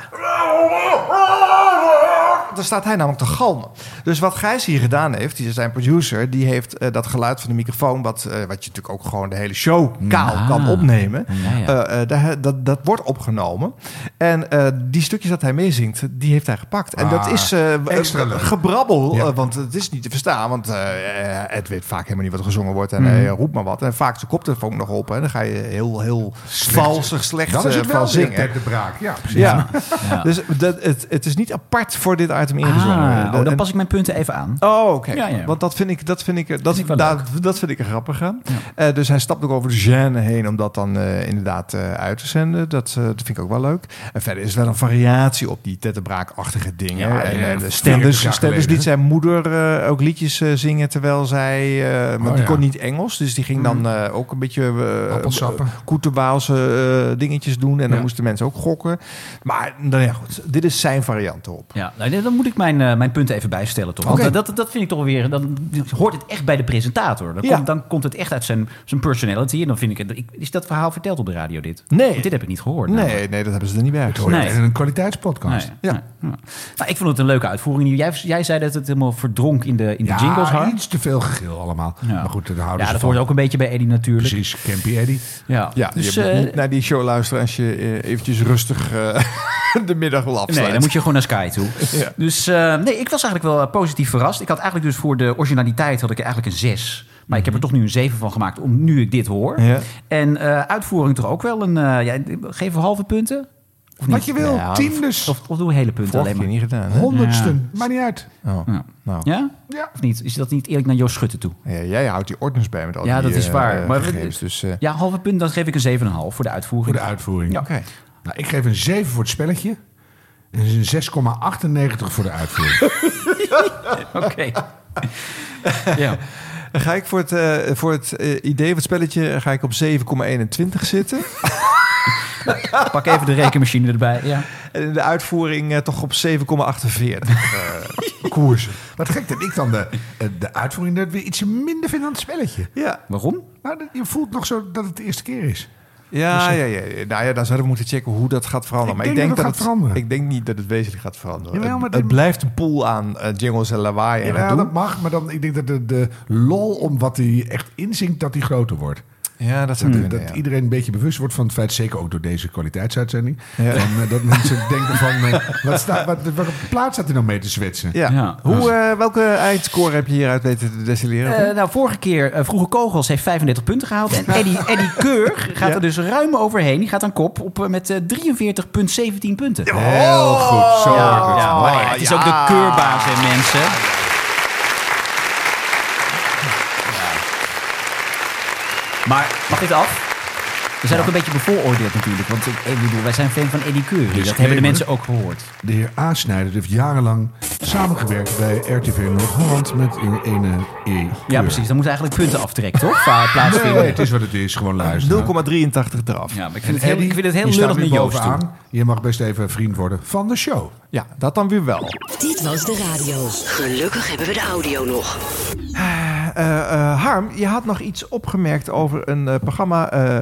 Speaker 2: Dan staat hij namelijk te galmen. Dus wat Gijs hier gedaan heeft, die is zijn producer... die heeft eh, dat geluid van de microfoon... Wat, eh, wat je natuurlijk ook gewoon de hele show kaal
Speaker 1: Ah.
Speaker 2: kan opnemen...
Speaker 1: Ja, ja.
Speaker 2: eh, eh, daar- dat, dat wordt opgenomen. En eh, die stukjes dat hij meezingt, die heeft hij gepakt. En dat
Speaker 7: Ah,
Speaker 2: is eh,
Speaker 7: extra
Speaker 2: eh,
Speaker 7: leuk.
Speaker 2: gebrabbel, eh, want het is niet te verstaan. Want eh, eh, het weet vaak helemaal niet wat er gezongen wordt. En
Speaker 7: Mhm.
Speaker 2: hij eh, roept maar wat. En vaak zijn koptelefoon nog op. En dan ga je heel, heel valsig, slecht
Speaker 7: Dan is
Speaker 2: eh,
Speaker 7: het wel
Speaker 2: van zingen.
Speaker 7: Ter de braak. Ja, precies.
Speaker 2: Ja.
Speaker 7: Ja.
Speaker 2: dus dat, het, het is niet apart voor dit item ingezongen.
Speaker 1: Ah, oh,
Speaker 2: En-
Speaker 1: dan pas ik mijn punten even aan.
Speaker 2: Oh, oké.
Speaker 1: Ja, ja.
Speaker 2: Want dat vind ik, dat vind ik, er- dat, daar- dat vind ik er grappig aan. Eh, dus hij stapt ook over de gêne heen om dat dan eh, inderdaad eh, uit te zenden. Dat, eh, dat vind ik ook wel leek. En verder is er wel een variatie op die tettebraakachtige dingen.
Speaker 7: Ja,
Speaker 2: en
Speaker 7: ja,
Speaker 2: eh, de
Speaker 7: 40
Speaker 2: Stenders,
Speaker 7: jaar
Speaker 2: Stenders
Speaker 7: geleden,
Speaker 2: liet zijn moeder eh, ook liedjes eh, zingen terwijl zij... eh, want
Speaker 7: Oh,
Speaker 2: die
Speaker 7: ja. Mm.
Speaker 2: kon niet Engels, dus die ging dan eh, ook een beetje
Speaker 7: Appelsappen.
Speaker 2: uh, koetewaalse dingetjes doen. En dan
Speaker 1: Ja.
Speaker 2: moesten mensen ook gokken. Maar nou ja, goed, dit is zijn variant erop.
Speaker 1: Ja, nou, dan moet ik mijn, eh, mijn punten even bijstellen. vertellen toch? Want,
Speaker 2: Oké.
Speaker 1: eh, dat, dat vind ik toch weer... Dan hoort het echt bij de presentator. Dan,
Speaker 2: Ja.
Speaker 1: komt, dan komt het echt uit zijn, zijn personality. En dan vind ik, het- ik... Is dat verhaal verteld op de radio dit?
Speaker 2: Nee.
Speaker 1: Want dit heb ik niet gehoord. namelijk.
Speaker 2: Nee, nee, dat hebben ze er niet bij.
Speaker 1: hoor je Nee. in een
Speaker 2: kwaliteitspodcast.
Speaker 1: Nee, nee. Ja. Nou, ik vond het een leuke uitvoering. Jij, jij zei dat het helemaal verdronk in de, in de
Speaker 7: Ja,
Speaker 1: jingles. Har.
Speaker 7: iets te veel gegil allemaal. Maar goed, dat houden
Speaker 1: Ja,
Speaker 7: ze
Speaker 1: dat
Speaker 7: van.
Speaker 1: hoort ook een beetje bij Eddie natuurlijk.
Speaker 7: Precies, Campy Eddy.
Speaker 1: Ja,
Speaker 2: Ja,
Speaker 1: dus,
Speaker 2: je moet
Speaker 1: eh,
Speaker 2: niet naar die show luisteren als je eh, eventjes rustig eh, de middag wil afsluiten.
Speaker 1: Nee, dan moet je gewoon naar Sky toe.
Speaker 2: Ja.
Speaker 1: Dus eh, nee, ik was eigenlijk wel eh, positief verrast. Ik had eigenlijk dus voor de originaliteit had ik eigenlijk een 6. Maar ik heb er toch nu een 7 van gemaakt, om nu ik dit hoor.
Speaker 2: Ja.
Speaker 1: En eh, uitvoering toch ook wel een... eh ja, geven we halve punten? Of
Speaker 7: Wat
Speaker 1: niet?
Speaker 7: je wil,
Speaker 1: Ja,
Speaker 7: tien
Speaker 1: of-
Speaker 7: dus.
Speaker 1: Of, of doen we hele punten
Speaker 2: Vorige
Speaker 1: alleen maar.
Speaker 2: keer niet gedaan, hè?
Speaker 7: Honderdsten, maakt niet uit.
Speaker 2: Oh,
Speaker 1: Ja. Ja? Of niet? Is dat niet eerlijk naar Joost Schutte toe?
Speaker 2: nou. Ja, jij houdt die ordners bij met al
Speaker 1: ja,
Speaker 2: die,
Speaker 1: dat is
Speaker 2: eh,
Speaker 1: waar.
Speaker 2: eh,
Speaker 1: maar
Speaker 2: gegevens, dus, eh,
Speaker 1: ja, halve punt, dan geef ik een 7,5 voor de uitvoering.
Speaker 7: Voor de uitvoering.
Speaker 1: Ja.
Speaker 7: Nou, ik geef een 7 voor het spelletje. En een 6,98 voor de uitvoering.
Speaker 1: Oké. ja.
Speaker 2: Dan ga ik voor het, eh, voor het eh, idee van het spelletje ga ik op 7,21 zitten.
Speaker 1: Pak even de rekenmachine erbij. Ja.
Speaker 2: En in de uitvoering eh, toch op 7,48 eh, koersen.
Speaker 7: Wat gek dat ik dan de, eh, de uitvoering dat weer ietsje minder vind dan het spelletje.
Speaker 2: Ja.
Speaker 1: Waarom?
Speaker 7: Nou, dat- je voelt nog zo dat het de eerste keer is.
Speaker 2: Ja,
Speaker 7: Dus,
Speaker 2: ja,
Speaker 7: eh,
Speaker 2: ja, ja. Nou ja, dan zouden we moeten checken hoe dat gaat veranderen.
Speaker 7: Ik
Speaker 2: maar
Speaker 7: denk
Speaker 2: ik denk
Speaker 7: dat
Speaker 2: dat,
Speaker 7: het
Speaker 2: het,
Speaker 7: gaat veranderen.
Speaker 2: Ik denk niet dat het wezenlijk gaat veranderen.
Speaker 7: Jawel,
Speaker 2: het,
Speaker 7: maar
Speaker 2: het
Speaker 7: dat-
Speaker 2: blijft een pool aan eh, jingles en lawaai en
Speaker 7: Ja,
Speaker 2: gedoe.
Speaker 7: dat mag, maar dan, ik denk dat de, de lol om wat hij echt inzinkt, dat die groter wordt.
Speaker 2: Ja, dat zou
Speaker 7: Dat-
Speaker 2: kunnen,
Speaker 7: Dat
Speaker 2: ja.
Speaker 7: iedereen een beetje bewust wordt van het feit, zeker ook door deze kwaliteitsuitzending,
Speaker 2: Ja.
Speaker 7: van, eh, dat mensen denken van, eh, wat staat, wat, welke plaats staat hij nou mee te zwetsen?
Speaker 2: Ja. Hoe, eh, welke eindscore heb je hieruit weten te destilleren?
Speaker 1: Eh, nou, vorige keer, eh, Vroege Kogels heeft 35 punten gehaald. En Eddie, Eddie Keur gaat er dus ruim overheen. Die gaat aan kop op, eh, met eh, 43,17 punten.
Speaker 7: Heel goed, zo
Speaker 1: Ja,
Speaker 7: wordt het.
Speaker 1: ja, maar
Speaker 7: Oh,
Speaker 1: het is
Speaker 7: ja.
Speaker 1: ook de keurbaas, hè, mensen. Maar mag dit af? We zijn ook een beetje bevooroordeeld natuurlijk. Want ik, ik bedoel, wij zijn fan van Eddie Keur.
Speaker 7: Dus
Speaker 1: dat hebben de
Speaker 7: nee,
Speaker 1: mensen
Speaker 7: maar-
Speaker 1: ook gehoord.
Speaker 7: De heer A. Snijder heeft jarenlang samengewerkt bij RTV Noord-Holland met een ene E.
Speaker 1: Ja, precies. Dan moeten eigenlijk punten aftrekken, toch? Va-
Speaker 7: Nee,
Speaker 1: Plaatsvinden.
Speaker 7: het is wat het is. Gewoon luisteren.
Speaker 2: 0,83 eraf.
Speaker 1: Ja, maar ik
Speaker 7: En
Speaker 1: vind het heel,
Speaker 7: Eddie,
Speaker 1: ik vind het heel
Speaker 7: je staat
Speaker 1: lullig
Speaker 7: weer
Speaker 1: naar Joost toe.
Speaker 7: bovenaan. Je mag best even vriend worden van de show.
Speaker 2: Ja, dat dan weer wel.
Speaker 9: Dit was de radio. Gelukkig hebben we de audio nog.
Speaker 2: Eh, eh, Harm, je had nog iets opgemerkt over een eh, programma, eh,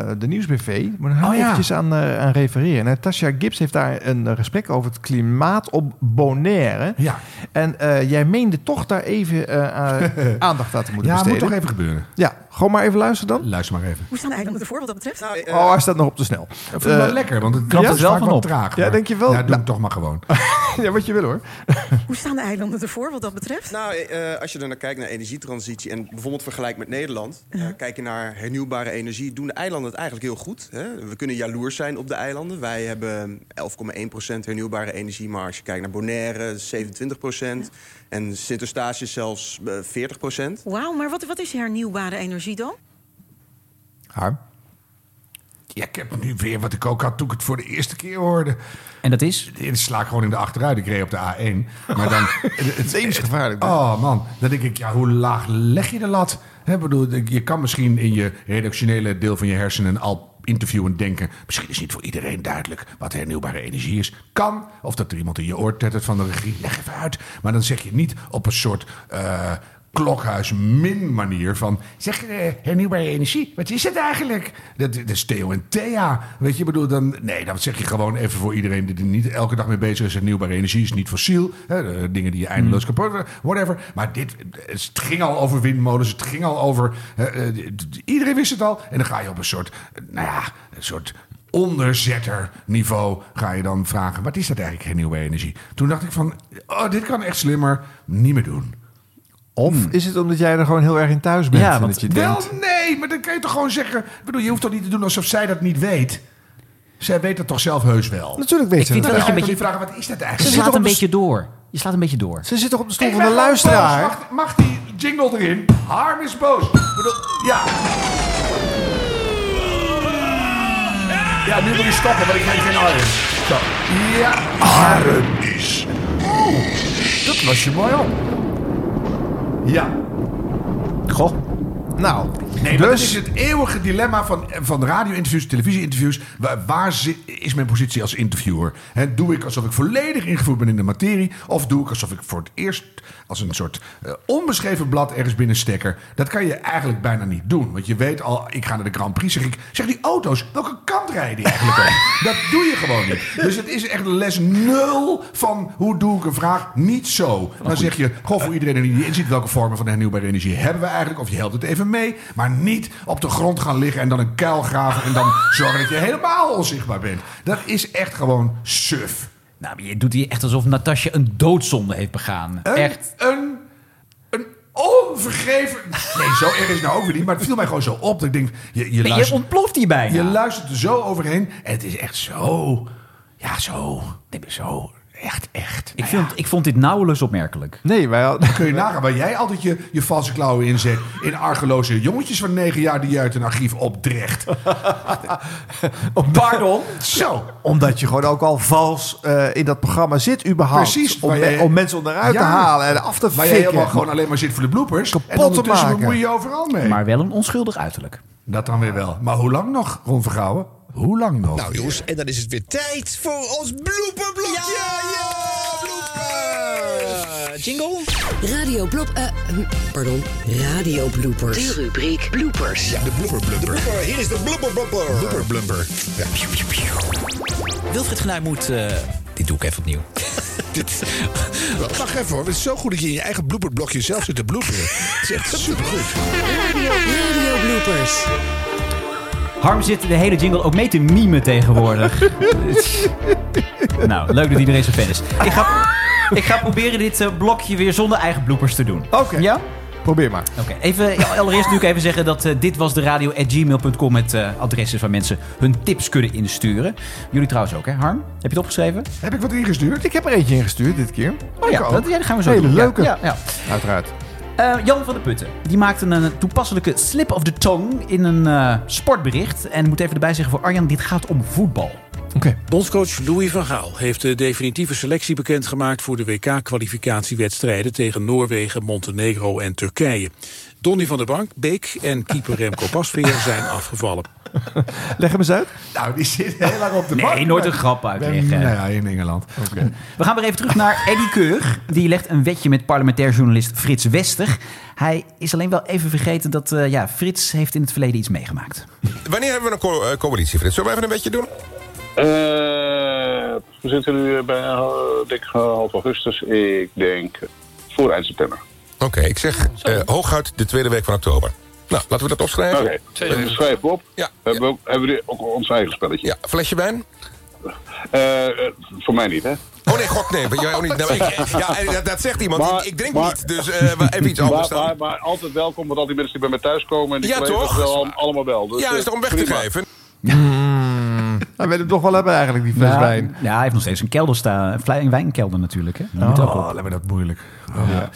Speaker 2: eh, de Nieuwsbv. Maar daar ga ik
Speaker 7: Oh ja.
Speaker 2: eventjes aan, eh, aan refereren. En Tasha Gibbs heeft daar een eh, gesprek over het klimaat op Bonaire.
Speaker 7: Ja.
Speaker 2: En eh, jij meende toch daar even eh, eh, aandacht aan te moeten
Speaker 7: Ja, moet
Speaker 2: besteden.
Speaker 7: toch even gebeuren.
Speaker 2: Ja, gewoon maar even luisteren dan.
Speaker 7: Luister maar even.
Speaker 3: Hoe staan de eilanden ervoor wat dat betreft?
Speaker 2: oh, hij staat nog op te snel.
Speaker 7: Ik vind het wel
Speaker 2: Eh,
Speaker 7: lekker, want het
Speaker 2: ja?
Speaker 7: knapt
Speaker 2: Ja,
Speaker 7: het wel van op. traag.
Speaker 2: Ja,
Speaker 7: maar-
Speaker 2: denk je wel.
Speaker 7: Ja, doe
Speaker 2: Nou,
Speaker 7: hem toch maar gewoon.
Speaker 2: ja, wat je wil hoor.
Speaker 3: Hoe staan de eilanden ervoor wat dat betreft?
Speaker 15: Nou, eh, eh, als je dan naar kijkt naar energietransitie en bijvoorbeeld vergelijkt met Nederland, eh, kijk je naar hernieuwbare energie, doen de eilanden het eigenlijk heel goed. Hè? We kunnen jaloers zijn op de eilanden. Wij hebben eh, 11,1% hernieuwbare energie, maar als je kijkt naar Bonaire, 27%. En Sint-Eustatius zelfs eh, 40%.
Speaker 3: Wauw, maar wat, wat is hernieuwbare energie dan?
Speaker 2: Harm?
Speaker 7: Ja, ik heb nu weer wat ik ook had toen ik het voor de eerste keer hoorde.
Speaker 1: En dat is?
Speaker 7: Ik sla ik gewoon in de achteruit. Ik reed op de A1. Maar dan... het,
Speaker 2: is gevaarlijk.
Speaker 7: Oh man, dan denk ik, ja, hoe laag leg je de lat? Hè, bedoel, je kan misschien in je redactionele deel van je hersenen al interviewen denken... misschien is niet voor iedereen duidelijk wat hernieuwbare energie is. Kan, of dat er iemand in je oor tettert van de regie. Leg even uit. Maar dan zeg je niet op een soort... eh, klokhuis min manier van... zeg, eh, hernieuwbare energie, wat is het eigenlijk? Dat, dat is Theo en Thea. Weet je, ik bedoel, dan, nee, dan zeg je gewoon even voor iedereen... die er niet elke dag mee bezig is, hernieuwbare energie is niet fossiel. Hè, de dingen die je eindeloos kan produceren, whatever. Maar dit, het ging al over windmolens, het ging al over... eh, eh, d- d- iedereen wist het al. En dan ga je op een soort, eh, nou ja, een soort onderzetterniveau ga je dan vragen... wat is dat eigenlijk, hernieuwbare energie? Toen dacht ik van, oh, dit kan echt slimmer, niet meer doen.
Speaker 2: Of is het omdat jij er gewoon heel erg in thuis bent?
Speaker 7: Hmm. Ja,
Speaker 2: en
Speaker 7: want
Speaker 2: dat je
Speaker 7: wel
Speaker 2: denkt,
Speaker 7: nee, maar dan kan je toch gewoon zeggen... Ik bedoel, je hoeft toch niet te doen alsof zij dat niet weet? Zij weet dat toch zelf heus wel?
Speaker 2: Natuurlijk weet
Speaker 1: Ik
Speaker 2: ze
Speaker 1: vind
Speaker 2: dat
Speaker 1: dat
Speaker 2: wel.
Speaker 1: je een
Speaker 7: Ik
Speaker 1: beetje...
Speaker 7: wil je vragen, wat is dat
Speaker 1: Je
Speaker 7: eigenlijk? dus
Speaker 1: slaat een beetje door. Je slaat een beetje door.
Speaker 2: Ze zit toch op de stoel
Speaker 7: Ik
Speaker 2: van de
Speaker 7: ben gewoon
Speaker 2: luisteraar?
Speaker 7: boos. Mag, mag die jingle erin? Harm is boos. Ik bedoel, ja. Ja, nu moet je stoppen, want ik heb geen arm. Zo. Ja. Arm is... Oeh, dat was je mooi op. Ja.
Speaker 2: Goh. Nou,
Speaker 7: Nee, maar
Speaker 2: Dus-
Speaker 7: dat is het eeuwige dilemma van, van radio-interviews, televisie-interviews. Waar, waar zi- is mijn positie als interviewer? Hè, doe ik alsof ik volledig ingevoerd ben in de materie? Of doe ik alsof ik voor het eerst als een soort eh, onbeschreven blad ergens binnenstekker? Dat kan je eigenlijk bijna niet doen. Want je weet al, ik ga naar de Grand Prix, zeg ik. Zeg die auto's, welke kant rijden die eigenlijk op? Dat doe je gewoon niet. Dus het is echt een les nul van hoe doe ik een vraag? Niet zo. Dan zeg je, goh, voor iedereen die in ziet welke vormen van hernieuwbare energie hebben we eigenlijk. Of je helpt het even mee. Maar niet op de grond gaan liggen en dan een kuil graven. En dan zorgen dat je helemaal onzichtbaar bent. Dat is echt gewoon suf.
Speaker 1: Nou, maar je doet hier echt alsof Natasja een doodzonde heeft begaan.
Speaker 7: Een,
Speaker 1: echt.
Speaker 7: Een, een onvergeven... Nee, zo erg is het nou ook weer niet. Maar het viel mij gewoon zo op. Dat ik denk, je, je,
Speaker 1: je
Speaker 7: luistert,
Speaker 1: ontploft hierbij.
Speaker 7: je luistert er zo overheen. En het is echt zo... Ja, zo. Nee, maar zo. Echt, echt. Nou
Speaker 1: Ik, vind, ik vond dit nauwelijks opmerkelijk.
Speaker 2: Nee, wij
Speaker 7: Dan kun je nagaan waar jij altijd je, je valse klauwen in zet. In argeloze jongetjes van negen jaar die je uit een archief opdrecht.
Speaker 1: Pardon?
Speaker 7: Zo.
Speaker 2: Omdat je gewoon ook al vals eh, in dat programma zit überhaupt.
Speaker 7: Precies.
Speaker 2: Om,
Speaker 7: waar jij-
Speaker 2: om mensen onderuit
Speaker 7: Ja.
Speaker 2: te halen en af te
Speaker 7: Waar
Speaker 2: fikken.
Speaker 7: jij helemaal gewoon alleen maar zit voor de bloopers. en
Speaker 2: te
Speaker 7: ondertussen
Speaker 2: maken.
Speaker 7: bemoei je je overal mee.
Speaker 1: Maar wel een onschuldig uiterlijk.
Speaker 7: Dat dan weer wel. Maar hoe lang nog, Ron Vergouwen? Hoe lang nog?
Speaker 6: Nou jongens, en dan is het weer tijd voor ons blooperblokje! Ja, bloopers! Jingle?
Speaker 9: Radio Blop... eh, hm, pardon, Radio Bloopers.
Speaker 6: De
Speaker 9: rubriek Bloopers.
Speaker 6: Ja, de blooper blumper. Hier is de blooper blumper. Blooper blumper. Ja.
Speaker 16: Wilfried Genuij moet... eh, dit doe ik even opnieuw.
Speaker 6: Dit, wacht even hoor, het is zo goed dat je in je eigen blooperblokje zelf zit te bloeperen. Het is echt supergoed.
Speaker 9: Radio Bloopers.
Speaker 1: Harm zit de hele jingle ook mee te mimen tegenwoordig. nou, leuk dat iedereen zo fan is. Ik ga, ik ga proberen dit eh, blokje weer zonder eigen bloepers te doen. Oké. Ja?
Speaker 2: Probeer maar.
Speaker 1: Oké, even, ja, allereerst natuurlijk even zeggen dat eh, dit was de radio at gmail.com het eh, adres is waar mensen hun tips kunnen insturen. Jullie trouwens ook, hè Harm? Heb je het opgeschreven?
Speaker 7: Heb ik wat ingestuurd?
Speaker 2: Ik heb er eentje ingestuurd dit keer.
Speaker 1: Oh ja,
Speaker 2: Ik ook.
Speaker 1: dat, ja, dat gaan we zo
Speaker 2: Hele
Speaker 1: doen. Ja,
Speaker 2: leuke.
Speaker 1: Ja, ja.
Speaker 2: Uiteraard.
Speaker 1: Eh, Jan van de Putten. Die maakte een eh, toepasselijke slip of the tongue in een eh, sportbericht. En ik moet even erbij zeggen voor Arjan, dit gaat om voetbal.
Speaker 17: Bondscoach Louis van Gaal heeft de definitieve selectie bekendgemaakt... voor de WK-kwalificatiewedstrijden tegen Noorwegen, Montenegro en Turkije. Donny van der Bank, Beek en keeper Remco Pasveer zijn afgevallen.
Speaker 2: Leg hem eens uit.
Speaker 7: Nou, die zit heel lang op de
Speaker 1: Nee,
Speaker 7: bank.
Speaker 1: nooit een grap uitleggen.
Speaker 7: Nou ja, in Engeland.
Speaker 1: We gaan weer even terug naar Eddy Keur. Die legt een wetje met parlementair journalist Frits Wester. Hij is alleen wel even vergeten dat eh, ja, Frits heeft in het verleden iets meegemaakt.
Speaker 13: Wanneer hebben we een co- eh, coalitie, Frits? Zullen we even een beetje doen?
Speaker 18: Eh, we zitten nu bij eh, dik eh, half augustus. Ik denk voor eind september.
Speaker 13: Oké, ik zeg eh, hooguit de tweede week van oktober. Nou, laten we dat opschrijven.
Speaker 18: Oké, dat schrijf ik op. Hebben, we ook, hebben we ook ons eigen spelletje? Ja,
Speaker 13: flesje wijn?
Speaker 18: voor mij niet, hè?
Speaker 13: Oh nee, gok nee. want jij ook niet. Nou, ik- ja, en dat, dat zegt iemand. Ik- ik drink niet, dus eh, maar even iets anders
Speaker 18: maar,
Speaker 13: dan.
Speaker 18: maar, maar altijd welkom, want al die mensen die bij mij thuis komen... en die
Speaker 13: Ja,
Speaker 18: collega's
Speaker 13: toch?
Speaker 18: Wel, al- allemaal wel. Dus,
Speaker 13: Ja,
Speaker 18: eh,
Speaker 13: is er om weg te
Speaker 18: prima.
Speaker 13: geven.
Speaker 2: Hij wil hem toch wel hebben eigenlijk, die fles
Speaker 1: Hmm. ja,
Speaker 2: wijn.
Speaker 1: Ja, hij heeft nog steeds een kelder staan. Een vlei- Een wijnkelder natuurlijk. Hè. Die moet
Speaker 2: Oh,
Speaker 1: ook op.
Speaker 7: lijkt me dat moeilijk. Ja.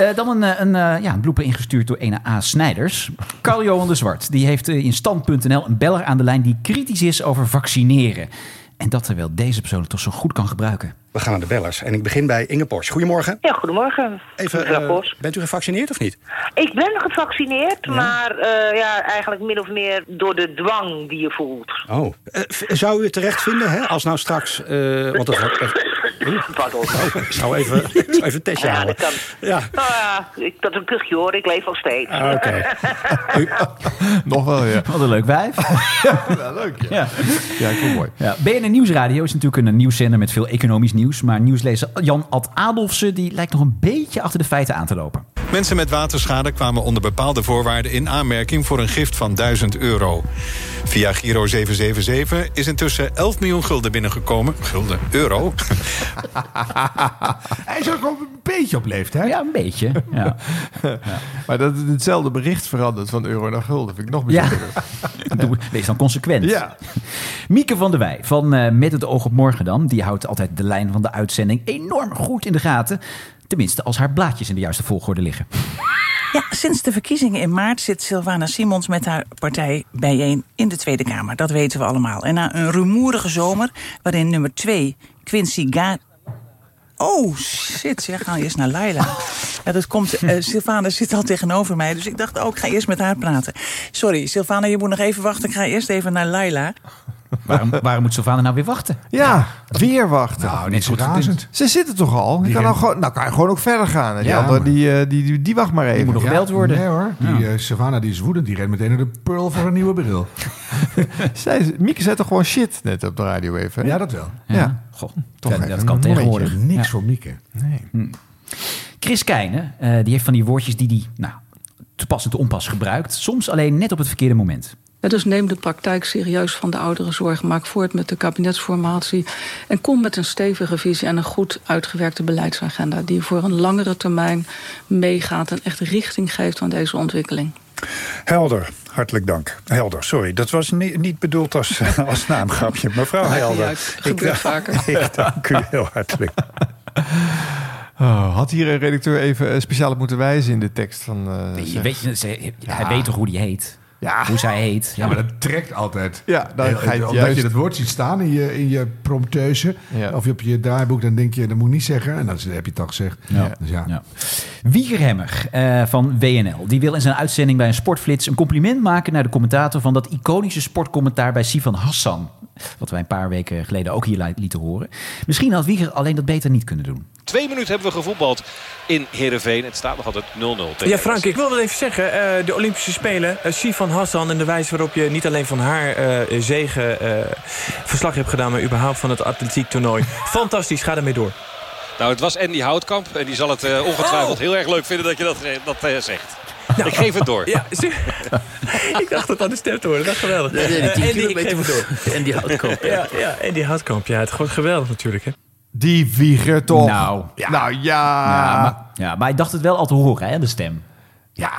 Speaker 1: Eh, dan een, eh, een, eh, ja, een blooper ingestuurd door ene A. Snijders. Carl-Johan de Zwart. Die heeft eh, in stand.nl een beller aan de lijn die kritisch is over vaccineren. En dat terwijl deze persoon het toch zo goed kan gebruiken.
Speaker 27: We gaan naar de bellers en ik begin bij Inge Porsche. Goedemorgen.
Speaker 10: Ja, goedemorgen.
Speaker 27: Even,
Speaker 10: Mevrouw
Speaker 27: eh,
Speaker 10: Pols.
Speaker 27: bent u gevaccineerd of niet?
Speaker 10: Ik ben gevaccineerd, maar eh, ja, eigenlijk min of meer door de dwang die je voelt.
Speaker 27: Oh. Eh, v- zou u het terecht vinden, hè, als nou straks... eh, want dat,
Speaker 10: Pardon.
Speaker 27: Oh, ik zou even, ik zou even een testje
Speaker 10: Ja,
Speaker 27: halen.
Speaker 10: dat kan.
Speaker 27: Ja.
Speaker 10: Nou ja, ik, dat is een kuchje hoor, ik leef nog steeds.
Speaker 27: Ah, oké.
Speaker 2: Nog wel, ja.
Speaker 1: Wat een leuk wijf.
Speaker 2: leuk,
Speaker 1: ja.
Speaker 2: Ja, ik vind het mooi.
Speaker 1: Ja, BNN Nieuwsradio is natuurlijk een nieuwszender met veel economisch nieuws. Maar nieuwslezer Jan Ad Adolfsen die lijkt nog een beetje achter de feiten aan te lopen.
Speaker 28: Mensen met waterschade kwamen onder bepaalde voorwaarden in aanmerking voor een gift van 1000 euro. Via Giro 777 is intussen 11 miljoen gulden binnengekomen. Gulden, euro.
Speaker 7: Hij is ook al een beetje op leeftijd.
Speaker 1: Ja, een beetje. Ja.
Speaker 2: Maar dat het hetzelfde bericht verandert van euro naar gulden vind ik nog
Speaker 1: Ja.
Speaker 2: bijzonder.
Speaker 1: Doe- Wees dan consequent.
Speaker 2: Ja.
Speaker 1: Mieke van der Wij van eh, Met het oog op morgen dan. Die houdt altijd de lijn van de uitzending enorm goed in de gaten. Tenminste, als haar blaadjes in de juiste volgorde liggen.
Speaker 29: Ja, sinds de verkiezingen in maart zit Sylvana Simons met haar partij bijeen in de Tweede Kamer. Dat weten we allemaal. En na een rumoerige zomer, waarin nummer twee Quincy Ga oh shit, zeg, ga eerst naar Laila. Ja, dat komt, eh, Sylvana zit al tegenover mij, dus ik dacht, oh, ik ga eerst met haar praten. Sorry, Sylvana, je moet nog even wachten. Ik ga eerst even naar Laila.
Speaker 1: waarom, waarom moet Sylvana nou weer wachten?
Speaker 2: Ja, weer wachten.
Speaker 1: Nou, niet zo razend.
Speaker 2: Ze zitten toch al? Die
Speaker 1: Die
Speaker 2: kan nou,
Speaker 1: rennen-
Speaker 2: gewoon, nou kan je gewoon ook verder gaan. En Die
Speaker 7: Ja,
Speaker 2: andere,
Speaker 7: maar-
Speaker 2: die, eh, die, die, die wacht maar even.
Speaker 7: Ja, Nee hoor, die eh, Savannah die is woedend. Die rent meteen naar de Pearl voor een nieuwe bril.
Speaker 2: Zij, Mieke zei toch gewoon shit net op de radio even? hè?
Speaker 7: Ja, dat wel.
Speaker 2: Ja.
Speaker 1: Ja.
Speaker 2: Goh,
Speaker 1: Dat-
Speaker 2: even
Speaker 1: dat
Speaker 2: een
Speaker 1: kan
Speaker 2: momentje.
Speaker 1: tegenwoordig.
Speaker 7: Niks
Speaker 1: Ja.
Speaker 7: voor Mieke.
Speaker 1: Hm. Chris Keijne, eh, die heeft van die woordjes die hij nou, te pas en te onpas gebruikt. Soms alleen net op het verkeerde moment.
Speaker 27: Ja, Dus neem de praktijk serieus van de ouderenzorg. Maak voort met de kabinetsformatie. En kom met een stevige visie en een goed uitgewerkte beleidsagenda. Die voor een langere termijn meegaat en echt richting geeft aan deze ontwikkeling.
Speaker 30: Helder, hartelijk dank. Helder, sorry. Dat was ni- niet bedoeld als, als naamgrapje. Mevrouw
Speaker 27: Maakt niet
Speaker 30: Helder.
Speaker 27: uit, gebeurt
Speaker 30: ik,
Speaker 27: vaker.
Speaker 30: ik dank u heel hartelijk.
Speaker 2: Oh, had hier een redacteur even eh, speciaal op moeten wijzen in de tekst van... eh,
Speaker 1: Weet je,
Speaker 2: zeg.
Speaker 1: weet je, ze- Hij
Speaker 2: Ja.
Speaker 1: weet toch hoe die heet?
Speaker 2: Ja.
Speaker 1: Hoe zij heet.
Speaker 7: Ja, maar dat trekt altijd.
Speaker 2: Ja, dan
Speaker 7: Heel-
Speaker 2: ga je het
Speaker 7: omdat
Speaker 2: juist-
Speaker 7: je dat woord ziet staan in je, in je prompteuze. Of je op je draaiboek, dan denk je, dat moet ik niet zeggen. En dan heb je het al gezegd.
Speaker 1: Ja.
Speaker 7: Dus ja.
Speaker 1: Ja. Wieger Hemmer eh, van WNL. Die wil in zijn uitzending bij een sportflits een compliment maken naar de commentator van dat iconische sportcommentaar bij Sivan Hassan. Wat wij een paar weken geleden ook hier li- lieten horen. Misschien had Wieger alleen dat beter niet kunnen doen.
Speaker 3: Twee minuten hebben we gevoetbald in Heerenveen. Het staat nog altijd 0-0 tegen
Speaker 14: Ja, Frank, ik wil wel even zeggen. eh, de Olympische Spelen, eh Sifan Hassan en de wijze waarop je niet alleen van haar eh, zegen eh, verslag hebt gedaan... maar überhaupt van het atletiek toernooi. Fantastisch, ga ermee door.
Speaker 3: Nou, het was Andy Houtkamp. En die zal het eh, ongetwijfeld
Speaker 14: Oh.
Speaker 3: heel erg leuk vinden dat je dat, eh, dat eh, zegt. Ik geef het door.
Speaker 14: Ja, zie- ik dacht dat aan de stem te horen. Dat is geweldig.
Speaker 3: Nee, nee, die tien
Speaker 14: Eh,
Speaker 3: kilometer
Speaker 14: ik geef het door.
Speaker 3: Andy Houtkamp, ja.
Speaker 14: Ja, ja, Andy Houtkamp. Ja, het gewoon geweldig natuurlijk, hè.
Speaker 2: Die Wieger toch?
Speaker 1: Nou,
Speaker 2: ja. ja.
Speaker 1: Ja, maar, ja, maar hij dacht het wel al te horen, hè, de stem.
Speaker 2: Ja.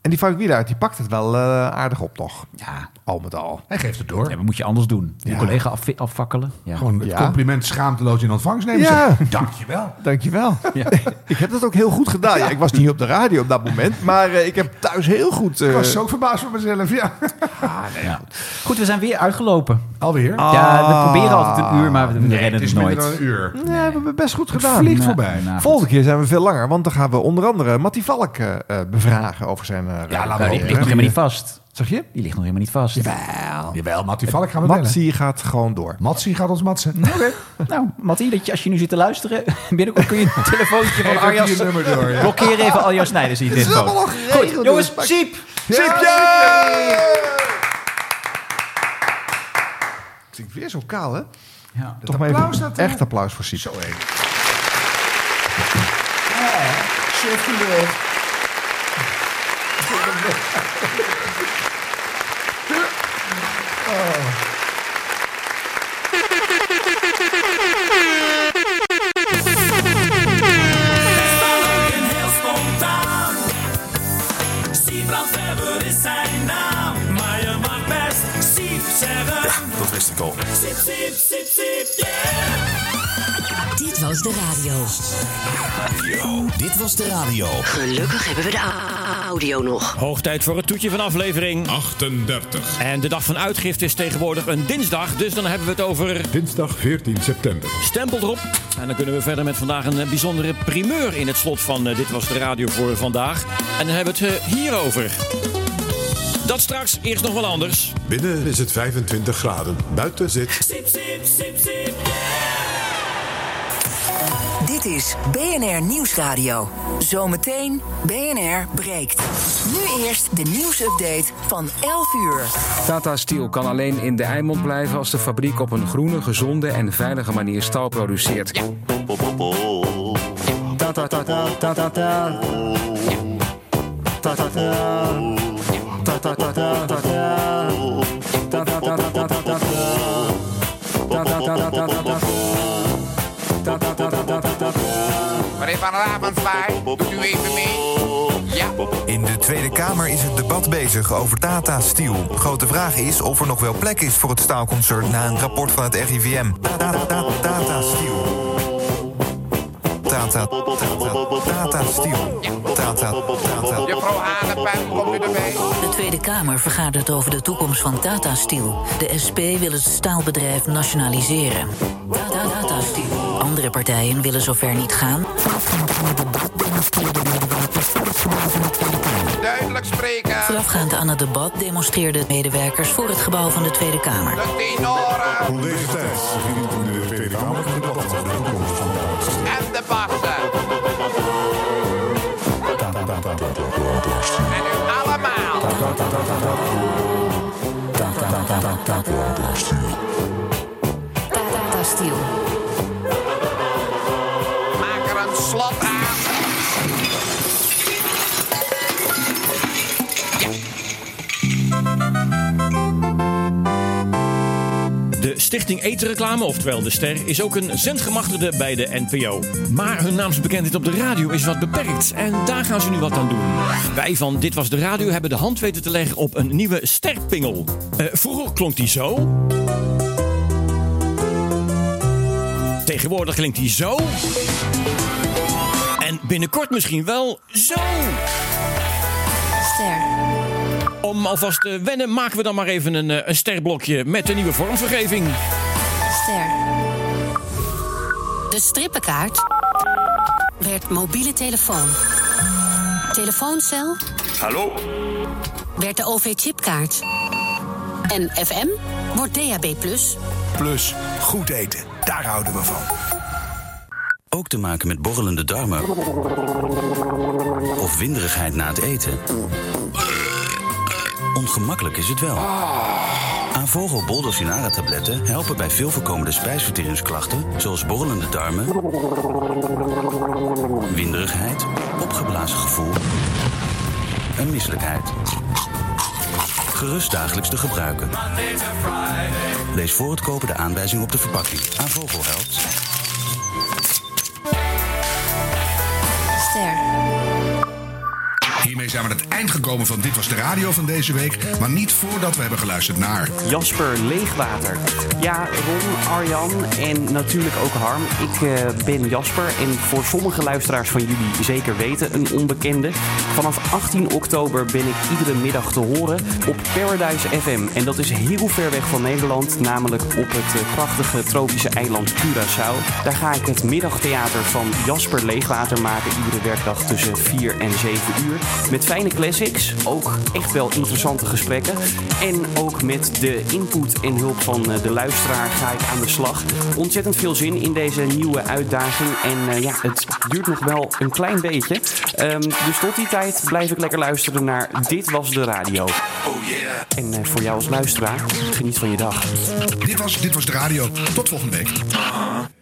Speaker 2: En die Frank Wielaert, die pakt het wel eh, aardig op nog.
Speaker 1: Ja.
Speaker 2: Al met al.
Speaker 7: Hij geeft het door.
Speaker 1: Ja, maar moet je anders doen. Je
Speaker 7: Ja.
Speaker 1: collega afvi- afvakkelen. Ja.
Speaker 7: Gewoon het compliment schaamteloos in ontvangst nemen.
Speaker 2: Ja.
Speaker 7: Zeg, Dankjewel.
Speaker 2: Dankjewel. ik heb dat ook heel goed gedaan. Ja, ik was niet op de radio op dat moment, maar eh, ik heb thuis heel goed... eh,
Speaker 7: Ik was ook verbaasd van mezelf, ja.
Speaker 1: Ja. Goed, we zijn weer uitgelopen.
Speaker 7: Alweer?
Speaker 1: Ja, we proberen altijd een uur, maar we
Speaker 7: Nee,
Speaker 1: redden
Speaker 7: het is
Speaker 1: het nooit.
Speaker 7: minder dan een uur.
Speaker 2: Nee, we hebben het best goed gedaan.
Speaker 7: vliegt voorbij.
Speaker 2: Nou, Volgende keer zijn we veel langer, want dan gaan we onder andere Mattie Valk eh, eh, bevragen over zijn... eh,
Speaker 1: Ja,
Speaker 2: radio-
Speaker 1: laat maar die ligt nog helemaal niet vast.
Speaker 2: Zeg je?
Speaker 1: Die ligt nog helemaal niet vast.
Speaker 7: Jawel. Jawel, Mattie Valk gaan we bellen.
Speaker 2: Mattie gaat gewoon door.
Speaker 7: Matsie gaat ons matsen.
Speaker 1: Nou, Mattie, dat je, als je nu zit te luisteren, binnenkort kun je een telefoontje van
Speaker 7: Geef
Speaker 1: Arjan...
Speaker 7: even je nummer door, ja.
Speaker 1: Blokkeer even Arjan Snijders in je
Speaker 7: Het is
Speaker 1: telefoon.
Speaker 7: allemaal al geregeld,
Speaker 1: Goed, jongens,
Speaker 7: dus.
Speaker 1: Siep!
Speaker 2: Klinkt weer zo kaal, hè?
Speaker 1: Ja.
Speaker 2: Toch maar even
Speaker 7: applaus dat, eh,
Speaker 2: echt applaus voor Siep. Zo
Speaker 7: heen.
Speaker 19: heel spontaan. Siebrand Weber is zijn naam, maar je mag best Siep zeggen. Ja, dat wist ik al. Siep, siep, siep, siep, yeah.
Speaker 9: Dit was de radio.
Speaker 22: Dit was de radio.
Speaker 9: Gelukkig hebben we de a- audio nog.
Speaker 22: Hoog tijd voor het toetje van aflevering 38. En de dag van uitgifte is tegenwoordig een dinsdag, dus dan hebben we het over. Dinsdag 14 september. Stempel erop. En dan kunnen we verder met vandaag een eh, bijzondere primeur in het slot van eh, Dit was de radio voor vandaag. En dan hebben we het eh, hierover. Dat straks eerst nog wel anders.
Speaker 31: Binnen is het 25 graden. Buiten zit.
Speaker 19: Siep, siep, siep, siep, yeah.
Speaker 9: Dit is BNR Nieuwsradio. Zometeen BNR breekt. Nu eerst de nieuwsupdate van 11 uur.
Speaker 32: Tata Steel kan alleen in de Eimond blijven als de fabriek op een groene, gezonde en veilige manier staal produceert. Tata, tata, tata, tata. Tata, tata. Tata, tata, tata. Tata, tata, tata, tata. Tata, tata, tata, tata. Tata, tata, tata, tata.
Speaker 13: Meneer Van Ravenswaai, doet u even mee? Ja.
Speaker 4: In de Tweede Kamer is het debat bezig over Tata Steel. Grote vraag is of er nog wel plek is voor het staalconcern na een rapport van het RIVM. Tata, Tata, Tata Steel. Tata, Tata, Tata Steel. Tata, Tata.
Speaker 13: Mevrouw Hanepen, kom u erbij.
Speaker 33: De Tweede Kamer vergadert over de toekomst van Tata Steel. De SP wil het staalbedrijf nationaliseren. Tata, Tata Steel.
Speaker 34: Andere partijen willen zover niet gaan.
Speaker 33: Duidelijk spreken.
Speaker 34: Voorafgaand aan het debat demonstreerden medewerkers voor het gebouw van de Tweede Kamer.
Speaker 33: Tenoren
Speaker 3: Deze tijd begint in de Tweede Kamer een debat over de toekomst van de oudste.
Speaker 33: en de bassen. En nu allemaal.
Speaker 34: Tata Steel.
Speaker 33: Maak er een slot aan.
Speaker 22: De Stichting Etenreclame, oftewel De Ster, is ook een zendgemachtigde bij de NPO. Maar hun naamsbekendheid op de radio is wat beperkt en daar gaan ze nu wat aan doen. Wij van Dit Was De Radio hebben de hand weten te leggen op een nieuwe sterpingel. Eh, vroeger klonk die zo. Tegenwoordig klinkt die zo. En binnenkort misschien wel zo.
Speaker 34: Ster.
Speaker 22: Om alvast te wennen maken we dan maar even een, eh, een sterblokje met de nieuwe vormvergeving.
Speaker 34: Ster. De strippenkaart werd mobiele telefoon. Telefooncel
Speaker 8: Hallo?
Speaker 34: werd de OV-chipkaart. En FM wordt DAB+.
Speaker 35: Plus, goed eten. Daar houden we van. Ook te maken met borrelende darmen. Of winderigheid na het eten. Ongemakkelijk is het wel. Avogel Boldosinara tabletten helpen bij veel voorkomende spijsverteringsklachten... zoals borrelende darmen, winderigheid, opgeblazen gevoel en misselijkheid. Gerust dagelijks te gebruiken. Lees voor het kopen de aanwijzing op de verpakking. Aan Vogel helpt.
Speaker 34: Ster.
Speaker 7: Hiermee zijn we aan het eind gekomen van Dit Was De Radio van deze week. Maar niet voordat we hebben geluisterd naar...
Speaker 5: Jasper Leegwater. Ja, Ron, Arjan en natuurlijk ook Harm. Ik eh, ben Jasper en voor sommige luisteraars van jullie zeker weten een onbekende. Vanaf 18 oktober ben ik iedere middag te horen op Paradise FM. En dat is heel ver weg van Nederland, namelijk op het eh, prachtige tropische eiland Curaçao. Daar ga ik het middagtheater van Jasper Leegwater maken iedere werkdag tussen 4 en 7 uur. Met fijne classics, ook echt wel interessante gesprekken. En ook met de input en hulp van eh, de luisteraar ga ik aan de slag. Ontzettend veel zin in deze nieuwe uitdaging. En eh, ja, het duurt nog wel een klein beetje. Ehm, dus tot die tijd blijf ik lekker luisteren naar Dit Was De Radio. En eh, voor jou als luisteraar, geniet van je dag.
Speaker 7: Dit was, dit was De Radio. Tot volgende week.